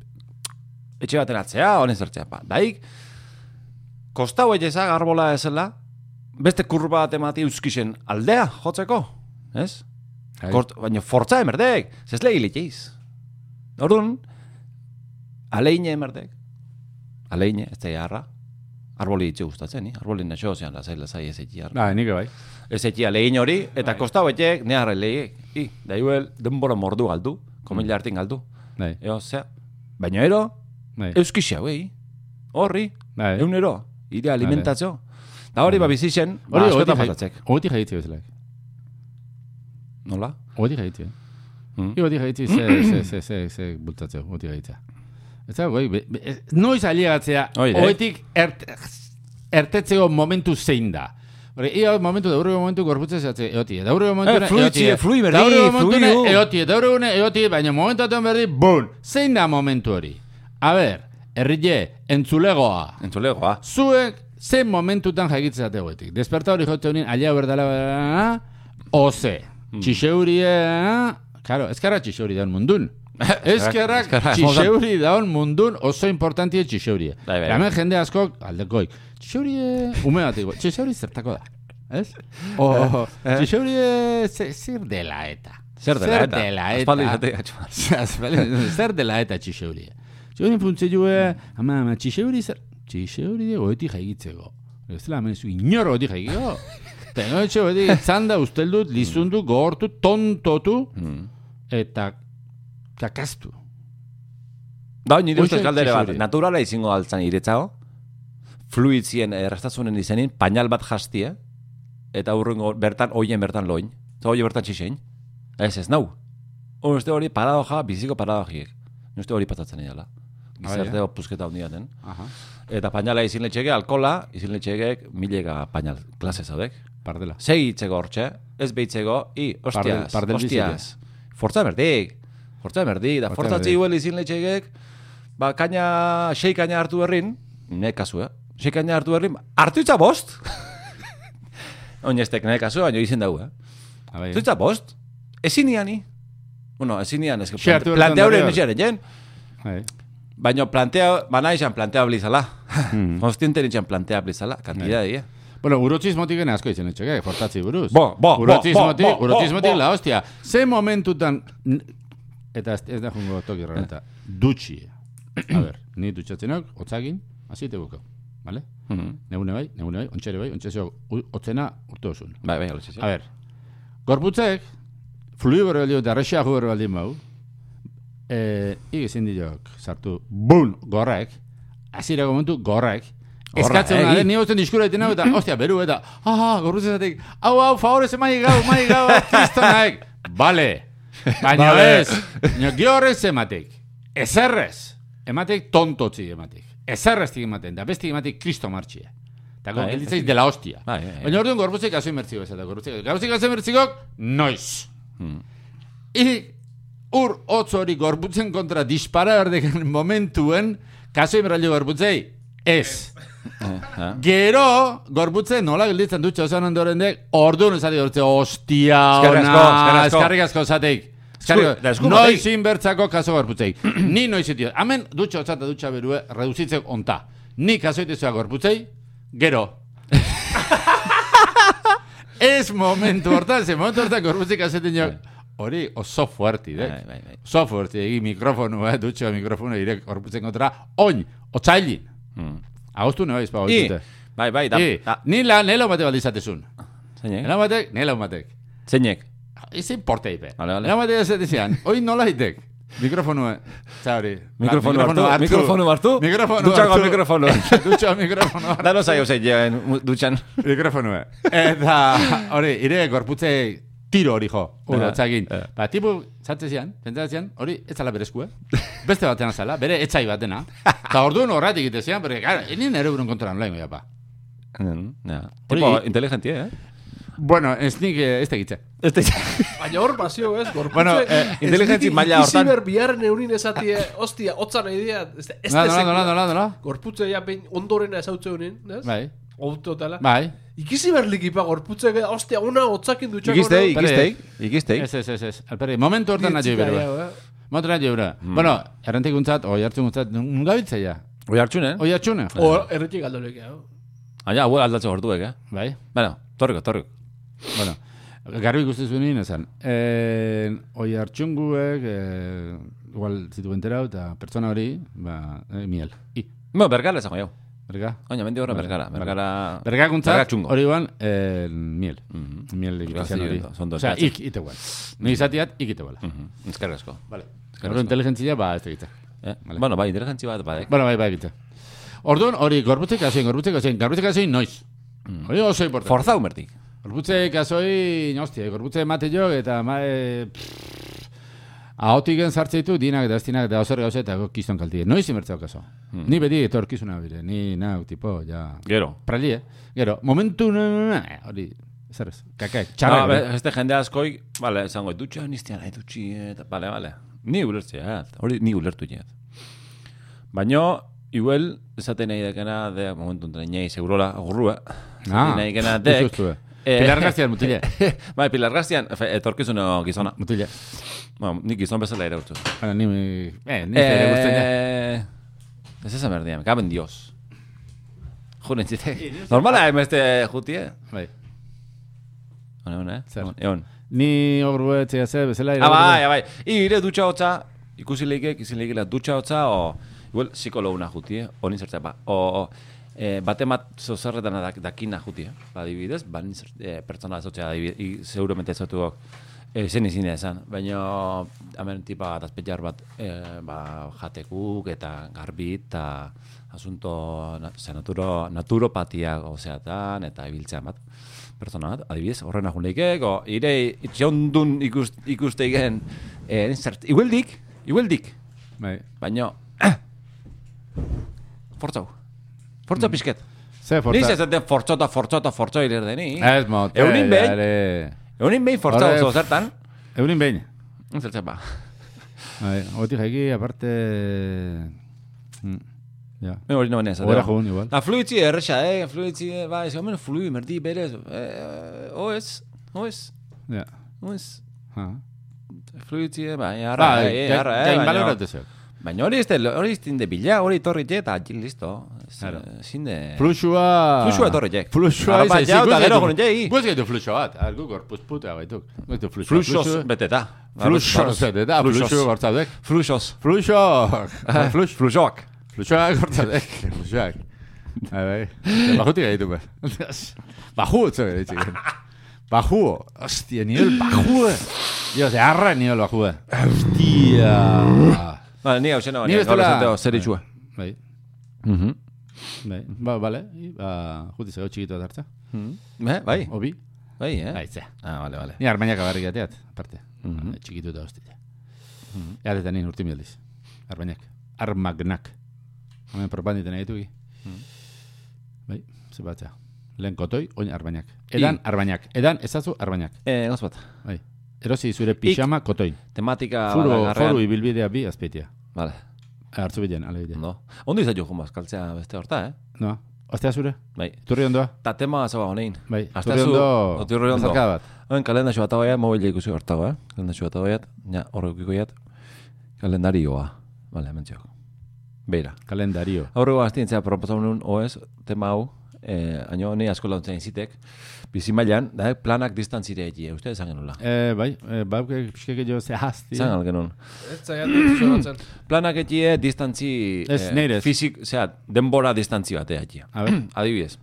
[SPEAKER 1] etxe baten atzea, honen zertzea. Ba, daik, kostau egeza garbola ezela, beste kurba bat emati euskixen aldea, jotzeko, ez?
[SPEAKER 2] Bai.
[SPEAKER 1] Kort, baina fortza emerdek, zez lehi liteiz. Orduan, aleine emerdek, aleine, ez da jarra, arboli ditxe gustatzen, ni? arboli nexo zean lazai, lazai ez egi jarra.
[SPEAKER 2] Da, nik bai.
[SPEAKER 1] Ez egi alein hori, eta kostau etxek, ne harra lehiek, i, da igual, denbora mordu galdu, komila hartin galdu.
[SPEAKER 2] Bai,
[SPEAKER 1] Eo, zea, baina ero,
[SPEAKER 2] bai.
[SPEAKER 1] euskixea, wei, horri,
[SPEAKER 2] Bai.
[SPEAKER 1] eunero, ire alimentatzo. Da hori, ba, bizitzen, ba,
[SPEAKER 2] Hori
[SPEAKER 1] askotan
[SPEAKER 2] hogetik jai-
[SPEAKER 1] pasatzek.
[SPEAKER 2] hogetik jaitzi bezala.
[SPEAKER 1] Nola?
[SPEAKER 2] Hogetik jaitzi.
[SPEAKER 1] Mm.
[SPEAKER 2] Igo hogetik jaitzi ze, ze, ze, ze, ze bultatzeu, hogetik jaitzea. Ez da, goi, be- be- ez- noiz ailegatzea,
[SPEAKER 1] Hoi, eh?
[SPEAKER 2] hogetik ert, ertetzeko momentu zein da. Hore, ia momentu, da hurrengo momentu gorputzez atze, eoti, da hurrengo momentu,
[SPEAKER 1] Eh, fluitzi, flui berdi, fluiu.
[SPEAKER 2] eoti, da hurrengo momentu, eoti, baina momentu atean berdi, bun, zein da momentu hori? A ber, herrile, entzulegoa,
[SPEAKER 1] Entzulegoa.
[SPEAKER 2] zuek zen momentutan jakitzate goetik. Desperta hori jote honin, alia berdala, berdala, oze.
[SPEAKER 1] Hmm.
[SPEAKER 2] Txixeuria, claro, ezkerra txixeuri daun mundun.
[SPEAKER 1] *laughs*
[SPEAKER 2] Ezkerrak
[SPEAKER 1] ezkerra,
[SPEAKER 2] txixeuri daun mundun oso importantia txixeuria.
[SPEAKER 1] Bai, bai.
[SPEAKER 2] Hemen jende askok, aldekoik, txixeuri, ume bat igo, txixeuri zertako da. Ez?
[SPEAKER 1] Eh,
[SPEAKER 2] O, txixeuri eh, ze- zer dela eta.
[SPEAKER 1] Zer dela eta? Aspaldi izate
[SPEAKER 2] Aspaldi- zer dela eta txixeuria. Txixeurin funtzioe, ama, ama, txiseuri zer... Txiseuri de goetik jaigitzeko. Ez dela, hemen zu inor goetik jaigiko. Tengo etxe goetik etzanda usteldut, lizundu, gogortu, tontotu,
[SPEAKER 1] Mm.
[SPEAKER 2] eta kakastu.
[SPEAKER 1] Da, nire Ba,
[SPEAKER 2] Hoxe
[SPEAKER 1] ustez galdere bat.
[SPEAKER 2] txixori.
[SPEAKER 1] Naturala izingo altzan iretzao, fluidzien errastasunen izenin, painal bat jastia, eta urrungo, bertan, hoien bertan loin. Eta hoien bertan txixein. Ez ez, nau. Uste hori paradoja, biziko paradojiek. Ni Uste hori patatzen idala.
[SPEAKER 2] Ah, bai,
[SPEAKER 1] Gizarte
[SPEAKER 2] eh?
[SPEAKER 1] ah, puzketa handia den.
[SPEAKER 2] Aha.
[SPEAKER 1] Eta painala izin letxege, alkola, izin letxegek, milega painal klase zaudek.
[SPEAKER 2] Pardela.
[SPEAKER 1] Segi hitzeko hortxe, ez behitzeko, i, ostiaz,
[SPEAKER 2] Pardel- pardel
[SPEAKER 1] ostiaz. Fortza berdik, fortza berdik, da
[SPEAKER 2] Fortza
[SPEAKER 1] fortzatzi
[SPEAKER 2] berdik.
[SPEAKER 1] huel izin letxegek, ba, kaina, sei kaina hartu berrin, ne kasu, eh? Sei kaina hartu berrin, hartu itza bost! *laughs* Oineztek ne kasu, baina izin dau, eh?
[SPEAKER 2] Abai.
[SPEAKER 1] Hartu itza bost? Ezin iani? Bueno, ezin ian, ez que
[SPEAKER 2] Xe hartu
[SPEAKER 1] plante-
[SPEAKER 2] bertan
[SPEAKER 1] planteuren
[SPEAKER 2] berriro.
[SPEAKER 1] etxearen, jen?
[SPEAKER 2] Abai.
[SPEAKER 1] Baina plantea, bana izan plantea blizala. *laughs*
[SPEAKER 2] Mhm.
[SPEAKER 1] Konstienten izan plantea
[SPEAKER 2] Bai.
[SPEAKER 1] blizala, kantidadea.
[SPEAKER 2] Bueno, urotxismotik ene asko izen etxeke, fortatzi buruz.
[SPEAKER 1] Bo, bo, bo,
[SPEAKER 2] urotxismotik,
[SPEAKER 1] bo, bo, bo,
[SPEAKER 2] urotxismotik
[SPEAKER 1] bo.
[SPEAKER 2] la hostia. Ze momentutan... n- Eta ez, ez da jungo toki raneta. Dutxi. A ber, ni dutxatzenok, otzakin, azite buko. Vale?
[SPEAKER 1] Mhm.
[SPEAKER 2] Negune bai, negune bai, ontxere bai, ontxezio otzena urte osun.
[SPEAKER 1] Bai, bai, alotxe.
[SPEAKER 2] A ber, gorputzek, flui bero balio eta rexia ju bero baldin bau, e, igizin diok, sartu, bun, gorrek, azireko momentu, gorrek, Eskatzen
[SPEAKER 1] Gorra,
[SPEAKER 2] da,
[SPEAKER 1] egi.
[SPEAKER 2] ni guztien diskura egiten hau, eta, ostia, beru, eta, ah, gorrutzezatik, hau, hau, favorez, emai gau, emai gau,
[SPEAKER 1] *laughs*
[SPEAKER 2] kristonaek, bale, baina
[SPEAKER 1] Bale.
[SPEAKER 2] ez, baina giorrez ematek, ezerrez, ematek tontotzi ematek, ezerreztik ematen, da beste ematek kristo martxia. Eta
[SPEAKER 1] Bai,
[SPEAKER 2] gelditzeiz dela hostia.
[SPEAKER 1] Bai, bai, bai.
[SPEAKER 2] Baina orduan gorputzik gazo inbertziko ez eta gorputzik. Gorputzik gazo inbertzikok, noiz.
[SPEAKER 1] Hmm.
[SPEAKER 2] I, ur hotz hori gorputzen kontra dispara berdeken momentuen, kaso inbertziko gorputzei, ez.
[SPEAKER 1] Eh, Aha.
[SPEAKER 2] Gero, gorputzen nola gelditzen dutxe osan ondoren dek, orduan esatik gorputze, ostia,
[SPEAKER 1] Eskerrik asko,
[SPEAKER 2] ona,
[SPEAKER 1] eskerrik asko.
[SPEAKER 2] eskarrik asko esatik. Eskarrik
[SPEAKER 1] Esku- da esku
[SPEAKER 2] asko, noiz
[SPEAKER 1] batek.
[SPEAKER 2] inbertzako kaso gorputzei. *clears throat* Ni noiz itio, hamen dutxe otzata dutxa berue, reduzitzek onta. Ni kaso itizua gorputzei, gero, Ez momentu hortan, ze momentu hortan gorputzik azeten jo. Hori oso fuerti, dek.
[SPEAKER 1] Bai, bai, bai.
[SPEAKER 2] Oso fuerti, egi mikrofonu, eh, dutxo mikrofonu, irek gorputzen kontra, oin, otzailin.
[SPEAKER 1] Mm.
[SPEAKER 2] Agostu nebaiz pa
[SPEAKER 1] I,
[SPEAKER 2] goitute.
[SPEAKER 1] bai, bai, da,
[SPEAKER 2] I,
[SPEAKER 1] da,
[SPEAKER 2] ni la, nela bate baldizatezun.
[SPEAKER 1] Eh? zeinek,
[SPEAKER 2] Nela batek, nela batek.
[SPEAKER 1] zeinek,
[SPEAKER 2] Ez importe ipe.
[SPEAKER 1] Vale, vale.
[SPEAKER 2] Nela batek ez ezian, oin nola hitek. Mikrofonu, zauri.
[SPEAKER 1] Mikrofonu hartu, mikrofonu hartu,
[SPEAKER 2] Mikrofonu
[SPEAKER 1] dutxako
[SPEAKER 2] hartu.
[SPEAKER 1] mikrofonu.
[SPEAKER 2] *laughs* Dutxo mikrofonu hartu.
[SPEAKER 1] da no zaio zein joen mu-
[SPEAKER 2] *laughs*
[SPEAKER 1] dutxan.
[SPEAKER 2] Mikrofonue. Eta, hori, ire gorputze tiro hori jo,
[SPEAKER 1] Aha,
[SPEAKER 2] uro, txagin.
[SPEAKER 1] aha.
[SPEAKER 2] Ba, tipu, zatze zian, pentsatzen zian, hori, ez zala bere eskue. Beste batean zala, bere etxai batena. Eta orduan horretik ite zian, porque, gara, ni nere burun kontra nola ingo japa.
[SPEAKER 1] Mm, ja.
[SPEAKER 2] Hori-
[SPEAKER 1] Tipo, inteligentia, eh?
[SPEAKER 2] Bueno, ez nik, eh, ez tegitze.
[SPEAKER 1] Este,
[SPEAKER 3] Baina hor bazio, ez? Gorputze,
[SPEAKER 2] Bueno, eh,
[SPEAKER 1] inteligentzi maila hortan.
[SPEAKER 3] Iziber biharren eurin esatie, ostia, hotza nahi diat. Ez, da- ez
[SPEAKER 2] Nola,
[SPEAKER 3] da
[SPEAKER 2] nola, nola,
[SPEAKER 3] sekula.
[SPEAKER 2] nola, nola.
[SPEAKER 3] Gorputze ja behin ondorena ezautze honen, ez?
[SPEAKER 2] Bai,
[SPEAKER 3] Autotala.
[SPEAKER 2] bai.
[SPEAKER 3] Ikizi berlik ipa gorputzek, ostia, ona hotzakin
[SPEAKER 1] *laughs*
[SPEAKER 3] dutxako.
[SPEAKER 1] ikistei,
[SPEAKER 2] Pare.
[SPEAKER 1] ikistei, ikistei.
[SPEAKER 2] Ez, ez, ez, ez. Alperri, momentu hortan nahi berua. Momentu nahi berua. Bueno, errentik untzat, oi hartzun untzat, nungabiltze ja.
[SPEAKER 1] Oi hartxunen,
[SPEAKER 2] Oi hartzune.
[SPEAKER 3] O, erretik aldolek, hau.
[SPEAKER 1] aia, hau aldatze gortuek, eh?
[SPEAKER 2] Bai.
[SPEAKER 1] Bueno, torriko, torriko.
[SPEAKER 2] Bueno, garbi ikusten zuen nien esan. Eh, oi hartxunguek, eh, igual zituen terau, eta pertsona hori, ba, eh, miel. I,
[SPEAKER 1] Bueno, bergala esango jau.
[SPEAKER 2] berga.
[SPEAKER 1] Oina, mendi horren bergala, bergala...
[SPEAKER 2] Berga
[SPEAKER 1] Berga
[SPEAKER 2] guntzat,
[SPEAKER 1] txungo.
[SPEAKER 2] hori guan, eh, miel. Miel ikitean hori.
[SPEAKER 1] Berga zondo,
[SPEAKER 2] Osea,
[SPEAKER 1] esperatzen.
[SPEAKER 2] ik, ite guan. Ni izatiat, ik ite guala.
[SPEAKER 1] Mhm, Ezkerrik asko.
[SPEAKER 2] Vale.
[SPEAKER 1] Eskerrik
[SPEAKER 2] Gero
[SPEAKER 1] asko.
[SPEAKER 2] inteligentzia, ba, ez egitza.
[SPEAKER 1] Eh? Bueno, bai, inteligentzi bat, badek.
[SPEAKER 2] Bueno, bai, bai, egitza. Orduan, hori, gorputzek azoin, gorputzek azoin, gorputzek azoin, noiz. Hori oso importante.
[SPEAKER 1] Forza umertik.
[SPEAKER 2] Gorbutze kasoi, hostia, gorbutze emate jo, eh, eta ma, e, ahotik sartze ditu, dinak eta aztinak eta ozer gauza eta kiston kaltie. Noiz imertzeo kaso.
[SPEAKER 1] Hmm.
[SPEAKER 2] Ni beti etorkizuna bire, ni nau, tipo, ja...
[SPEAKER 1] Gero.
[SPEAKER 2] Prali, eh? Gero, momentu, na, na, na, eh, hori, zer ez, kakak,
[SPEAKER 1] Txarra,
[SPEAKER 2] txarrak. eh?
[SPEAKER 1] Ah, beste jende askoik, bale, esango, dutxe niztian nahi dutxi, eta, bale, bale. Ni ulertzea, eh, hori ni ulertu jeat. Baina, igual, esaten nahi dakena, de, momentu enten nahi segurola, agurrua,
[SPEAKER 2] Ah,
[SPEAKER 1] esaten nahi dakena,
[SPEAKER 2] ez
[SPEAKER 1] dek.
[SPEAKER 2] ustu, eh. Pilar Garzian mutile.
[SPEAKER 1] *laughs* bai, Pilar Garzian, efe, etorkizuno gizona.
[SPEAKER 2] Mutile.
[SPEAKER 1] Ba, nik gizon bezala ere urtu.
[SPEAKER 2] Bueno, ni, eh, ni eh, guztien, ja.
[SPEAKER 1] ez ezan berdian, gaben dios. Juren zitek. Normala, eh, emeste jutie.
[SPEAKER 2] Bai.
[SPEAKER 1] Hone, hone,
[SPEAKER 2] Zer.
[SPEAKER 1] eh? Egon.
[SPEAKER 2] Ni horretzea ze, bezala.
[SPEAKER 1] Ah, bai,
[SPEAKER 2] irakurtzen-
[SPEAKER 1] ah, bai. Ire dutxa hotza, ikusi leikek, ikusi leikela dutxa hotza, o... Igual, psikolouna juti, eh? Honin zertzea, ba. O, o eh, bate mat zozerretan dak, dakina juti, eh? Ba, adibidez, ba, nin zert, eh, pertsona zotzea, adibidez, i, seguramente zotuok, eh, zen izin esan. Baina, hemen tipa bat, azpetiar bat, eh, ba, jatekuk, eta garbi, eta asunto na, zera, naturo, naturopatia gozeatan eta ibiltzean bat. Pertsona bat, adibidez, horren agun leike, go, ire itxondun ikust, ikusteigen, eh, zert, igueldik, igueldik,
[SPEAKER 2] Bai.
[SPEAKER 1] baino, *clears throat* ah! fortzau,
[SPEAKER 2] Mm.
[SPEAKER 1] fortzau pixket.
[SPEAKER 2] Ze
[SPEAKER 1] Forta. Niz
[SPEAKER 2] forta.
[SPEAKER 1] ez dut fortzo eta fortzo eta fortzo hiler deni.
[SPEAKER 2] Ez mote.
[SPEAKER 1] Eunin behin.
[SPEAKER 2] jare.
[SPEAKER 1] Eunin behin fortzo
[SPEAKER 2] Horre-
[SPEAKER 1] oso zertan.
[SPEAKER 2] Eunin behin.
[SPEAKER 1] Zertzen ba. *laughs*
[SPEAKER 2] Bai, Ogotik jaiki, aparte... Mm, Ja.
[SPEAKER 1] Me hori noen ez.
[SPEAKER 2] Hora joan, igual.
[SPEAKER 1] Da fluitzi erresa, eh? Fluitzi, eh, ba, ez gomen flui, merdi, berez. Eh, oez, oez,
[SPEAKER 2] Ja.
[SPEAKER 1] oez.
[SPEAKER 2] Ha.
[SPEAKER 1] Fluitzi, eh, ba, eh, arra,
[SPEAKER 2] Ba,
[SPEAKER 1] eh,
[SPEAKER 2] ja-
[SPEAKER 1] arra,
[SPEAKER 2] ja
[SPEAKER 1] eh, baina.
[SPEAKER 2] inbaloratu zeu.
[SPEAKER 1] Baina hori ez de, hori ez de bila, hori torri jet, eta jil listo. Ez,
[SPEAKER 2] Claro.
[SPEAKER 1] eh, Ezin de...
[SPEAKER 2] Fluxua...
[SPEAKER 1] Fluxua etorri jek.
[SPEAKER 2] Fluxua
[SPEAKER 1] Arropa jau eta gero
[SPEAKER 2] gaitu-
[SPEAKER 1] gonen jai.
[SPEAKER 2] Guz gaitu fluxua bat. Ar, guk gorpuz putea baituk. Gaitu fluxua.
[SPEAKER 1] Ba, Fluxos
[SPEAKER 2] fluxua-
[SPEAKER 1] beteta. Ba,
[SPEAKER 2] Fluxos. Ah, Eta fluxua
[SPEAKER 1] Fluxos.
[SPEAKER 2] gortzadek.
[SPEAKER 1] Fluxos.
[SPEAKER 2] Fluxua.
[SPEAKER 1] *laughs*
[SPEAKER 2] Flux.
[SPEAKER 1] Fluxoak.
[SPEAKER 2] Fluxua gortzadek. Fluxua. Bai, bai. Ze Bajutik gaitu behar. Baju, etxe bere itxik. Baju. Hostia, nivel baju. Dios, arra Ah. nivel baju. Hostia.
[SPEAKER 1] Ba, ni hau zena
[SPEAKER 2] Ni
[SPEAKER 1] baina, gaur
[SPEAKER 2] bestela-
[SPEAKER 1] esateo zer itxua.
[SPEAKER 2] Bai.
[SPEAKER 1] Mhm.
[SPEAKER 2] Bai, ba, bale, i- ba, juti zego txikitu bat hartza, Mhm.
[SPEAKER 1] Eh, Bai,
[SPEAKER 2] obi,
[SPEAKER 1] bai, eh?
[SPEAKER 2] baitzea.
[SPEAKER 1] Ah, vale, vale.
[SPEAKER 2] Ni armainak agarrik ateat, aparte.
[SPEAKER 1] Mhm.
[SPEAKER 2] Eh, Txikitu eta hostia. Eta eta nien urti mieliz. Armainak. Armagnak. Hemen propanditen egitugi.
[SPEAKER 1] Mhm.
[SPEAKER 2] Bai, ze batzea. Lehen kotoi, oin armainak. Edan
[SPEAKER 1] I.
[SPEAKER 2] armainak. Edan ezazu armainak.
[SPEAKER 1] Eh, gauz bat.
[SPEAKER 2] Bai. Erosi zure pixama kotoin.
[SPEAKER 1] Tematika
[SPEAKER 2] Furu,
[SPEAKER 1] badagarrean.
[SPEAKER 2] foru ibilbidea bi azpeitia.
[SPEAKER 1] Vale,
[SPEAKER 2] Artzu bidean, ale bidean.
[SPEAKER 1] ondo. Ondo izan joan bazkaltzea beste horta, eh?
[SPEAKER 2] No. Ostea zure?
[SPEAKER 1] Bai.
[SPEAKER 2] Turri ondoa?
[SPEAKER 1] Ta tema zaba honein.
[SPEAKER 2] Bai.
[SPEAKER 1] Asteazu-
[SPEAKER 2] Turri ondo.
[SPEAKER 1] Oturri ondo.
[SPEAKER 2] bezarkada bat.
[SPEAKER 1] Oen kalendaxo bat hauea, mobile ikusi hortago, eh? Kalendaxo bat hauea, ja, horre ukiko jat. Kalendarioa. Vale, hemen txok. Beira.
[SPEAKER 2] Kalendario.
[SPEAKER 1] Aurrego aztientzea proposatzen nun OS tema hau, eh, aino ni asko launtzen izitek, bizi mailan, da eh, planak distantzire egi, uste esan genula.
[SPEAKER 2] Eh, bai, eh, bauk pixka gehiago zehazti.
[SPEAKER 1] Esan genuen.
[SPEAKER 3] Ez
[SPEAKER 2] *clears throat*
[SPEAKER 3] zaiatu zoratzen.
[SPEAKER 1] Planak egie distantzi...
[SPEAKER 2] Ez, Ah. neire ez.
[SPEAKER 1] Fizik, zera, denbora distantzi batea egi.
[SPEAKER 2] A ber,
[SPEAKER 1] Adibidez,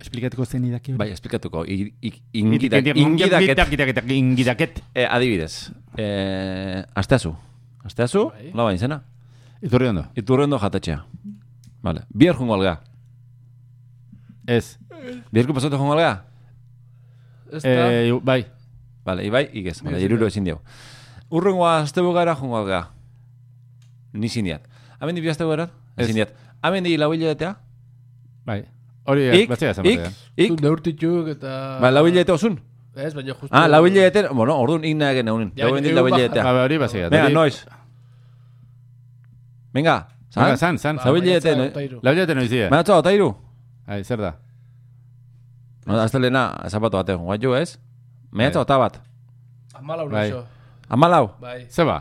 [SPEAKER 2] esplikatuko zen idaki
[SPEAKER 1] bai, esplikatuko, i- ik- ingida- ingidaket,
[SPEAKER 2] Ingidaket.
[SPEAKER 1] eh, adibidez, eh, asteazu, asteazu,
[SPEAKER 2] Bai.
[SPEAKER 1] labain zena,
[SPEAKER 2] Iturri ondo.
[SPEAKER 1] iturrendo jatetxea, vale, bihar jungo alga,
[SPEAKER 2] Ez.
[SPEAKER 1] bihar kupasota jungo alga,
[SPEAKER 3] Ez da,
[SPEAKER 2] Eh, iu- bai.
[SPEAKER 1] vale, ibai, igez, vale, iruro ezin diau, urrengoa azte bugara jungo alga, ni zindiat, amendi bi azte bugara,
[SPEAKER 2] Ez.
[SPEAKER 1] zindiat, amendi lau hilabetea,
[SPEAKER 2] Bai. Hori,
[SPEAKER 1] ik,
[SPEAKER 2] batzea esan
[SPEAKER 1] ik,
[SPEAKER 2] batean.
[SPEAKER 1] ik,
[SPEAKER 3] zu neurtituk eta...
[SPEAKER 1] ba, lau hilabete osun,
[SPEAKER 3] Ez, baina justu...
[SPEAKER 1] ah, lau hilabete, bueno, orduan igna egin eunin,
[SPEAKER 3] Ja,
[SPEAKER 1] lau hilabete,
[SPEAKER 3] baina eu
[SPEAKER 1] lau
[SPEAKER 3] baja-
[SPEAKER 1] hilabetea,
[SPEAKER 2] Ba, ba, hori batzea.
[SPEAKER 1] Venga, noiz. Venga, san.
[SPEAKER 2] Zan, zan,
[SPEAKER 3] Ba,
[SPEAKER 2] zan.
[SPEAKER 1] Zau- hilabete,
[SPEAKER 2] eh?
[SPEAKER 3] maiatza
[SPEAKER 1] ne?
[SPEAKER 3] hogeta hiru.
[SPEAKER 2] Labilete noizie.
[SPEAKER 1] Manatzo bat, airu.
[SPEAKER 2] Ai, zer da?
[SPEAKER 1] No, azte lehena, zapatu bat egun, gaitu ez? Manatzo bat bat.
[SPEAKER 3] Hamalau
[SPEAKER 2] Bai.
[SPEAKER 3] noizo,
[SPEAKER 1] Amalau.
[SPEAKER 3] bai.
[SPEAKER 2] Zeba.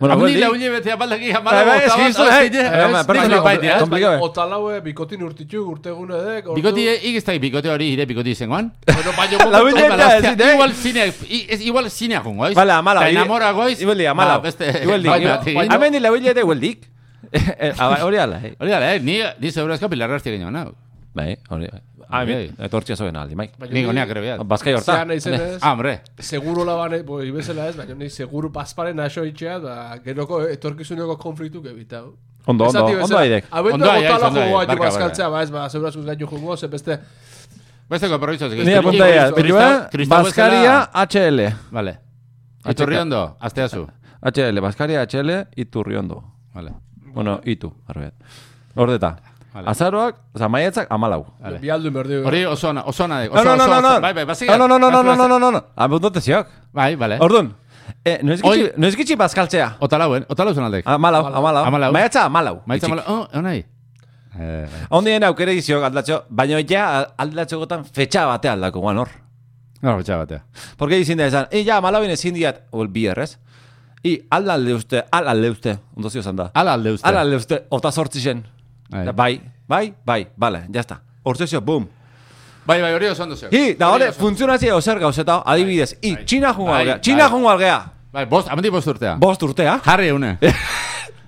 [SPEAKER 1] Bueno,
[SPEAKER 2] Handi
[SPEAKER 1] hueldi.
[SPEAKER 2] labilete apalaki
[SPEAKER 1] Bai,
[SPEAKER 2] jamala
[SPEAKER 1] bai,
[SPEAKER 2] bota
[SPEAKER 1] ez,
[SPEAKER 2] bat,
[SPEAKER 1] gizu,
[SPEAKER 2] hostia,
[SPEAKER 1] hei. Eh,
[SPEAKER 2] ez,
[SPEAKER 1] ba, perdona,
[SPEAKER 2] nik baitea,
[SPEAKER 1] eh,
[SPEAKER 2] bai, ez.
[SPEAKER 1] komplikado, eh?
[SPEAKER 3] Otalaue bikotin urtituk urtegune dek, ordu...
[SPEAKER 2] Bikoti, ik ez da, bikote hori ire bikoti zengoan.
[SPEAKER 3] Bueno, baina momentu-
[SPEAKER 1] Lau hilabete,
[SPEAKER 2] Hala, hostia,
[SPEAKER 1] ezin, eh?
[SPEAKER 2] Igual zinea, i- ez- igual zinea jungo, goiz.
[SPEAKER 1] Bale, amalau.
[SPEAKER 2] Ta
[SPEAKER 1] Ire-
[SPEAKER 2] enamora goiz.
[SPEAKER 1] Ibeldi, amalau.
[SPEAKER 2] ba, beste- *laughs*
[SPEAKER 1] Ibeldi.
[SPEAKER 2] bai,
[SPEAKER 1] Ibe-
[SPEAKER 2] bati.
[SPEAKER 1] Hemen dila bilete hueldik. *laughs* Eh, eh, Hori ala, eh.
[SPEAKER 2] Hori da, eh, ni, ni zeure asko pilarra azti genioan, hau.
[SPEAKER 1] Bai, hori. Ah, Bai. hemen, etortzia zoen aldi, maik.
[SPEAKER 3] Baina
[SPEAKER 2] Ni
[SPEAKER 3] ni-
[SPEAKER 2] goneak ere behar.
[SPEAKER 1] Bazkai horta.
[SPEAKER 3] Zea naizen ez,
[SPEAKER 2] Ah, hombre.
[SPEAKER 3] seguro labane, bo, ibezela ez, baina ni seguru pasparen aso itxea, da, geroko etorkizuneko konfliktuk ebitau.
[SPEAKER 1] Ondo, ondo, ondo aidek.
[SPEAKER 3] Abendo
[SPEAKER 2] Ondo aiek,
[SPEAKER 3] gotala
[SPEAKER 2] ondo
[SPEAKER 3] jogoa
[SPEAKER 2] aiek,
[SPEAKER 3] jo
[SPEAKER 2] barka,
[SPEAKER 3] bazkaltzea, ba ez, ba, segurazko gaino jogoa, ze beste,
[SPEAKER 2] Beste kompromiso.
[SPEAKER 1] Nire apunta ea,
[SPEAKER 2] Kristau-
[SPEAKER 1] bitua,
[SPEAKER 2] kristau
[SPEAKER 1] Baskaria
[SPEAKER 2] bezala-
[SPEAKER 1] HL.
[SPEAKER 2] Vale. Iturri ondo, aztea zu.
[SPEAKER 1] HL, Baskaria HL, iturriondo.
[SPEAKER 2] Vale.
[SPEAKER 1] Bueno, itu, arbet. Ordeta.
[SPEAKER 2] Vale.
[SPEAKER 1] Azaroak, oza, maietzak, amalau.
[SPEAKER 2] Vale.
[SPEAKER 3] bialdu berdi.
[SPEAKER 2] Hori oso ona, oso ona.
[SPEAKER 1] No,
[SPEAKER 2] Oso,
[SPEAKER 1] no, no,
[SPEAKER 2] oso,
[SPEAKER 1] no, no.
[SPEAKER 2] oso- Bai, bai, basi.
[SPEAKER 1] No, no, no, no, no, no, no, no, no, no. Abundantziak.
[SPEAKER 2] Bai, vale.
[SPEAKER 1] Orduan, eh, noiz gitxi,
[SPEAKER 2] Oi.
[SPEAKER 1] noiz gitxi bazkaltzea.
[SPEAKER 2] Otalauen, otalau zen aldek.
[SPEAKER 1] Amalau, amalau.
[SPEAKER 2] Hamalau.
[SPEAKER 1] Maiatza, amalau.
[SPEAKER 2] Maitza mala, oh, onai. Eh, bai.
[SPEAKER 1] Ondien aukere iziok aldatxo, baina ja aldatxo gotan fetxa batea aldako guan hor.
[SPEAKER 2] No, betxa batea.
[SPEAKER 1] Porque izin da esan, e, ja, amalauin ezin diat, o el bierrez. I, ala alde uste, ala alde uste, ondo zio zan da.
[SPEAKER 2] Ala alde uste.
[SPEAKER 1] Ala alde uste, ota sortzi zen.
[SPEAKER 2] Bai.
[SPEAKER 1] Da, Bai, bai, bai, bale, jazta. Hortzezio, bum.
[SPEAKER 2] Bai, bai, hori oso ondo zeu.
[SPEAKER 1] I, da hori, funtzionazio ozer gauzeta, adibidez, i,
[SPEAKER 2] bai.
[SPEAKER 1] txina jungo
[SPEAKER 2] Bai,
[SPEAKER 1] algea,
[SPEAKER 2] bai.
[SPEAKER 1] txina jungo algea, ¿ah?
[SPEAKER 2] *laughs* Bai, bost, amendik bost urtea.
[SPEAKER 1] bost urtea,
[SPEAKER 2] Harri une. Bai,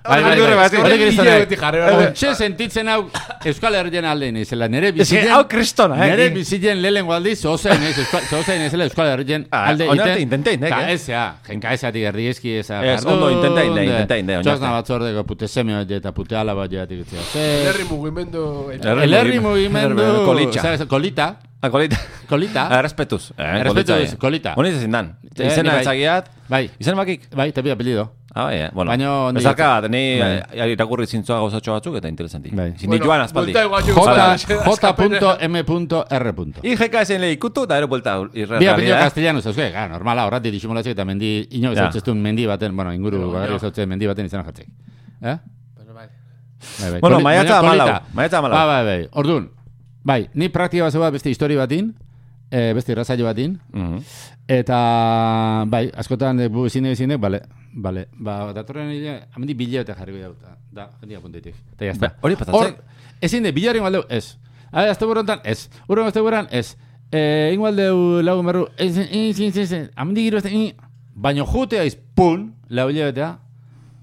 [SPEAKER 2] bai,
[SPEAKER 1] beldurra
[SPEAKER 2] bai.
[SPEAKER 1] bat,
[SPEAKER 2] Horrek
[SPEAKER 1] horrek
[SPEAKER 2] ere
[SPEAKER 3] hile
[SPEAKER 2] izan
[SPEAKER 3] beti
[SPEAKER 2] nahi.
[SPEAKER 3] jarri, hori.
[SPEAKER 2] Hortxe sentitzen hau Euskal Herrien alde nizela. Nere
[SPEAKER 1] Eske,
[SPEAKER 2] bizitzen...
[SPEAKER 1] hau kristona, eh,
[SPEAKER 2] Nere
[SPEAKER 1] ni.
[SPEAKER 2] bizitzen lehen gualdi, zozen ez, Euskal- zozen ez Euskal Herrien
[SPEAKER 1] Ah,
[SPEAKER 2] alde
[SPEAKER 1] oin arte intentein, eh,
[SPEAKER 2] Ta
[SPEAKER 1] eh?
[SPEAKER 2] ezea, jenka ezatik erdi eski eza.
[SPEAKER 1] Ez, ondo intentein da, intentein da, oin arte.
[SPEAKER 2] Txosna batzordeko pute seme hori eta pute ala bat joatik etzea. Zer,
[SPEAKER 3] Herri mugimendu...
[SPEAKER 1] Eh. Herri
[SPEAKER 2] El herri
[SPEAKER 1] mugimendu-
[SPEAKER 2] mugimendu...
[SPEAKER 1] Kolitxa.
[SPEAKER 2] Zer, Kolita.
[SPEAKER 1] Ah, kolita.
[SPEAKER 2] Kolita.
[SPEAKER 1] Errespetuz. Eh,
[SPEAKER 2] Errespetuz, kolita.
[SPEAKER 1] Honi izin dan.
[SPEAKER 2] Eh, ni
[SPEAKER 1] Izena
[SPEAKER 2] bai.
[SPEAKER 1] etzagiat.
[SPEAKER 2] Bai,
[SPEAKER 1] Izen bakik.
[SPEAKER 2] bai, tapi apelido.
[SPEAKER 1] Ah, bai, eh. Bueno,
[SPEAKER 2] Baina ondo
[SPEAKER 1] bezarka
[SPEAKER 2] jotzen.
[SPEAKER 1] bat, ni
[SPEAKER 2] Bai.
[SPEAKER 1] eh, irakurri zintzoa gauzatxo batzuk eta interesanti.
[SPEAKER 2] Bai.
[SPEAKER 1] Zin dituan aspaldi.
[SPEAKER 3] buelta igual jo-
[SPEAKER 2] J-
[SPEAKER 3] J-
[SPEAKER 2] J.M.R.
[SPEAKER 1] IGK esen lehikutu eta ero buelta
[SPEAKER 2] Bi apellido
[SPEAKER 1] irrealidad.
[SPEAKER 2] castellanos, euskal, gara, normala, horrati disimulazio eta mendi, ino
[SPEAKER 1] Ja.
[SPEAKER 2] zautzeztun mendi baten, bueno, inguru,
[SPEAKER 3] Pero,
[SPEAKER 2] gara,
[SPEAKER 3] ja.
[SPEAKER 2] zautzen mendi baten izan jartzek. Eh?
[SPEAKER 3] Bueno, bai.
[SPEAKER 2] Bai, bai.
[SPEAKER 1] Bueno,
[SPEAKER 2] Koli-
[SPEAKER 1] maiatza
[SPEAKER 2] baina kolita.
[SPEAKER 1] hamalau, maiatza hamalau.
[SPEAKER 2] Bai, bai, bai. Orduan, bai, ni praktika bat zeu bat beste histori batin, eh, beste irratzaio batin,
[SPEAKER 1] Mhm.
[SPEAKER 2] eta, bai, askotan eh, bu zine zine, bale, bale, ba, datorren hile, hamendi bila eta jarriko dugu, da, da, jendia puntetik. Eta jazta.
[SPEAKER 1] Ba, hori patatzek.
[SPEAKER 2] Hor, ezin de, bila hori baldeu, ez. Ah, Hale, azte burontan, ez. Urren azte buran, ez. Eh, ingo aldeu lagun berru, ez, ez, ez, ez, ez, ez, hamendi giro ez, baino jutea izpun, lau hilabetea,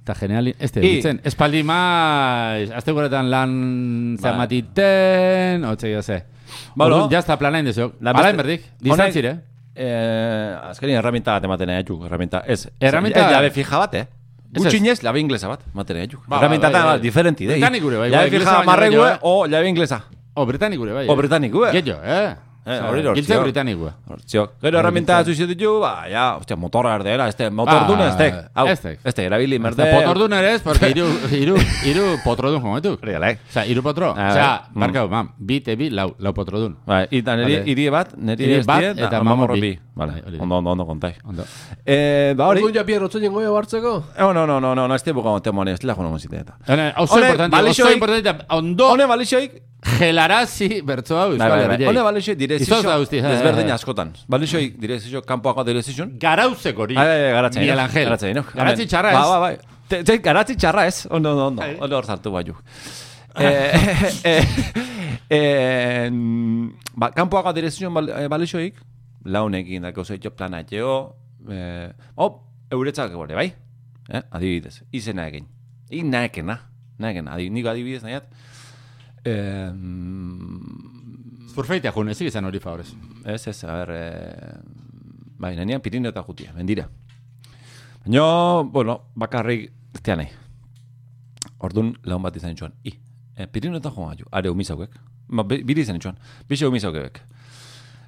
[SPEAKER 2] Eta generalin, ez
[SPEAKER 1] I-
[SPEAKER 2] ditzen, espaldi maiz, azte guretan lan zamatiten, otzegia ze.
[SPEAKER 1] Ba. Balo.
[SPEAKER 2] Orduan, jazta planain dezok.
[SPEAKER 1] Lan beste-
[SPEAKER 2] Balain berdik,
[SPEAKER 1] Honek,
[SPEAKER 2] distantzire.
[SPEAKER 1] Eh, azkenin herramienta bat ematen aituk, herramienta. Ez,
[SPEAKER 2] Herramienta-
[SPEAKER 1] ez labe fija bat, eh?
[SPEAKER 2] Ez,
[SPEAKER 1] Gutxi inez, labe inglesa bat, maten aituk.
[SPEAKER 2] ba,
[SPEAKER 1] Herramienta
[SPEAKER 2] bai,
[SPEAKER 1] eta
[SPEAKER 2] bai.
[SPEAKER 1] diferenti, dei.
[SPEAKER 2] Britanik gure, bai,
[SPEAKER 1] Labe
[SPEAKER 2] bai, inglesa
[SPEAKER 1] fija
[SPEAKER 2] baino
[SPEAKER 1] marregue
[SPEAKER 2] baino-
[SPEAKER 1] o labe inglesa.
[SPEAKER 2] O, britanik gure, bai.
[SPEAKER 1] O britanik gure.
[SPEAKER 2] Gehiago, eh?
[SPEAKER 1] Eh,
[SPEAKER 2] Osea,
[SPEAKER 1] hori hor,
[SPEAKER 2] Giltze
[SPEAKER 1] tio.
[SPEAKER 2] britanik gure.
[SPEAKER 1] Hortzio. Gero herramienta batzu izio ditu, ba, ja, hostia, motorra erdera, este, motor
[SPEAKER 2] Ah,
[SPEAKER 1] duna, estek. Hau,
[SPEAKER 2] estek.
[SPEAKER 1] este, erabili, merde.
[SPEAKER 2] Eta potordun ere ez, porque iru, iru, iru potrodun jometuk.
[SPEAKER 1] Hori dela, eh?
[SPEAKER 2] Osea, iru potro.
[SPEAKER 1] Ah,
[SPEAKER 2] Osea,
[SPEAKER 1] bai.
[SPEAKER 2] barkau, mam, bi, te bi, lau, lau potrodun.
[SPEAKER 1] Bai, eta niri,
[SPEAKER 2] Vale.
[SPEAKER 1] hiri bat, niri
[SPEAKER 2] Hiri bat
[SPEAKER 1] estie,
[SPEAKER 2] eta
[SPEAKER 1] mamor
[SPEAKER 2] mamor bi.
[SPEAKER 1] Vale,
[SPEAKER 2] Bai, hori da.
[SPEAKER 1] ondo, ondo, ondo kontai.
[SPEAKER 2] Ondo.
[SPEAKER 1] Eh, ba, hori.
[SPEAKER 3] Orduan ja Pierre Otzen jengoia hartzeko?
[SPEAKER 1] Oh, no, no, no, no, no, ez tebuka ontemoan, ez lehona gonzite eta.
[SPEAKER 2] Hone, oso
[SPEAKER 1] Hone,
[SPEAKER 2] eh, importante,
[SPEAKER 1] balixoik-
[SPEAKER 2] oso importante, ondo
[SPEAKER 1] Hone balixoik,
[SPEAKER 2] gelarazi bertzo hau
[SPEAKER 1] Bai,
[SPEAKER 2] Euskal
[SPEAKER 1] bai, bai.
[SPEAKER 2] Herriai.
[SPEAKER 1] Hone balixoik direzizio
[SPEAKER 2] Izotza guzti, ja, ja, ja.
[SPEAKER 1] desberdin askotan. Balixoik direzizio, kanpoako direzizio.
[SPEAKER 2] Garauzek hori.
[SPEAKER 1] Ai, ai, ai, garatzaino.
[SPEAKER 2] Miguel Angel.
[SPEAKER 1] Garatzaino.
[SPEAKER 2] Garatzi
[SPEAKER 1] Amen.
[SPEAKER 2] txarra ez.
[SPEAKER 1] Ba, ba, bai. Te, te, garatzi txarra ez. Ondo, ondo, ondo. Ondo hor zartu baiu. eh, *laughs* eh, eh, ba, kanpoago direzizio bal, eh, balixoik, launekin dako zeitio plana etxeo, eh, oh, euretzak gore, bai? Eh, adibidez, izena egin. Ik naekena, naekena, adibidez, nik adibidez nahiat, Em, eh,
[SPEAKER 2] Zurfeitea jun, ezik izan hori favorez.
[SPEAKER 1] Ez, ez, a ber, e... bai, nenean Pirineo eta Jutia, mendira. Baina, bueno, bakarrik eztia nahi. Ordun laun bat izan txuan. I, e, Pirineo eta joan gaitu, are umizauek. Ba, bi- biri izan txuan, bixe umizaukebek.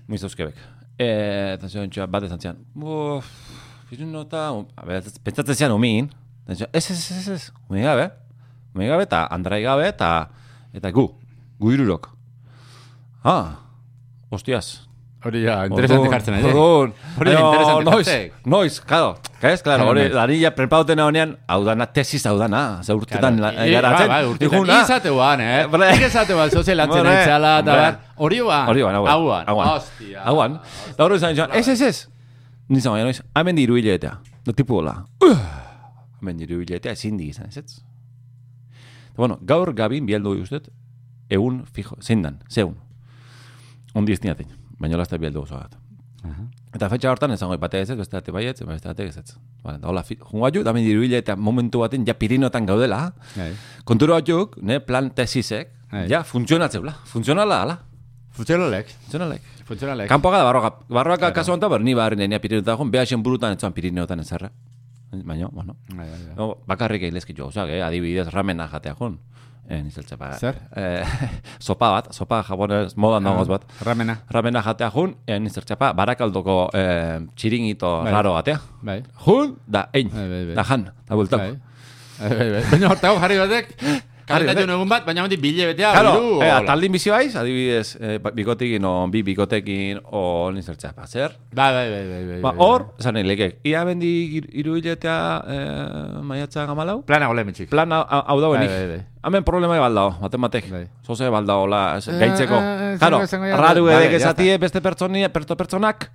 [SPEAKER 1] Umizauzkebek. E, eta zuen txuan, bat izan txuan. Buf, Pirineo eta, um-" a ber, ez- pentsatzen zian umin. Eta zuen, Ez, ez, ez, ez, umi gabe. Umi gabe eta andrai gabe eta, eta gu, gu irurok. Ah, hostiaz,
[SPEAKER 2] Hori ja, interesante
[SPEAKER 1] Orduan,
[SPEAKER 2] jartzen ari.
[SPEAKER 1] Orduan.
[SPEAKER 2] Hori da
[SPEAKER 1] Baina,
[SPEAKER 2] interesante
[SPEAKER 1] noiz,
[SPEAKER 2] jartzen.
[SPEAKER 1] noiz, claro. Kaiz, claro,
[SPEAKER 2] Claro,
[SPEAKER 1] hori,
[SPEAKER 2] noiz.
[SPEAKER 1] lanilla prepauten honean, hau dana, tesis hau dana, ze urtetan la-
[SPEAKER 2] Eh,
[SPEAKER 1] garatzen.
[SPEAKER 2] Bai, bai, urtetan.
[SPEAKER 1] Diguna,
[SPEAKER 2] Izate guan, eh?
[SPEAKER 1] Eh, *laughs* bre.
[SPEAKER 2] Nik Izate guan, zoze lantzen
[SPEAKER 1] Hombre,
[SPEAKER 2] aitzala, eta
[SPEAKER 1] hombre.
[SPEAKER 2] bar. Hori guan.
[SPEAKER 1] Hori ban, hauan.
[SPEAKER 2] Hauan.
[SPEAKER 1] Hauan.
[SPEAKER 2] Hostia.
[SPEAKER 1] Hauan. Da hori izan joan, ez, ez, ez. Nizan baina noiz, hamen diru hiletea. Da tipu hola. "Ugh, Hamen diru hiletea, ezin di izan, ez ez? Da, bueno, gaur gabin bieldu ustet, eun fijo, zein dan, zeun. Ondi iztiatik, baina lasta bieldu oso bat.
[SPEAKER 2] Aha.
[SPEAKER 1] Eta fetxa hortan esango batea ez, beste bate baietz, beste bate ez. Vale, da hola, fi- jungo atxu, da mendiru hile eta momentu baten ja pirinotan gaudela.
[SPEAKER 2] Bai.
[SPEAKER 1] Konturo atxuk, ne, plan tesisek,
[SPEAKER 2] Bai.
[SPEAKER 1] ja, funtzionatzeula. Funtzionala, ala.
[SPEAKER 2] Funtzionalek.
[SPEAKER 1] Funtzionalek.
[SPEAKER 2] Funtzionalek.
[SPEAKER 1] Kanpoaga da barroaka. Barroaka kasu honetan, berni barri nenea pirinotan joan, behaxen burutan etzuan pirinotan ezerra. Baina, bueno,
[SPEAKER 2] Bai, bai, bai.
[SPEAKER 1] no, bakarrik eilezki jo, ozak, eh, adibidez ramena jatea joan. Eh, nizeltze, ba,
[SPEAKER 2] Zer? Ah.
[SPEAKER 1] Eh, *laughs* sopa bat, sopa japonez modan dagoz bat.
[SPEAKER 2] Ramena.
[SPEAKER 1] Ramena jatea jun, eh, nizertxapa, barakaldoko eh, txiringito
[SPEAKER 2] Bai.
[SPEAKER 1] raro batea.
[SPEAKER 2] Bai.
[SPEAKER 1] Jun, da ein,
[SPEAKER 2] Bai, bai, bai.
[SPEAKER 1] da jan, da
[SPEAKER 2] Bai.
[SPEAKER 1] bultako.
[SPEAKER 2] Bai, bai, bai. Baina hortago jarri
[SPEAKER 1] *laughs*
[SPEAKER 2] batek. Jarri
[SPEAKER 1] batek.
[SPEAKER 2] egun bat, baina hondi bile betea.
[SPEAKER 1] Claro,
[SPEAKER 2] hiru,
[SPEAKER 1] eh,
[SPEAKER 2] hola.
[SPEAKER 1] taldin bizi baiz, adibidez, eh, ba- bikotekin, o bi bikotekin, o nizertzea, ba, zer?
[SPEAKER 2] Bai, bai, bai, bai, bai.
[SPEAKER 1] Ba,
[SPEAKER 2] bai.
[SPEAKER 1] hor, esan nahi lekek, ia bendi iru hiletea eh, maiatza gamalau,
[SPEAKER 2] Plana gole, metxik.
[SPEAKER 1] plan hau- hau dauenik.
[SPEAKER 2] Bai, bai, bai.
[SPEAKER 1] Hemen problema bat dao, baten batek.
[SPEAKER 2] Bai.
[SPEAKER 1] Zoze bat dao, la,
[SPEAKER 2] Eh,
[SPEAKER 1] gaitzeko.
[SPEAKER 2] eh, eh,
[SPEAKER 1] Claro,
[SPEAKER 2] zango- zango ja-
[SPEAKER 1] radu
[SPEAKER 2] Vale,
[SPEAKER 1] edek
[SPEAKER 2] ya
[SPEAKER 1] ezatie beste pertsonia, perto pertsonak,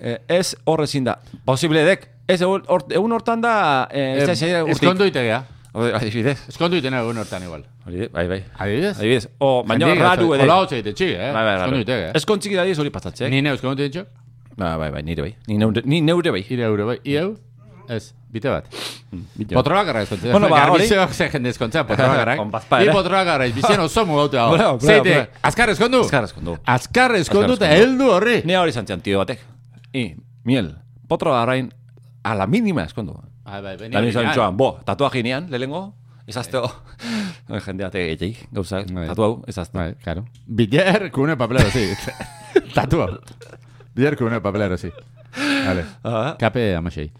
[SPEAKER 1] eh, ez hor ezin da. Posible edek, ez egun hor- egun hortan da, eh, ez da
[SPEAKER 2] Eh,
[SPEAKER 1] zeia urtik.
[SPEAKER 2] Eskondu itegea.
[SPEAKER 1] Adibidez.
[SPEAKER 2] Eskondu itena egun hortan igual.
[SPEAKER 1] Hori, de- bai, bai.
[SPEAKER 2] Adibidez?
[SPEAKER 1] Adibidez, o, baina
[SPEAKER 2] Jendeak
[SPEAKER 1] radu
[SPEAKER 2] gauza-
[SPEAKER 1] ede.
[SPEAKER 2] Hola hotza egite txik, eh?
[SPEAKER 1] Bai, bai,
[SPEAKER 2] Eskondu itege,
[SPEAKER 1] raro.
[SPEAKER 2] eh?
[SPEAKER 1] Eskontzik da diz hori pasatzek.
[SPEAKER 2] Ni neu eskondu itege txik.
[SPEAKER 1] Ba, bai, bai, nire bai. Ni neure, ni neure bai.
[SPEAKER 2] Ire euro, bai. Ieu? Ez, bite bat.
[SPEAKER 1] Bito.
[SPEAKER 2] Potroa garra eskontzea.
[SPEAKER 1] Bueno, ba, hori- eh?
[SPEAKER 2] Garbizioak ze jende eskontzea, potroa
[SPEAKER 1] *laughs*
[SPEAKER 2] garra.
[SPEAKER 1] Onbazpa ere.
[SPEAKER 2] Bi potroa garra, bizien oso mugautu hau.
[SPEAKER 1] Bravo, bravo,
[SPEAKER 2] Zeite,
[SPEAKER 1] bravo.
[SPEAKER 2] azkar eskondu.
[SPEAKER 1] Azkar ezkondu.
[SPEAKER 2] Azkar eskondu eta
[SPEAKER 1] Azkar ezkondu.
[SPEAKER 2] heldu horri.
[SPEAKER 1] Ni hori zantzian tio batek. I, miel, potro garain, a la mínima eskondu.
[SPEAKER 2] Bai, bai,
[SPEAKER 1] Da
[SPEAKER 2] beni.
[SPEAKER 1] ni zan joan, bo, tatuaje nean, lehengo, ezazteo, *laughs* jendea te gehiagik, gauza,
[SPEAKER 2] Bai.
[SPEAKER 1] tatu hau, ezazteo.
[SPEAKER 2] Bai, claro. Biler kune papelero, sí. *laughs* Tatua. Biler kune papelero, sí. Vale.
[SPEAKER 1] Ah,
[SPEAKER 2] Kape amasei.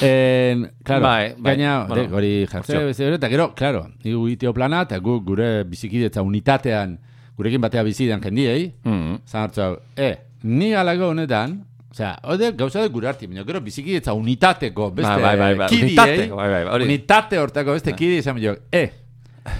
[SPEAKER 2] En, claro,
[SPEAKER 1] Bai, bai,
[SPEAKER 2] gaina,
[SPEAKER 1] bueno,
[SPEAKER 2] de, hori jartzea
[SPEAKER 1] opzio.
[SPEAKER 2] beste hori, eta gero, claro, dugu itio plana, eta gu, gure bizikidetza unitatean, gurekin batea bizidan jendiei,
[SPEAKER 1] mm,
[SPEAKER 2] zan hartza, hau, e, ni alako honetan, osea, hori gauza dut gure arti, baina gero bizikidetza unitateko beste
[SPEAKER 1] Bai, bai, bai, bai,
[SPEAKER 2] kidiei,
[SPEAKER 1] unitateko, bai, bai, hori. Ah.
[SPEAKER 2] unitate hortako beste kidi, esan bilo, e,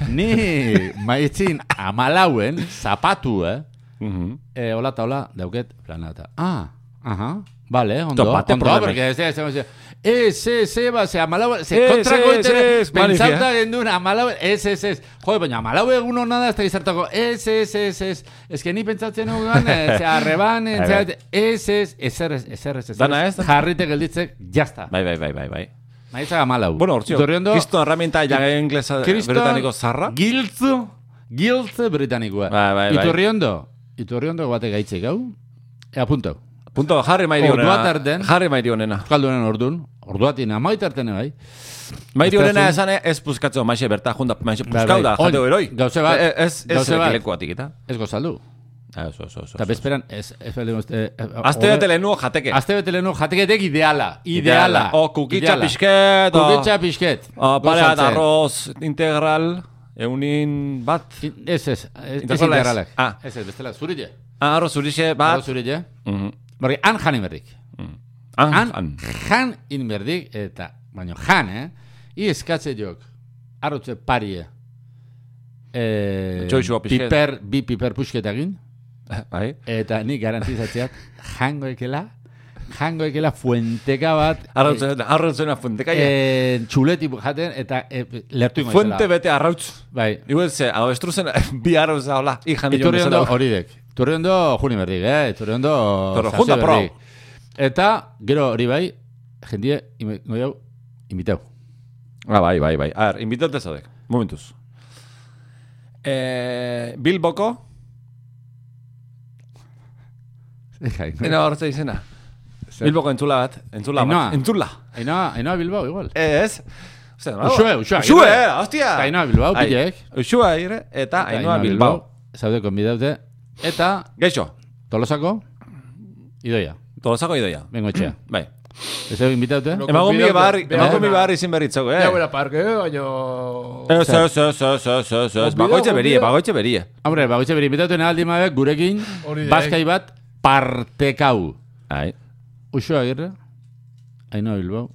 [SPEAKER 2] ni
[SPEAKER 1] *laughs*
[SPEAKER 2] maitzin amalauen zapatu, eh,
[SPEAKER 1] mhm.
[SPEAKER 2] Eh, hola eta hola, dauket planata. Ah, aha, vale, ondo,
[SPEAKER 1] Topate
[SPEAKER 2] ondo,
[SPEAKER 1] problemak.
[SPEAKER 2] porque ez, ez, ez, ez, ez, ez, eba, ze amalau, ze
[SPEAKER 1] Ez,
[SPEAKER 2] kontrako
[SPEAKER 1] ez,
[SPEAKER 2] itera,
[SPEAKER 1] ez, manifia.
[SPEAKER 2] pentsauta gendun, amalau, ez, ez, ez, jo, baina amalau egun hona da, ez da gizartako, ez, ez, ez, ez, ez que ni pentsatzen
[SPEAKER 1] *laughs*
[SPEAKER 2] nugan, eh, ze arreban, eh,
[SPEAKER 1] Bai,
[SPEAKER 2] ze,
[SPEAKER 1] bai.
[SPEAKER 2] ez, ez, ez, ez, ez, ez, ez,
[SPEAKER 1] Dana ¿eh? ez, dana.
[SPEAKER 2] jarrite gelditzek, jazta,
[SPEAKER 1] Bai, bai, bai, bai, bai.
[SPEAKER 2] maizak amalau.
[SPEAKER 1] Bueno, hortzio,
[SPEAKER 2] Iturriondo,
[SPEAKER 1] kristo herramienta jaga inglesa
[SPEAKER 2] Kriston
[SPEAKER 1] bretaniko Eh, zarra.
[SPEAKER 2] Giltzu, giltzu britanikoa.
[SPEAKER 1] Bai, bai, bai.
[SPEAKER 2] Iturriondo, iturriondo bate E, gaitzik hau, ea punto.
[SPEAKER 1] Punto, jarri mairi
[SPEAKER 2] Ordua
[SPEAKER 1] honena.
[SPEAKER 2] tarden.
[SPEAKER 1] Jarri mairi honena.
[SPEAKER 2] Euskaldunen ordun, orduatin amaitarten bai.
[SPEAKER 1] Mairi
[SPEAKER 2] Ez da
[SPEAKER 1] honena
[SPEAKER 2] zu-
[SPEAKER 1] esan eh, ez puzkatzo, maixe berta, junda, maixe
[SPEAKER 2] Bai,
[SPEAKER 1] puzkau da,
[SPEAKER 2] bai. On,
[SPEAKER 1] jateo eroi.
[SPEAKER 2] gauze bat,
[SPEAKER 1] Eh, eh, Ez, ez,
[SPEAKER 2] gauze bat.
[SPEAKER 1] lekuatik, eta.
[SPEAKER 2] Ez gozaldu.
[SPEAKER 1] Ah, Eso, eso, eso.
[SPEAKER 2] Eta bezperan, ez, ez baldin uste... eh,
[SPEAKER 1] Azte
[SPEAKER 2] hobe-
[SPEAKER 1] bete lehenuo jateke.
[SPEAKER 2] Azte bete lehenu jateketek ideala. Ideala.
[SPEAKER 1] O kukitza
[SPEAKER 2] Ideala.
[SPEAKER 1] Oh, pixket, o...
[SPEAKER 2] Kukitxa pixket.
[SPEAKER 1] O Ah, pare bat
[SPEAKER 2] Gozatzen.
[SPEAKER 1] arroz integral, eunin bat.
[SPEAKER 2] In- Ez, ez. Ez, ez
[SPEAKER 1] Interkola ez.
[SPEAKER 2] integralak.
[SPEAKER 1] Ah.
[SPEAKER 2] Ez, ez, bestela, zurile.
[SPEAKER 1] Ah, Arroz urixe
[SPEAKER 2] Arroz
[SPEAKER 1] bat.
[SPEAKER 2] zurile.
[SPEAKER 1] Mhm.
[SPEAKER 2] Barri, han janin berrik.
[SPEAKER 1] Han,
[SPEAKER 2] Han,
[SPEAKER 1] han.
[SPEAKER 2] jan inberdik, eta, baino jan, eh? I eskatze jok, arrotze parie. Eh,
[SPEAKER 1] Txoixua pixket.
[SPEAKER 2] piper, bi piper puxketagin,
[SPEAKER 1] *laughs* Bai.
[SPEAKER 2] eta nik garantizatzeat, jangoekela, jangoekela fuenteka bat,
[SPEAKER 1] Arrautzen, arrautzen fuenteka.
[SPEAKER 2] eh, txuleti jaten, eta eh, lertu ingo
[SPEAKER 1] Fuente bete arrautz.
[SPEAKER 2] Bai,
[SPEAKER 1] Igual ze, abestruzen *laughs* bi arrautz da hola. Ijan dion
[SPEAKER 2] Iturri ondo
[SPEAKER 1] bezala.
[SPEAKER 2] horidek. Iturri ondo juni berdik, eh? Iturri ondo
[SPEAKER 1] Torre
[SPEAKER 2] sasoi
[SPEAKER 1] Junta Pro.
[SPEAKER 2] berdik. Eta, gero hori bai, jendie, ime- goiau, imitau. *laughs*
[SPEAKER 1] Ah, bai, bai, bai. A ver, invitate zaudek. Momentuz. Eh, Bilboko,
[SPEAKER 2] Hmm.
[SPEAKER 1] ena horretza izena. Bilboko entzula bat, entzula
[SPEAKER 2] Ainhoa.
[SPEAKER 1] bat, entzula.
[SPEAKER 2] Ainoa, Ainoa Bilbao,
[SPEAKER 1] Eh,
[SPEAKER 2] igual.
[SPEAKER 1] Ez? Osea, no?
[SPEAKER 2] Uxue, Uxue,
[SPEAKER 1] Uxue,
[SPEAKER 2] Aguirre.
[SPEAKER 1] hostia.
[SPEAKER 2] Eta Ainhoa Bilbao,
[SPEAKER 1] Ai,
[SPEAKER 2] pilek.
[SPEAKER 1] Uxue Aguirre eta Ainhoa Bilbao.
[SPEAKER 2] Zaude konbidaute. Eta
[SPEAKER 1] Geixo,
[SPEAKER 2] Tolosako, idoia,
[SPEAKER 1] tolosako idoia.
[SPEAKER 2] bengo etxea.
[SPEAKER 1] Bai.
[SPEAKER 2] Ez dugu inbitaute?
[SPEAKER 3] No.
[SPEAKER 1] Emagun bide
[SPEAKER 3] Konbidatu,
[SPEAKER 1] barri,
[SPEAKER 3] behar
[SPEAKER 1] emagun bide
[SPEAKER 3] dena.
[SPEAKER 1] barri izin berritzako, eh?
[SPEAKER 3] Ja, buena parke, baino...
[SPEAKER 1] Ez, ez, ez, ez, ez, ez, ez.
[SPEAKER 3] Konbidatu,
[SPEAKER 1] Bakoitze berie,
[SPEAKER 3] konbidatu.
[SPEAKER 1] bakoitze berie.
[SPEAKER 2] Hombre, bagoitxe bere inbitaute nahaldi mabe, gurekin,
[SPEAKER 3] Hori da, eh.
[SPEAKER 2] bazkai bat, partekau.
[SPEAKER 1] Ai.
[SPEAKER 2] Uxo Agirre, Ainoa Bilbao,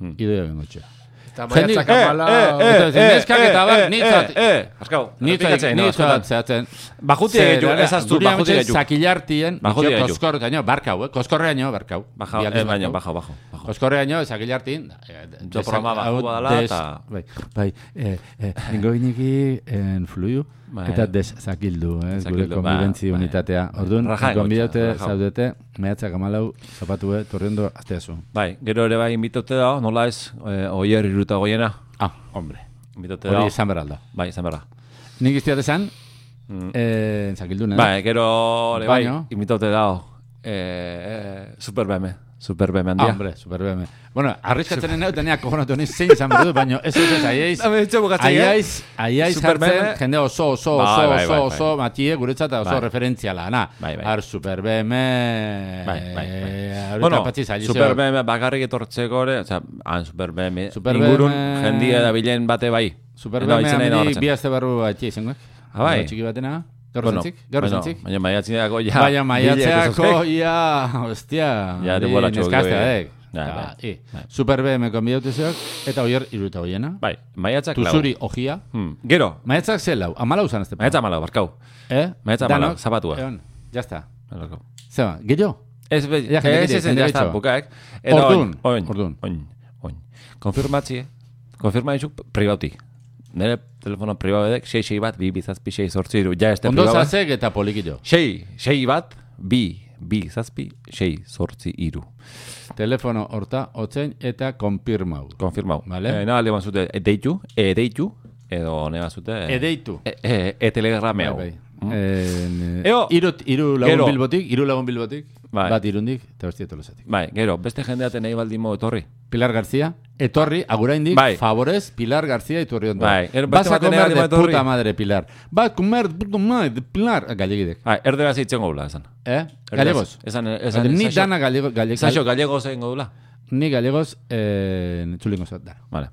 [SPEAKER 1] Hmm.
[SPEAKER 2] idoia bengo etxea.
[SPEAKER 3] Eta
[SPEAKER 2] Jendik-
[SPEAKER 3] maiatzak amala...
[SPEAKER 2] eh, Eta zen neskak eta bar, nitzat-
[SPEAKER 1] eh. Azkau,
[SPEAKER 2] Nitzak,
[SPEAKER 1] errepikatzen, no,
[SPEAKER 2] nitzak,
[SPEAKER 1] askotan.
[SPEAKER 2] zehatzen.
[SPEAKER 1] Bajuti egitu, ez aztu, bajuti egitu.
[SPEAKER 2] Zakilartien,
[SPEAKER 1] Bajuti gaitu.
[SPEAKER 2] koskorretaino, barkau, eh? Koskorreaino, barkau.
[SPEAKER 1] Baja,
[SPEAKER 2] Bi aldiz
[SPEAKER 1] eh, baina,
[SPEAKER 2] barkau.
[SPEAKER 1] baja, baja, baja.
[SPEAKER 2] Oskorreaino, ezakilartin. eh, de-
[SPEAKER 1] Jo programa bat
[SPEAKER 2] hau
[SPEAKER 1] badala
[SPEAKER 2] des-
[SPEAKER 1] eta-
[SPEAKER 2] Bai, bai, eh, eh, ningo gineki en fluiu,
[SPEAKER 1] Bai.
[SPEAKER 2] eta desakildu, eh, gure
[SPEAKER 1] Zakildu,
[SPEAKER 2] konbibentzi
[SPEAKER 1] ba, bai.
[SPEAKER 2] unitatea. Orduan,
[SPEAKER 1] Raja egoitza,
[SPEAKER 2] konbidaute
[SPEAKER 1] raja.
[SPEAKER 2] zaudete, mehatzak amalau, zapatue, torrendo, asteazu.
[SPEAKER 1] Bai, gero ere bai inbitote da, nola ez, eh, oier iruta goiena.
[SPEAKER 2] Ah, hombre,
[SPEAKER 1] Inbitote da.
[SPEAKER 2] hori esan beralda.
[SPEAKER 1] Bai, izan berra.
[SPEAKER 2] Nik iztiat esan, eh, zakildun, eh?
[SPEAKER 1] Mm. Bai, gero ere bai,
[SPEAKER 2] Baino.
[SPEAKER 1] inbitote da. Eh, eh, superbeme, superbeme
[SPEAKER 2] Ah,
[SPEAKER 1] handia.
[SPEAKER 2] hombre, superbeme. Bueno, arriskatzen enau, tenea kojonatu ni zein zan berdu, baina ez ez ez, aiaiz,
[SPEAKER 1] Dame etxe bukatzea, eh?
[SPEAKER 2] aiaiz, aiaiz
[SPEAKER 1] Superman,
[SPEAKER 2] hartzen,
[SPEAKER 1] eh?
[SPEAKER 2] jende oso, oso,
[SPEAKER 1] Bai,
[SPEAKER 2] oso,
[SPEAKER 1] bai,
[SPEAKER 2] oso,
[SPEAKER 1] bai,
[SPEAKER 2] oso, matie, guretzat oso
[SPEAKER 1] Bai.
[SPEAKER 2] referentziala, na?
[SPEAKER 1] Bai, bai.
[SPEAKER 2] Ar eh? superbeme,
[SPEAKER 1] Bai, bai, bai.
[SPEAKER 2] bueno,
[SPEAKER 1] Bueno,
[SPEAKER 2] patxiz, aiaiz,
[SPEAKER 1] superbeme bakarrik etortzeko ere, oza, han superbeme,
[SPEAKER 2] Superbeme-
[SPEAKER 1] ingurun jendia da bilen bate bai. Ena
[SPEAKER 2] superbeme,
[SPEAKER 1] biltzen nahi da
[SPEAKER 2] handi
[SPEAKER 1] horretzen.
[SPEAKER 2] bi azte barru atxia izango, eh?
[SPEAKER 1] Ah, bai.
[SPEAKER 2] txiki batena, gaur
[SPEAKER 1] Bueno,
[SPEAKER 2] zentzik, gaur
[SPEAKER 1] bueno,
[SPEAKER 2] zentzik.
[SPEAKER 1] Baina maiatzineako ja.
[SPEAKER 2] Baina
[SPEAKER 1] bilek ez
[SPEAKER 2] maiatzeako,
[SPEAKER 1] zauzkaik.
[SPEAKER 2] ia, ostia,
[SPEAKER 1] Ja,
[SPEAKER 2] hori
[SPEAKER 1] denbora txoko
[SPEAKER 2] neskaztea,
[SPEAKER 1] gehi.
[SPEAKER 2] dek.
[SPEAKER 1] Ja,
[SPEAKER 2] Eta,
[SPEAKER 1] bai,
[SPEAKER 2] i, Superbeme konbidautezeak, eta oier iruta hoiena.
[SPEAKER 1] Bai, maiatzak lau.
[SPEAKER 2] Tuzuri ojia.
[SPEAKER 1] Hmm. Gero,
[SPEAKER 2] Maetzak ze lau, amalau zan azte.
[SPEAKER 1] maiatzak malau, barkau.
[SPEAKER 2] eh?
[SPEAKER 1] Maetza
[SPEAKER 2] Danok,
[SPEAKER 1] amalau, zapatua.
[SPEAKER 2] Egon, jazta.
[SPEAKER 1] Barkau.
[SPEAKER 2] Zeba, gehiago?
[SPEAKER 1] Ez, be-
[SPEAKER 2] Ja,
[SPEAKER 1] ez, ez,
[SPEAKER 2] jende gehiago,
[SPEAKER 1] ez,
[SPEAKER 2] jende
[SPEAKER 1] jazta,
[SPEAKER 2] gehiago.
[SPEAKER 1] bukaek. Eta
[SPEAKER 2] Ordun,
[SPEAKER 1] oin, oin,
[SPEAKER 2] ordun.
[SPEAKER 1] oin, oin. Konfirmatzie, konfirma dizuk privauti. Nere telefono pribabedek, 6-6 bat, 2 bizazpi 6 sortzi iru, ja este
[SPEAKER 2] Ondo
[SPEAKER 1] pribabedek.
[SPEAKER 2] zazek eta polikillo.
[SPEAKER 1] Sei, sei bat, bi, bi zazpi, sei sortzi iru.
[SPEAKER 2] Telefono horta, otzen eta konpirmau.
[SPEAKER 1] Konfirmau.
[SPEAKER 2] Vale.
[SPEAKER 1] Eh, nahi leman zute, e, deitu, e, deitu, edo nahi zute... E,
[SPEAKER 2] Edeitu.
[SPEAKER 1] E, e, e telegrameo.
[SPEAKER 2] Eh, Bai, bai. Eh,
[SPEAKER 1] Mm. Eo.
[SPEAKER 2] Hiru, hiru lagun
[SPEAKER 1] Gero.
[SPEAKER 2] bilbotik, hiru lagun bilbotik,
[SPEAKER 1] Bai.
[SPEAKER 2] bat irundik, eta bestia tolosatik.
[SPEAKER 1] Bai, gero, beste jendeaten nahi baldimo etorri.
[SPEAKER 2] Pilar García, etorri, aguraindik,
[SPEAKER 1] Bai.
[SPEAKER 2] favorez, Pilar García iturri ondo.
[SPEAKER 1] Bai, gero
[SPEAKER 2] Vas
[SPEAKER 1] beste
[SPEAKER 2] a
[SPEAKER 1] baten
[SPEAKER 2] comer
[SPEAKER 1] erdi
[SPEAKER 2] de
[SPEAKER 1] bat etorri.
[SPEAKER 2] puta madre, Pilar. Vas a comer de puta madre, de Pilar. Gallegidek.
[SPEAKER 1] Bai, erderaz itzen gola, esan.
[SPEAKER 2] Eh?
[SPEAKER 1] Erderaz.
[SPEAKER 2] Gallegos.
[SPEAKER 1] Esan, eh, esan,
[SPEAKER 2] ni
[SPEAKER 1] Saixo-
[SPEAKER 2] dana gallego, galle,
[SPEAKER 1] Saixo gallego zein godula.
[SPEAKER 2] ni gallegos eh, txulingo zat dara.
[SPEAKER 1] Vale.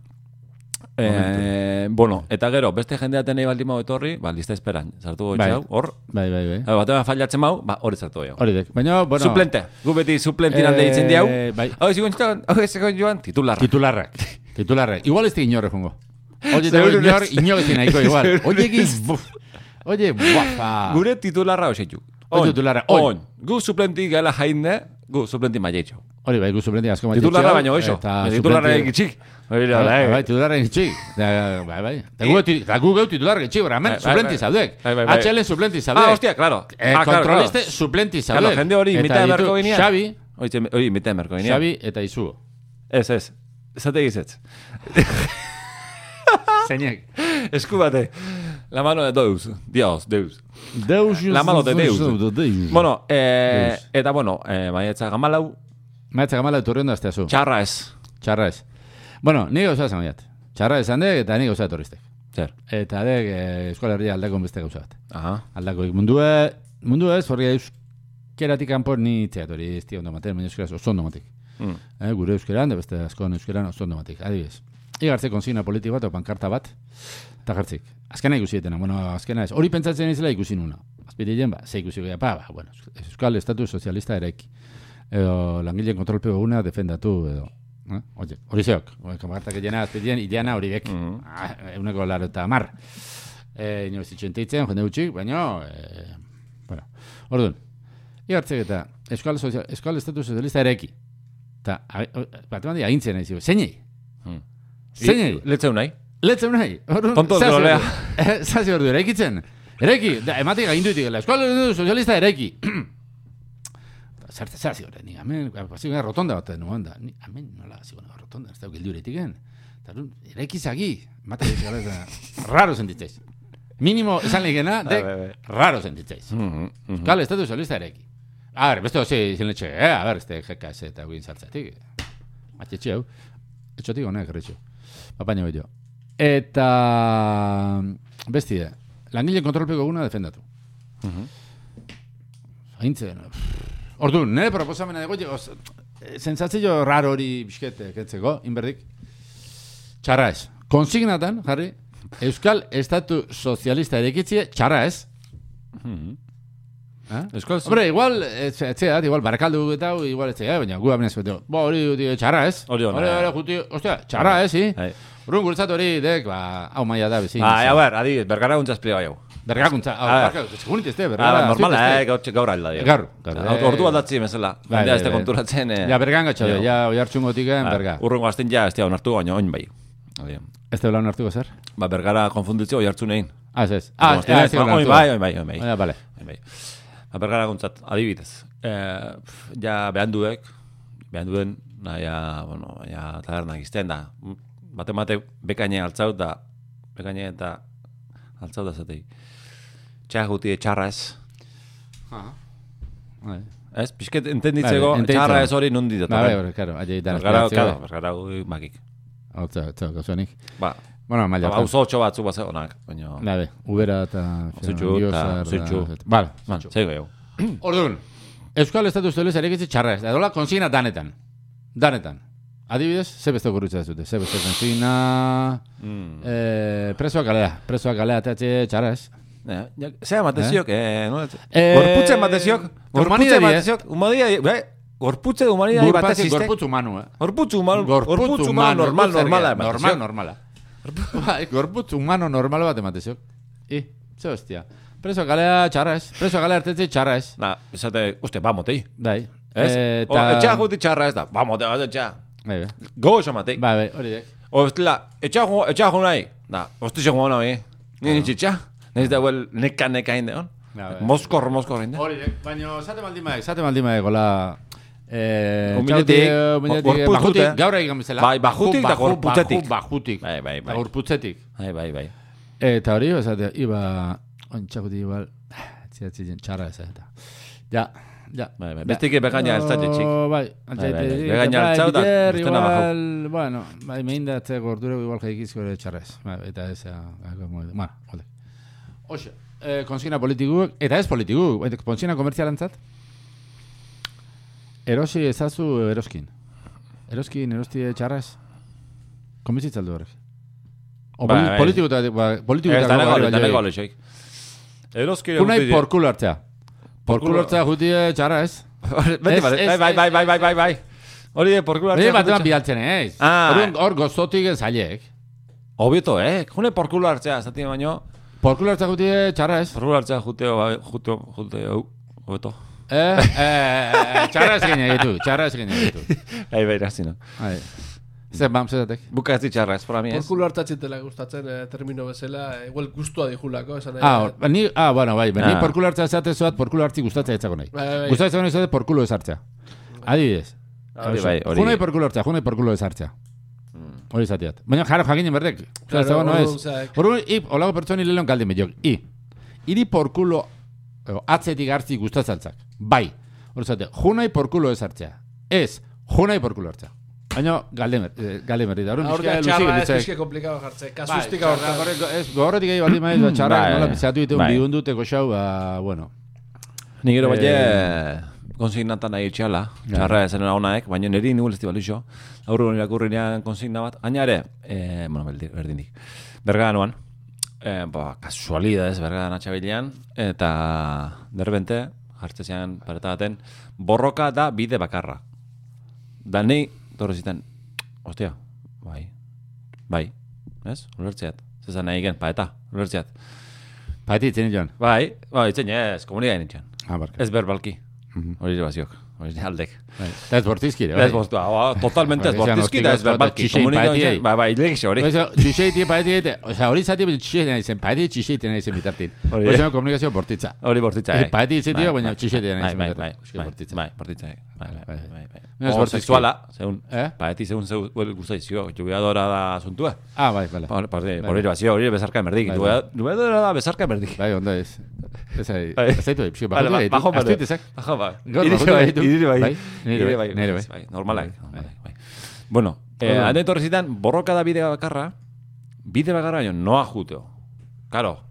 [SPEAKER 1] Eh, bueno, eta gero, beste jendeaten nahi baldimo etorri, ba, lista esperan. Zartu
[SPEAKER 2] Bai.
[SPEAKER 1] gotxe hau, hor, Eh,
[SPEAKER 2] Bai, bai, bai.
[SPEAKER 1] batean fallatzen mau, ba, hori zartu gehiago.
[SPEAKER 2] Hori dek. Baina, bueno...
[SPEAKER 1] Suplente, gu beti suplentin alde
[SPEAKER 2] Eh,
[SPEAKER 1] ditzen diau.
[SPEAKER 2] bai.
[SPEAKER 1] Hau ez joan, hau ez egon joan, titularra.
[SPEAKER 2] Titularrak. Titularrak. Igual ez da inorre jongo. Oye, tengo
[SPEAKER 1] Seguro
[SPEAKER 2] inor,
[SPEAKER 1] ez.
[SPEAKER 2] inor ez nahiko igual. Oye, giz... buf. Oye, buafa.
[SPEAKER 1] Gure titularra hoxetu.
[SPEAKER 2] Oin titularra, oin.
[SPEAKER 1] Gu suplentin gala jainde, gu suplentin maietxo.
[SPEAKER 2] Hori bai, guzu blende asko maitxetxeo.
[SPEAKER 1] Titularra baino hoxo. Titularra egitxik. Hori da,
[SPEAKER 2] Bai, bai,
[SPEAKER 1] bai.
[SPEAKER 2] titularra itxi. Da, Bai, bai. Eta gu, eta gu geu titularra itxi, bera, hemen,
[SPEAKER 1] Eh. Bai, bai,
[SPEAKER 2] suplenti
[SPEAKER 1] bai.
[SPEAKER 2] zaudek.
[SPEAKER 1] Bai, bai, bai.
[SPEAKER 2] HL suplenti zaudek.
[SPEAKER 1] Ah, hostia, claro.
[SPEAKER 2] Eh,
[SPEAKER 1] Ah, claro,
[SPEAKER 2] kontroliste
[SPEAKER 1] claro.
[SPEAKER 2] suplenti zaudek.
[SPEAKER 1] Claro, jende hori
[SPEAKER 2] Eta
[SPEAKER 1] imitea
[SPEAKER 2] ditu
[SPEAKER 1] beharko ginean.
[SPEAKER 2] Xabi,
[SPEAKER 1] Oitzen- Hori imitea beharko ginean.
[SPEAKER 2] Xabi eta Izuo.
[SPEAKER 1] Ez, ez. Zate gizetz.
[SPEAKER 2] *laughs* Zeinek.
[SPEAKER 1] Esku bate. La mano de Deus. Dios, Deus.
[SPEAKER 2] Deus.
[SPEAKER 1] La mano de Deus.
[SPEAKER 2] Deus.
[SPEAKER 1] Bueno, eh, eta bueno, eh, maietza gamalau,
[SPEAKER 2] Maitza gamala etorri ondo aztea zu.
[SPEAKER 1] txarra ez.
[SPEAKER 2] Txarra ez. Bueno, ni gauza esan baiat. Txarra esan dek eta ni gauza etorriztek.
[SPEAKER 1] Zer.
[SPEAKER 2] Eta dek eh, Euskal Herria aldakon beste gauza bat.
[SPEAKER 1] Aha.
[SPEAKER 2] Aldako mundua, mundua ez, horri euskeratik kanpo ni itzeat hori ez tia ondo maten, baina euskeraz oso ondo matik.
[SPEAKER 1] Mm.
[SPEAKER 2] Eh, gure euskeran, da beste askoan euskeran oso ondo matik. Adibidez. Igartze konsigna politiko bat, o pankarta bat, eta jartzik. Azkena ikusi etena, bueno, azkena ez. Hori pentsatzen izela ikusi nuna. Azpirilen, ba, ze ikusi goia, ba, ba, bueno, Euskal Estatu Sozialista eraiki. Edo langileen kontrolpeo una defendatu, edo. Eh? Oye, hori zeok, kamartak egena, azpirilen, ideana hori dek.
[SPEAKER 1] Mhm.
[SPEAKER 2] Ah, euneko laro eta hamar. E, Inoiz itxentitzen, jende gutxik, baina... E, bueno, orduan. Igartzek eta Euskal, Sozial, Euskal Estatu Sozialista ereki. Eta, bat eman di, agintzen nahi zigo. Zeinei?
[SPEAKER 1] Hmm.
[SPEAKER 2] Zeinei?
[SPEAKER 1] I- Letzeu nahi.
[SPEAKER 2] Letzen nahi? Orduan,
[SPEAKER 1] Tonto
[SPEAKER 2] zaz
[SPEAKER 1] trolea.
[SPEAKER 2] ordu- Eh, Zaz ordu, eraikitzen. Ereki, da, ematik agindu ditigela. Euskal Estatu Sozialista ereki. *clears throat* Eta Zerte zaz ordu, ni amen, ba, pasi gara rotonda bat nuen da. Ni, amen, nola, hasi gara rotonda, ez da gildu eretiken. Eta orduan, ereki zagi. Mata gara eta
[SPEAKER 1] *laughs*
[SPEAKER 2] raro sentitzeiz. Minimo, esan legena,
[SPEAKER 1] bai, bai.
[SPEAKER 2] de raro sentitzeiz.
[SPEAKER 1] Mhm, mhm.
[SPEAKER 2] Euskal Mm-hmm. Estatu Sozialista ereki. A ber, beste hozi izin letxe, eh? A ber, este jekas eta guin sartzatik. Matxetxe hau. Etxotik honek, retxo. Apaino gehiago. Eta... Bestia, langile kontrolpeko eguna defendatu. Haintzen. Ordu, nire proposamena dago, jo, oz- eh, sentsazio raro hori biskete, kentzeko, inberdik. Txarra ez. Konsignatan, jarri, Euskal Estatu Sozialista erekitzie, txarra ez. Eh?
[SPEAKER 1] Euskal Sozialista.
[SPEAKER 2] Hombre, igual, eh, etxe, etxeat, igual, barakaldu eta hau, igual, este, eh, etxea, baina gu abnez beteo. Bo, hori, hori, txarra ez.
[SPEAKER 1] Hori ona,
[SPEAKER 2] hori,
[SPEAKER 1] eh.
[SPEAKER 2] hori, juti, ostia, txarra ez, si.
[SPEAKER 1] Bai.
[SPEAKER 2] Urrun guretzat hori, dek, ba, hau maia da, bezin.
[SPEAKER 1] Bai, a ber, adi, bergara guntza espliega jau.
[SPEAKER 2] Bergakuntza, hau,
[SPEAKER 1] A ber.
[SPEAKER 2] barkatu, segurinit ez,
[SPEAKER 1] Ah,
[SPEAKER 2] bergara.
[SPEAKER 1] ba, normala,
[SPEAKER 2] zuit
[SPEAKER 1] eh,
[SPEAKER 2] ez de.
[SPEAKER 1] gaur, gaur alda dio.
[SPEAKER 2] Gaur, gaur.
[SPEAKER 1] Hau,
[SPEAKER 2] Eh,
[SPEAKER 1] Ordu aldatzi bezala.
[SPEAKER 2] Bai,
[SPEAKER 1] Jendea
[SPEAKER 2] bai,
[SPEAKER 1] ez da
[SPEAKER 2] bai.
[SPEAKER 1] konturatzen. eh,
[SPEAKER 2] Ja, bergan gatxo,
[SPEAKER 1] jo. Ah,
[SPEAKER 2] ja, oi hartzun gotiken, berga.
[SPEAKER 1] Urrengo gazten ja, ez dira onartu, baina oin bai. Adi.
[SPEAKER 2] Ez da lan hartuko zer?
[SPEAKER 1] Ba, bergara konfunditzio oi hartzu nein.
[SPEAKER 2] Ah, ez ez. Ah, ez
[SPEAKER 1] Orduan,
[SPEAKER 2] ez.
[SPEAKER 1] ba, oin bai, oin bai, oin bai.
[SPEAKER 2] Ah, vale.
[SPEAKER 1] Oin bai. Ba, bergara guntzat, adibidez. Eh, pf, ja, behanduek, behanduen, na, ja, bueno, ja, tabernak izten da. Bate mate, bekaine altzau da, bekaine eta altzau da zatei. Txar guti txarra ez.
[SPEAKER 2] Bai,
[SPEAKER 1] Ez, pixket entenditzeko,
[SPEAKER 2] Bai, entenditzen.
[SPEAKER 1] txarra ez hori nundi dut.
[SPEAKER 2] bai, bai, claro, allei dan.
[SPEAKER 1] Bergara, claro, bergara gu makik.
[SPEAKER 2] Hau, tza, tza, gauzanik.
[SPEAKER 1] Ba,
[SPEAKER 2] Bueno, maila.
[SPEAKER 1] ba, auzo otxo batzu bat zegoenak, baina...
[SPEAKER 2] Labe, ubera eta...
[SPEAKER 1] Zutxu eta
[SPEAKER 2] Fernandioz,
[SPEAKER 1] zutxu.
[SPEAKER 2] Arda- Vale.
[SPEAKER 1] Man, zego jau.
[SPEAKER 2] Orduan, Euskal Estatu Zelez erekitzi txarra ez. da. Dola konsigna danetan. Danetan. Adibidez, ze beste okurritza ez dute. Ze beste konsigna...
[SPEAKER 1] Mm.
[SPEAKER 2] Eh, presoak galea. Presoak galea atatxe txarra ez.
[SPEAKER 1] Ja, ja, Ze amateziok, eh? no?
[SPEAKER 2] Eh,
[SPEAKER 1] Gorputze amateziok, gorputze
[SPEAKER 2] humanidade,
[SPEAKER 1] amateziok, humanidade, bai, gorputze humanidade bat
[SPEAKER 2] Gorpatzi,
[SPEAKER 1] azizte.
[SPEAKER 2] gorputz humanu, eh.
[SPEAKER 1] Gorputze humano,
[SPEAKER 2] Gorputz
[SPEAKER 1] gorputze humano,
[SPEAKER 2] humano,
[SPEAKER 1] normal,
[SPEAKER 2] gorputz
[SPEAKER 1] normala.
[SPEAKER 2] ergia, Normal, normala. Bai, gorputz humano normal bat emateziok. I, ze hostia. Preso galea txarra ez. Preso galea artetzi txarra ez.
[SPEAKER 1] Na, esate, uste, bamotei.
[SPEAKER 2] Bai.
[SPEAKER 1] Ez?
[SPEAKER 2] Eta...
[SPEAKER 1] O, etxea guti txarra ez da, bamotei, bat etxea.
[SPEAKER 2] Bai, bai.
[SPEAKER 1] Gogo matei.
[SPEAKER 2] Bai, bai, hori dek.
[SPEAKER 1] O, estela, etxea jo, etxea jo nahi. Na, hosti xo gona, eh? Ni nitsi etxea. Nez da, huel, neka, neka hinde, hon. Mozkor, mozkor, egin da.
[SPEAKER 2] Hori, de- baina esate baldin mae, esate baldin mae, gola... Eh,
[SPEAKER 1] Umbiletik,
[SPEAKER 2] txauti, eh, umbiletik,
[SPEAKER 1] gorpuztut,
[SPEAKER 2] bajutik,
[SPEAKER 1] eh?
[SPEAKER 2] gaur egin bezala.
[SPEAKER 1] ba, Bai, bajutik
[SPEAKER 2] Baju-
[SPEAKER 1] eta
[SPEAKER 2] baju-
[SPEAKER 1] gorputzetik.
[SPEAKER 2] baju- Bajutik,
[SPEAKER 1] Bai, bai, bai.
[SPEAKER 2] eta gorputzetik.
[SPEAKER 1] Bai, bai, bai.
[SPEAKER 2] Eta hori, esate, iba, ontsakuti igual, txatzitzen txarra ez eta. Ja, ja.
[SPEAKER 1] Bai, bai. Bestik begaina ez da jetxik.
[SPEAKER 2] Oh, Bai,
[SPEAKER 1] bai,
[SPEAKER 2] altzaite.
[SPEAKER 1] bai. Begaina altxau da, bestena
[SPEAKER 2] Igual, bueno, bai, meindatze gordure igual jaikizko ere txarrez. Bai, eta ez, ah, como- bueno, jode. Oxe, eh, konsigna politikuek, eta ez politikuek, baina konsigna komertzialantzat, erosi ezazu eroskin. Eroskin, erosti txarrez. Komitzitzaldu horrek. O
[SPEAKER 1] Bai,
[SPEAKER 2] poli-
[SPEAKER 1] bai.
[SPEAKER 2] politikotatik, bai,
[SPEAKER 1] Ez
[SPEAKER 2] politikotako
[SPEAKER 1] da
[SPEAKER 2] bai,
[SPEAKER 1] negole, da
[SPEAKER 2] bai,
[SPEAKER 1] negole, xoik. Erozkire
[SPEAKER 2] Unai
[SPEAKER 1] gutidi.
[SPEAKER 2] por culo hartzea. Por culo hartzea eh, jutie txarra ez.
[SPEAKER 1] Beti,
[SPEAKER 2] Ez,
[SPEAKER 1] bate,
[SPEAKER 2] ez,
[SPEAKER 1] bai, bai,
[SPEAKER 2] ez,
[SPEAKER 1] bai, bai, bai, bai. Hori de porkulu
[SPEAKER 2] Hori
[SPEAKER 1] hartzea.
[SPEAKER 2] batean
[SPEAKER 1] jute-
[SPEAKER 2] bidaltzen eh, ez.
[SPEAKER 1] Ah.
[SPEAKER 2] Orduan, Hor gozotik ez aiek.
[SPEAKER 1] Obieto, eh? Unai porkulu hartzea, ez dati baino.
[SPEAKER 2] Por culo hartzea eh, jutie txarra ez.
[SPEAKER 1] Porkulu hartzea juteo, bai, juteo, juteo, obeto.
[SPEAKER 2] Eh, eh,
[SPEAKER 1] *laughs*
[SPEAKER 2] eh, txarra ez gine egitu, txarra ez gine egitu.
[SPEAKER 1] Bai, bai, razina.
[SPEAKER 2] Ai. Zer, bam, zezatek.
[SPEAKER 1] Buka ez ditxarra, ez, para mi, ez.
[SPEAKER 3] Porkulo hartatzitela gustatzen eh, termino bezala, igual gustua dijulako, esan nahi.
[SPEAKER 2] Ah, hor, ba, ni, ah, bueno, bai, ba, ni
[SPEAKER 1] Ah.
[SPEAKER 2] por culo hartzea zatezuat, por culo hartzi gustatzea etzako nahi.
[SPEAKER 3] Bai, bai, bai.
[SPEAKER 2] Gustatzea nahi zate por culo ez hartzea. Adibidez.
[SPEAKER 1] Hori bai, hori. Mm.
[SPEAKER 2] Junai por culo hartzea, junai por culo ez hartzea. Hori zateat. Baina jaro jakinen berdek. Claro,
[SPEAKER 3] Claro,
[SPEAKER 2] Zago no
[SPEAKER 3] orduan
[SPEAKER 2] ez.
[SPEAKER 3] zaek.
[SPEAKER 2] Orduan, ip, olago pertsoni lehon galdin behiok. I. Iri por culo edo, atzetik hartzi gustatzaltzak. Bai. Hori zate, junai por culo ez hartzea. Ez, junai por culo hartzea. Baina galdin eh, galdin berdik. Orduan,
[SPEAKER 3] Hor da
[SPEAKER 2] pixka luzik
[SPEAKER 3] txarra ez
[SPEAKER 2] biltzek.
[SPEAKER 3] bizke komplikado jartze,
[SPEAKER 2] Bai,
[SPEAKER 3] kasustika
[SPEAKER 2] txarra,
[SPEAKER 3] horretan.
[SPEAKER 2] gorrek- ez, Gorretik egin baldin maiz, ba, txarra,
[SPEAKER 1] Bai.
[SPEAKER 2] nola pizatu ditu,
[SPEAKER 1] Bai.
[SPEAKER 2] bihunduteko xau, ba, bueno.
[SPEAKER 1] Ni gero bai,
[SPEAKER 2] Eh,
[SPEAKER 1] konsignatan nahi txala, txarra ezen honaek, baina niri nuen ez dibalixo, aurru honen irakurrinean konsigna bat, haina ere, eh, bueno, beldi- berdindik, berganoan, eh, ba, kasualidades bergadan atxabilean, eta derbente, jartzezian pareta baten, borroka da bide bakarra. Da nei, torre zitan, ostia, bai, bai, ez? Ulertzeat, zezan nahi gen, paeta, ulertzeat.
[SPEAKER 2] Paiti, itzen joan. bai
[SPEAKER 1] Bai, bai, itzen ez, komunikain itxan.
[SPEAKER 2] Ah, barka.
[SPEAKER 1] Ez berbalki. Hori ere baziok. Hori ere aldek.
[SPEAKER 2] Bai. Eta ez bortizkire, Mhm. bai.
[SPEAKER 1] Ez bostua, ba, totalmente ez
[SPEAKER 2] Hori izan
[SPEAKER 1] bortizki da ez
[SPEAKER 2] hortik
[SPEAKER 1] berbalki.
[SPEAKER 2] txixei paetiei.
[SPEAKER 1] Komunikatzen, ba, ba, ilegixo hori.
[SPEAKER 2] Oso, txixei tie paeti egite, oza, hori zati bil txixei nahi zen, paeti txixei tie nahi zen bitartin.
[SPEAKER 1] Hori,
[SPEAKER 2] Hori
[SPEAKER 1] eh?
[SPEAKER 2] zen komunikazio bortitza.
[SPEAKER 1] Hori bortitza,
[SPEAKER 2] Eh,
[SPEAKER 1] eh.
[SPEAKER 2] paeti izan
[SPEAKER 1] Bai,
[SPEAKER 2] dio, baina
[SPEAKER 1] bai,
[SPEAKER 2] txixetea nahi
[SPEAKER 1] bai,
[SPEAKER 2] zen
[SPEAKER 1] Bai,
[SPEAKER 2] bitartean.
[SPEAKER 1] bai,
[SPEAKER 2] Txixei
[SPEAKER 1] bai,
[SPEAKER 2] bortitza.
[SPEAKER 1] bai, bortitza, eh. bai, bai,
[SPEAKER 2] bai.
[SPEAKER 1] bai, bai.
[SPEAKER 2] No es
[SPEAKER 1] O
[SPEAKER 2] bortizki.
[SPEAKER 1] sexuala, segun,
[SPEAKER 2] Eh?
[SPEAKER 1] paeti segun zeu, huel gustaizio, jubiadora da asuntua.
[SPEAKER 2] Ah, bai, bale.
[SPEAKER 1] Hori hori ere bazio, hori ere bezarka merdik.
[SPEAKER 2] Bai, bai.
[SPEAKER 1] Jubiadora da bezarka merdik.
[SPEAKER 2] Bai, ondo ez. Ez ari,
[SPEAKER 1] Bai.
[SPEAKER 2] ez zaitu, pixio,
[SPEAKER 1] Bale,
[SPEAKER 2] bajatu
[SPEAKER 1] ba-
[SPEAKER 2] egin.
[SPEAKER 1] bajo
[SPEAKER 2] Aztu
[SPEAKER 1] berde.
[SPEAKER 2] egitezak.
[SPEAKER 1] Bajo bai.
[SPEAKER 2] Gaur
[SPEAKER 1] Idiri
[SPEAKER 2] bajatu
[SPEAKER 1] bai,
[SPEAKER 2] ditu.
[SPEAKER 1] idiri bai.
[SPEAKER 2] Bai, nire
[SPEAKER 1] Idiri
[SPEAKER 2] bai, nire bai.
[SPEAKER 1] Normalak, normalak, bai. Bueno, eh,
[SPEAKER 2] Orduan.
[SPEAKER 1] ane etorri zitan, borroka da bide bakarra, bide bakarra baino, noa juteo. Karo,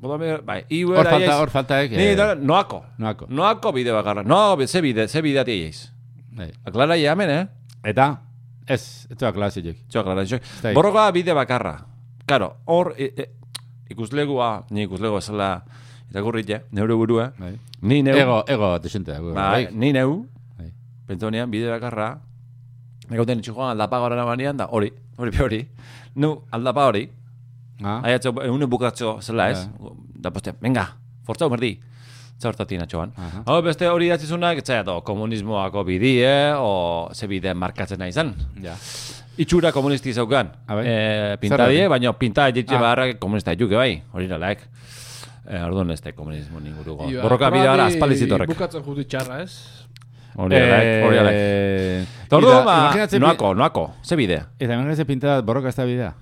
[SPEAKER 1] boda me- bai, iu
[SPEAKER 2] Hor
[SPEAKER 1] era
[SPEAKER 2] falta,
[SPEAKER 1] iaiz.
[SPEAKER 2] hor falta, eh,
[SPEAKER 1] Ni,
[SPEAKER 2] que-
[SPEAKER 1] da, noako.
[SPEAKER 2] Noako.
[SPEAKER 1] Noako bide bakarra. Noako, bi- ze bide, ze bide ati eiz.
[SPEAKER 2] Bai.
[SPEAKER 1] Aklara ia hemen, eh?
[SPEAKER 2] Eta, ez, ez duak klasik.
[SPEAKER 1] Txo, aklara, txo.
[SPEAKER 2] da.
[SPEAKER 1] Borroka da bide bakarra. Karo, hor, e, e, ikuslegua, ni ikuslego esala, irakurrite, neure burua.
[SPEAKER 2] Bai.
[SPEAKER 1] Ni neu,
[SPEAKER 2] Ego, ego, desente. dago,
[SPEAKER 1] Ba,
[SPEAKER 2] bai.
[SPEAKER 1] ni neu,
[SPEAKER 2] Bai.
[SPEAKER 1] pentsa honean, bide bakarra, negauten itxukoan aldapa gara banean, da hori, hori pe hori. Nu, aldapa hori,
[SPEAKER 2] Ah,
[SPEAKER 1] haiatxo, egun bukatxo zela ez,
[SPEAKER 2] Bai.
[SPEAKER 1] da postea, venga, fortzau merdi, txartatin atxoan.
[SPEAKER 2] Aha.
[SPEAKER 1] Hau beste hori datzizunak, etzaia do, komunismoako bidie, o ze bide markatzen nahi zan.
[SPEAKER 2] ja.
[SPEAKER 1] Itxura komunisti zeukan,
[SPEAKER 2] Ah, bai?
[SPEAKER 1] e, pintadie,
[SPEAKER 2] Zergatik?
[SPEAKER 1] baina pinta egitxe
[SPEAKER 2] Ah.
[SPEAKER 1] baharrak komunista juke bai, hori nalaek. E, Orduan ez da komunismo ninguruko.
[SPEAKER 3] Iba,
[SPEAKER 1] Borroka bide gara
[SPEAKER 3] probadi
[SPEAKER 1] aspalizitorrek.
[SPEAKER 3] Bukatzen jutu txarra, ez?
[SPEAKER 1] Hori alaik, hori alaik.
[SPEAKER 2] Eh,
[SPEAKER 1] Eta ordu,
[SPEAKER 2] eta
[SPEAKER 1] ba,
[SPEAKER 2] imaginatzen pi-
[SPEAKER 1] noako, noako, ze bidea.
[SPEAKER 2] Eta imaginatzen pintada borroka ez da bidea.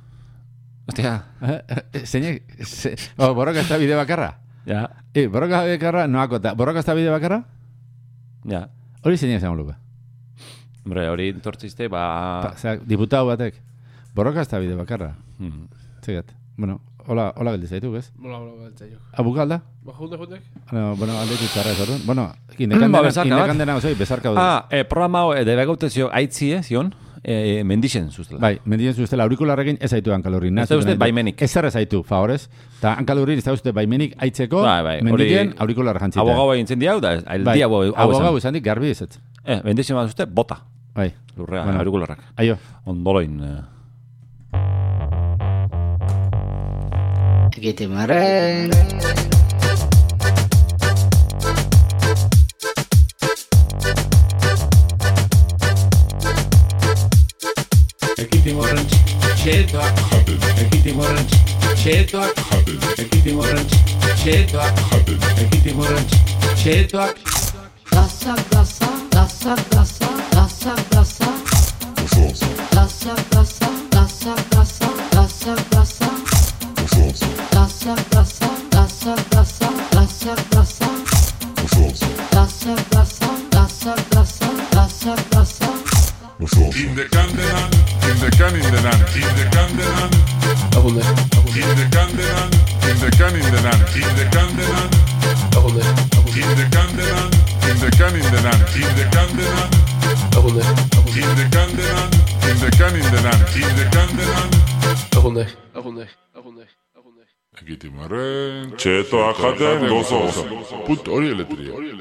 [SPEAKER 1] Ostia,
[SPEAKER 2] Zeinek, ze, o, borroka ez da bide bakarra.
[SPEAKER 1] ja,
[SPEAKER 2] E, borroka bide bakarra, noako, eta borroka ez da bide bakarra,
[SPEAKER 1] ja.
[SPEAKER 2] hori zeinek zango luke.
[SPEAKER 1] Hombre, hori tortziste, ba...
[SPEAKER 2] Pa, zera, diputau batek, borroka ez da bide bakarra.
[SPEAKER 1] Hmm.
[SPEAKER 2] Zegat, bueno, hola, hola geldi zaitu, bez?
[SPEAKER 3] Mola, mola, beltza jo.
[SPEAKER 2] Abuka alda?
[SPEAKER 3] Ba, junde, jundek?
[SPEAKER 2] Bueno, bueno aldetu txarra ez orduan. Bueno,
[SPEAKER 1] Ba,
[SPEAKER 2] indekandena,
[SPEAKER 1] bezarka bat.
[SPEAKER 2] indekandena, ozoi, bezarka dut.
[SPEAKER 1] Ah, e, programa hau, e, debegaute zio, aitzie, zion, e, mendixen zuztela.
[SPEAKER 2] Bai, mendien zuztela aurikularrekin ez zaitu hankalurri.
[SPEAKER 1] Ez dauzte baimenik.
[SPEAKER 2] Ez zara zaitu, favorez. Ta hankalurri ez dauzte baimenik aitzeko,
[SPEAKER 1] Bai, bai, hori-
[SPEAKER 2] mendien aurikular jantzita.
[SPEAKER 1] Abogau egin zen diau, da, el dia hau hau
[SPEAKER 2] Bai. abogau
[SPEAKER 1] esan.
[SPEAKER 2] esan dik garbi ez ez.
[SPEAKER 1] Eh, mendixen bat zuzte, bota,
[SPEAKER 2] Bai,
[SPEAKER 1] lurrea,
[SPEAKER 2] Bueno.
[SPEAKER 1] bueno. aurikularrak.
[SPEAKER 2] aio.
[SPEAKER 1] Ondoloin, eh,
[SPEAKER 4] Egitimarren
[SPEAKER 5] Ekitimo horren txetoa Ekitimo horren
[SPEAKER 4] Txetoak Ekitin horrentz Txetoak Ekitin horrentz Txetoak
[SPEAKER 5] Gasa, gasa, gasa, gasa, gasa, gasa. Gasa, gasa, gasa, gasa, gasa, gasa. Gasa, gasa, gasa, gasa, gasa, gasa. Gasa, gasa, gasa, gasa, gasa, gasa.
[SPEAKER 6] In the Candelan, in the can in the land, in the Candelan,
[SPEAKER 3] Agunde,
[SPEAKER 6] in the Candelan, in the can in the land, in the Candelan,
[SPEAKER 3] agunde,
[SPEAKER 6] in the Candelan, in the can in the land, in the Candelan,
[SPEAKER 3] agunde,
[SPEAKER 6] in the Candelan, in the can in the land, in the Candelan.
[SPEAKER 3] agunde, agunde, agunde, agunde.
[SPEAKER 6] Egiten marren, txetoa jaten gozo. Put hori eletria.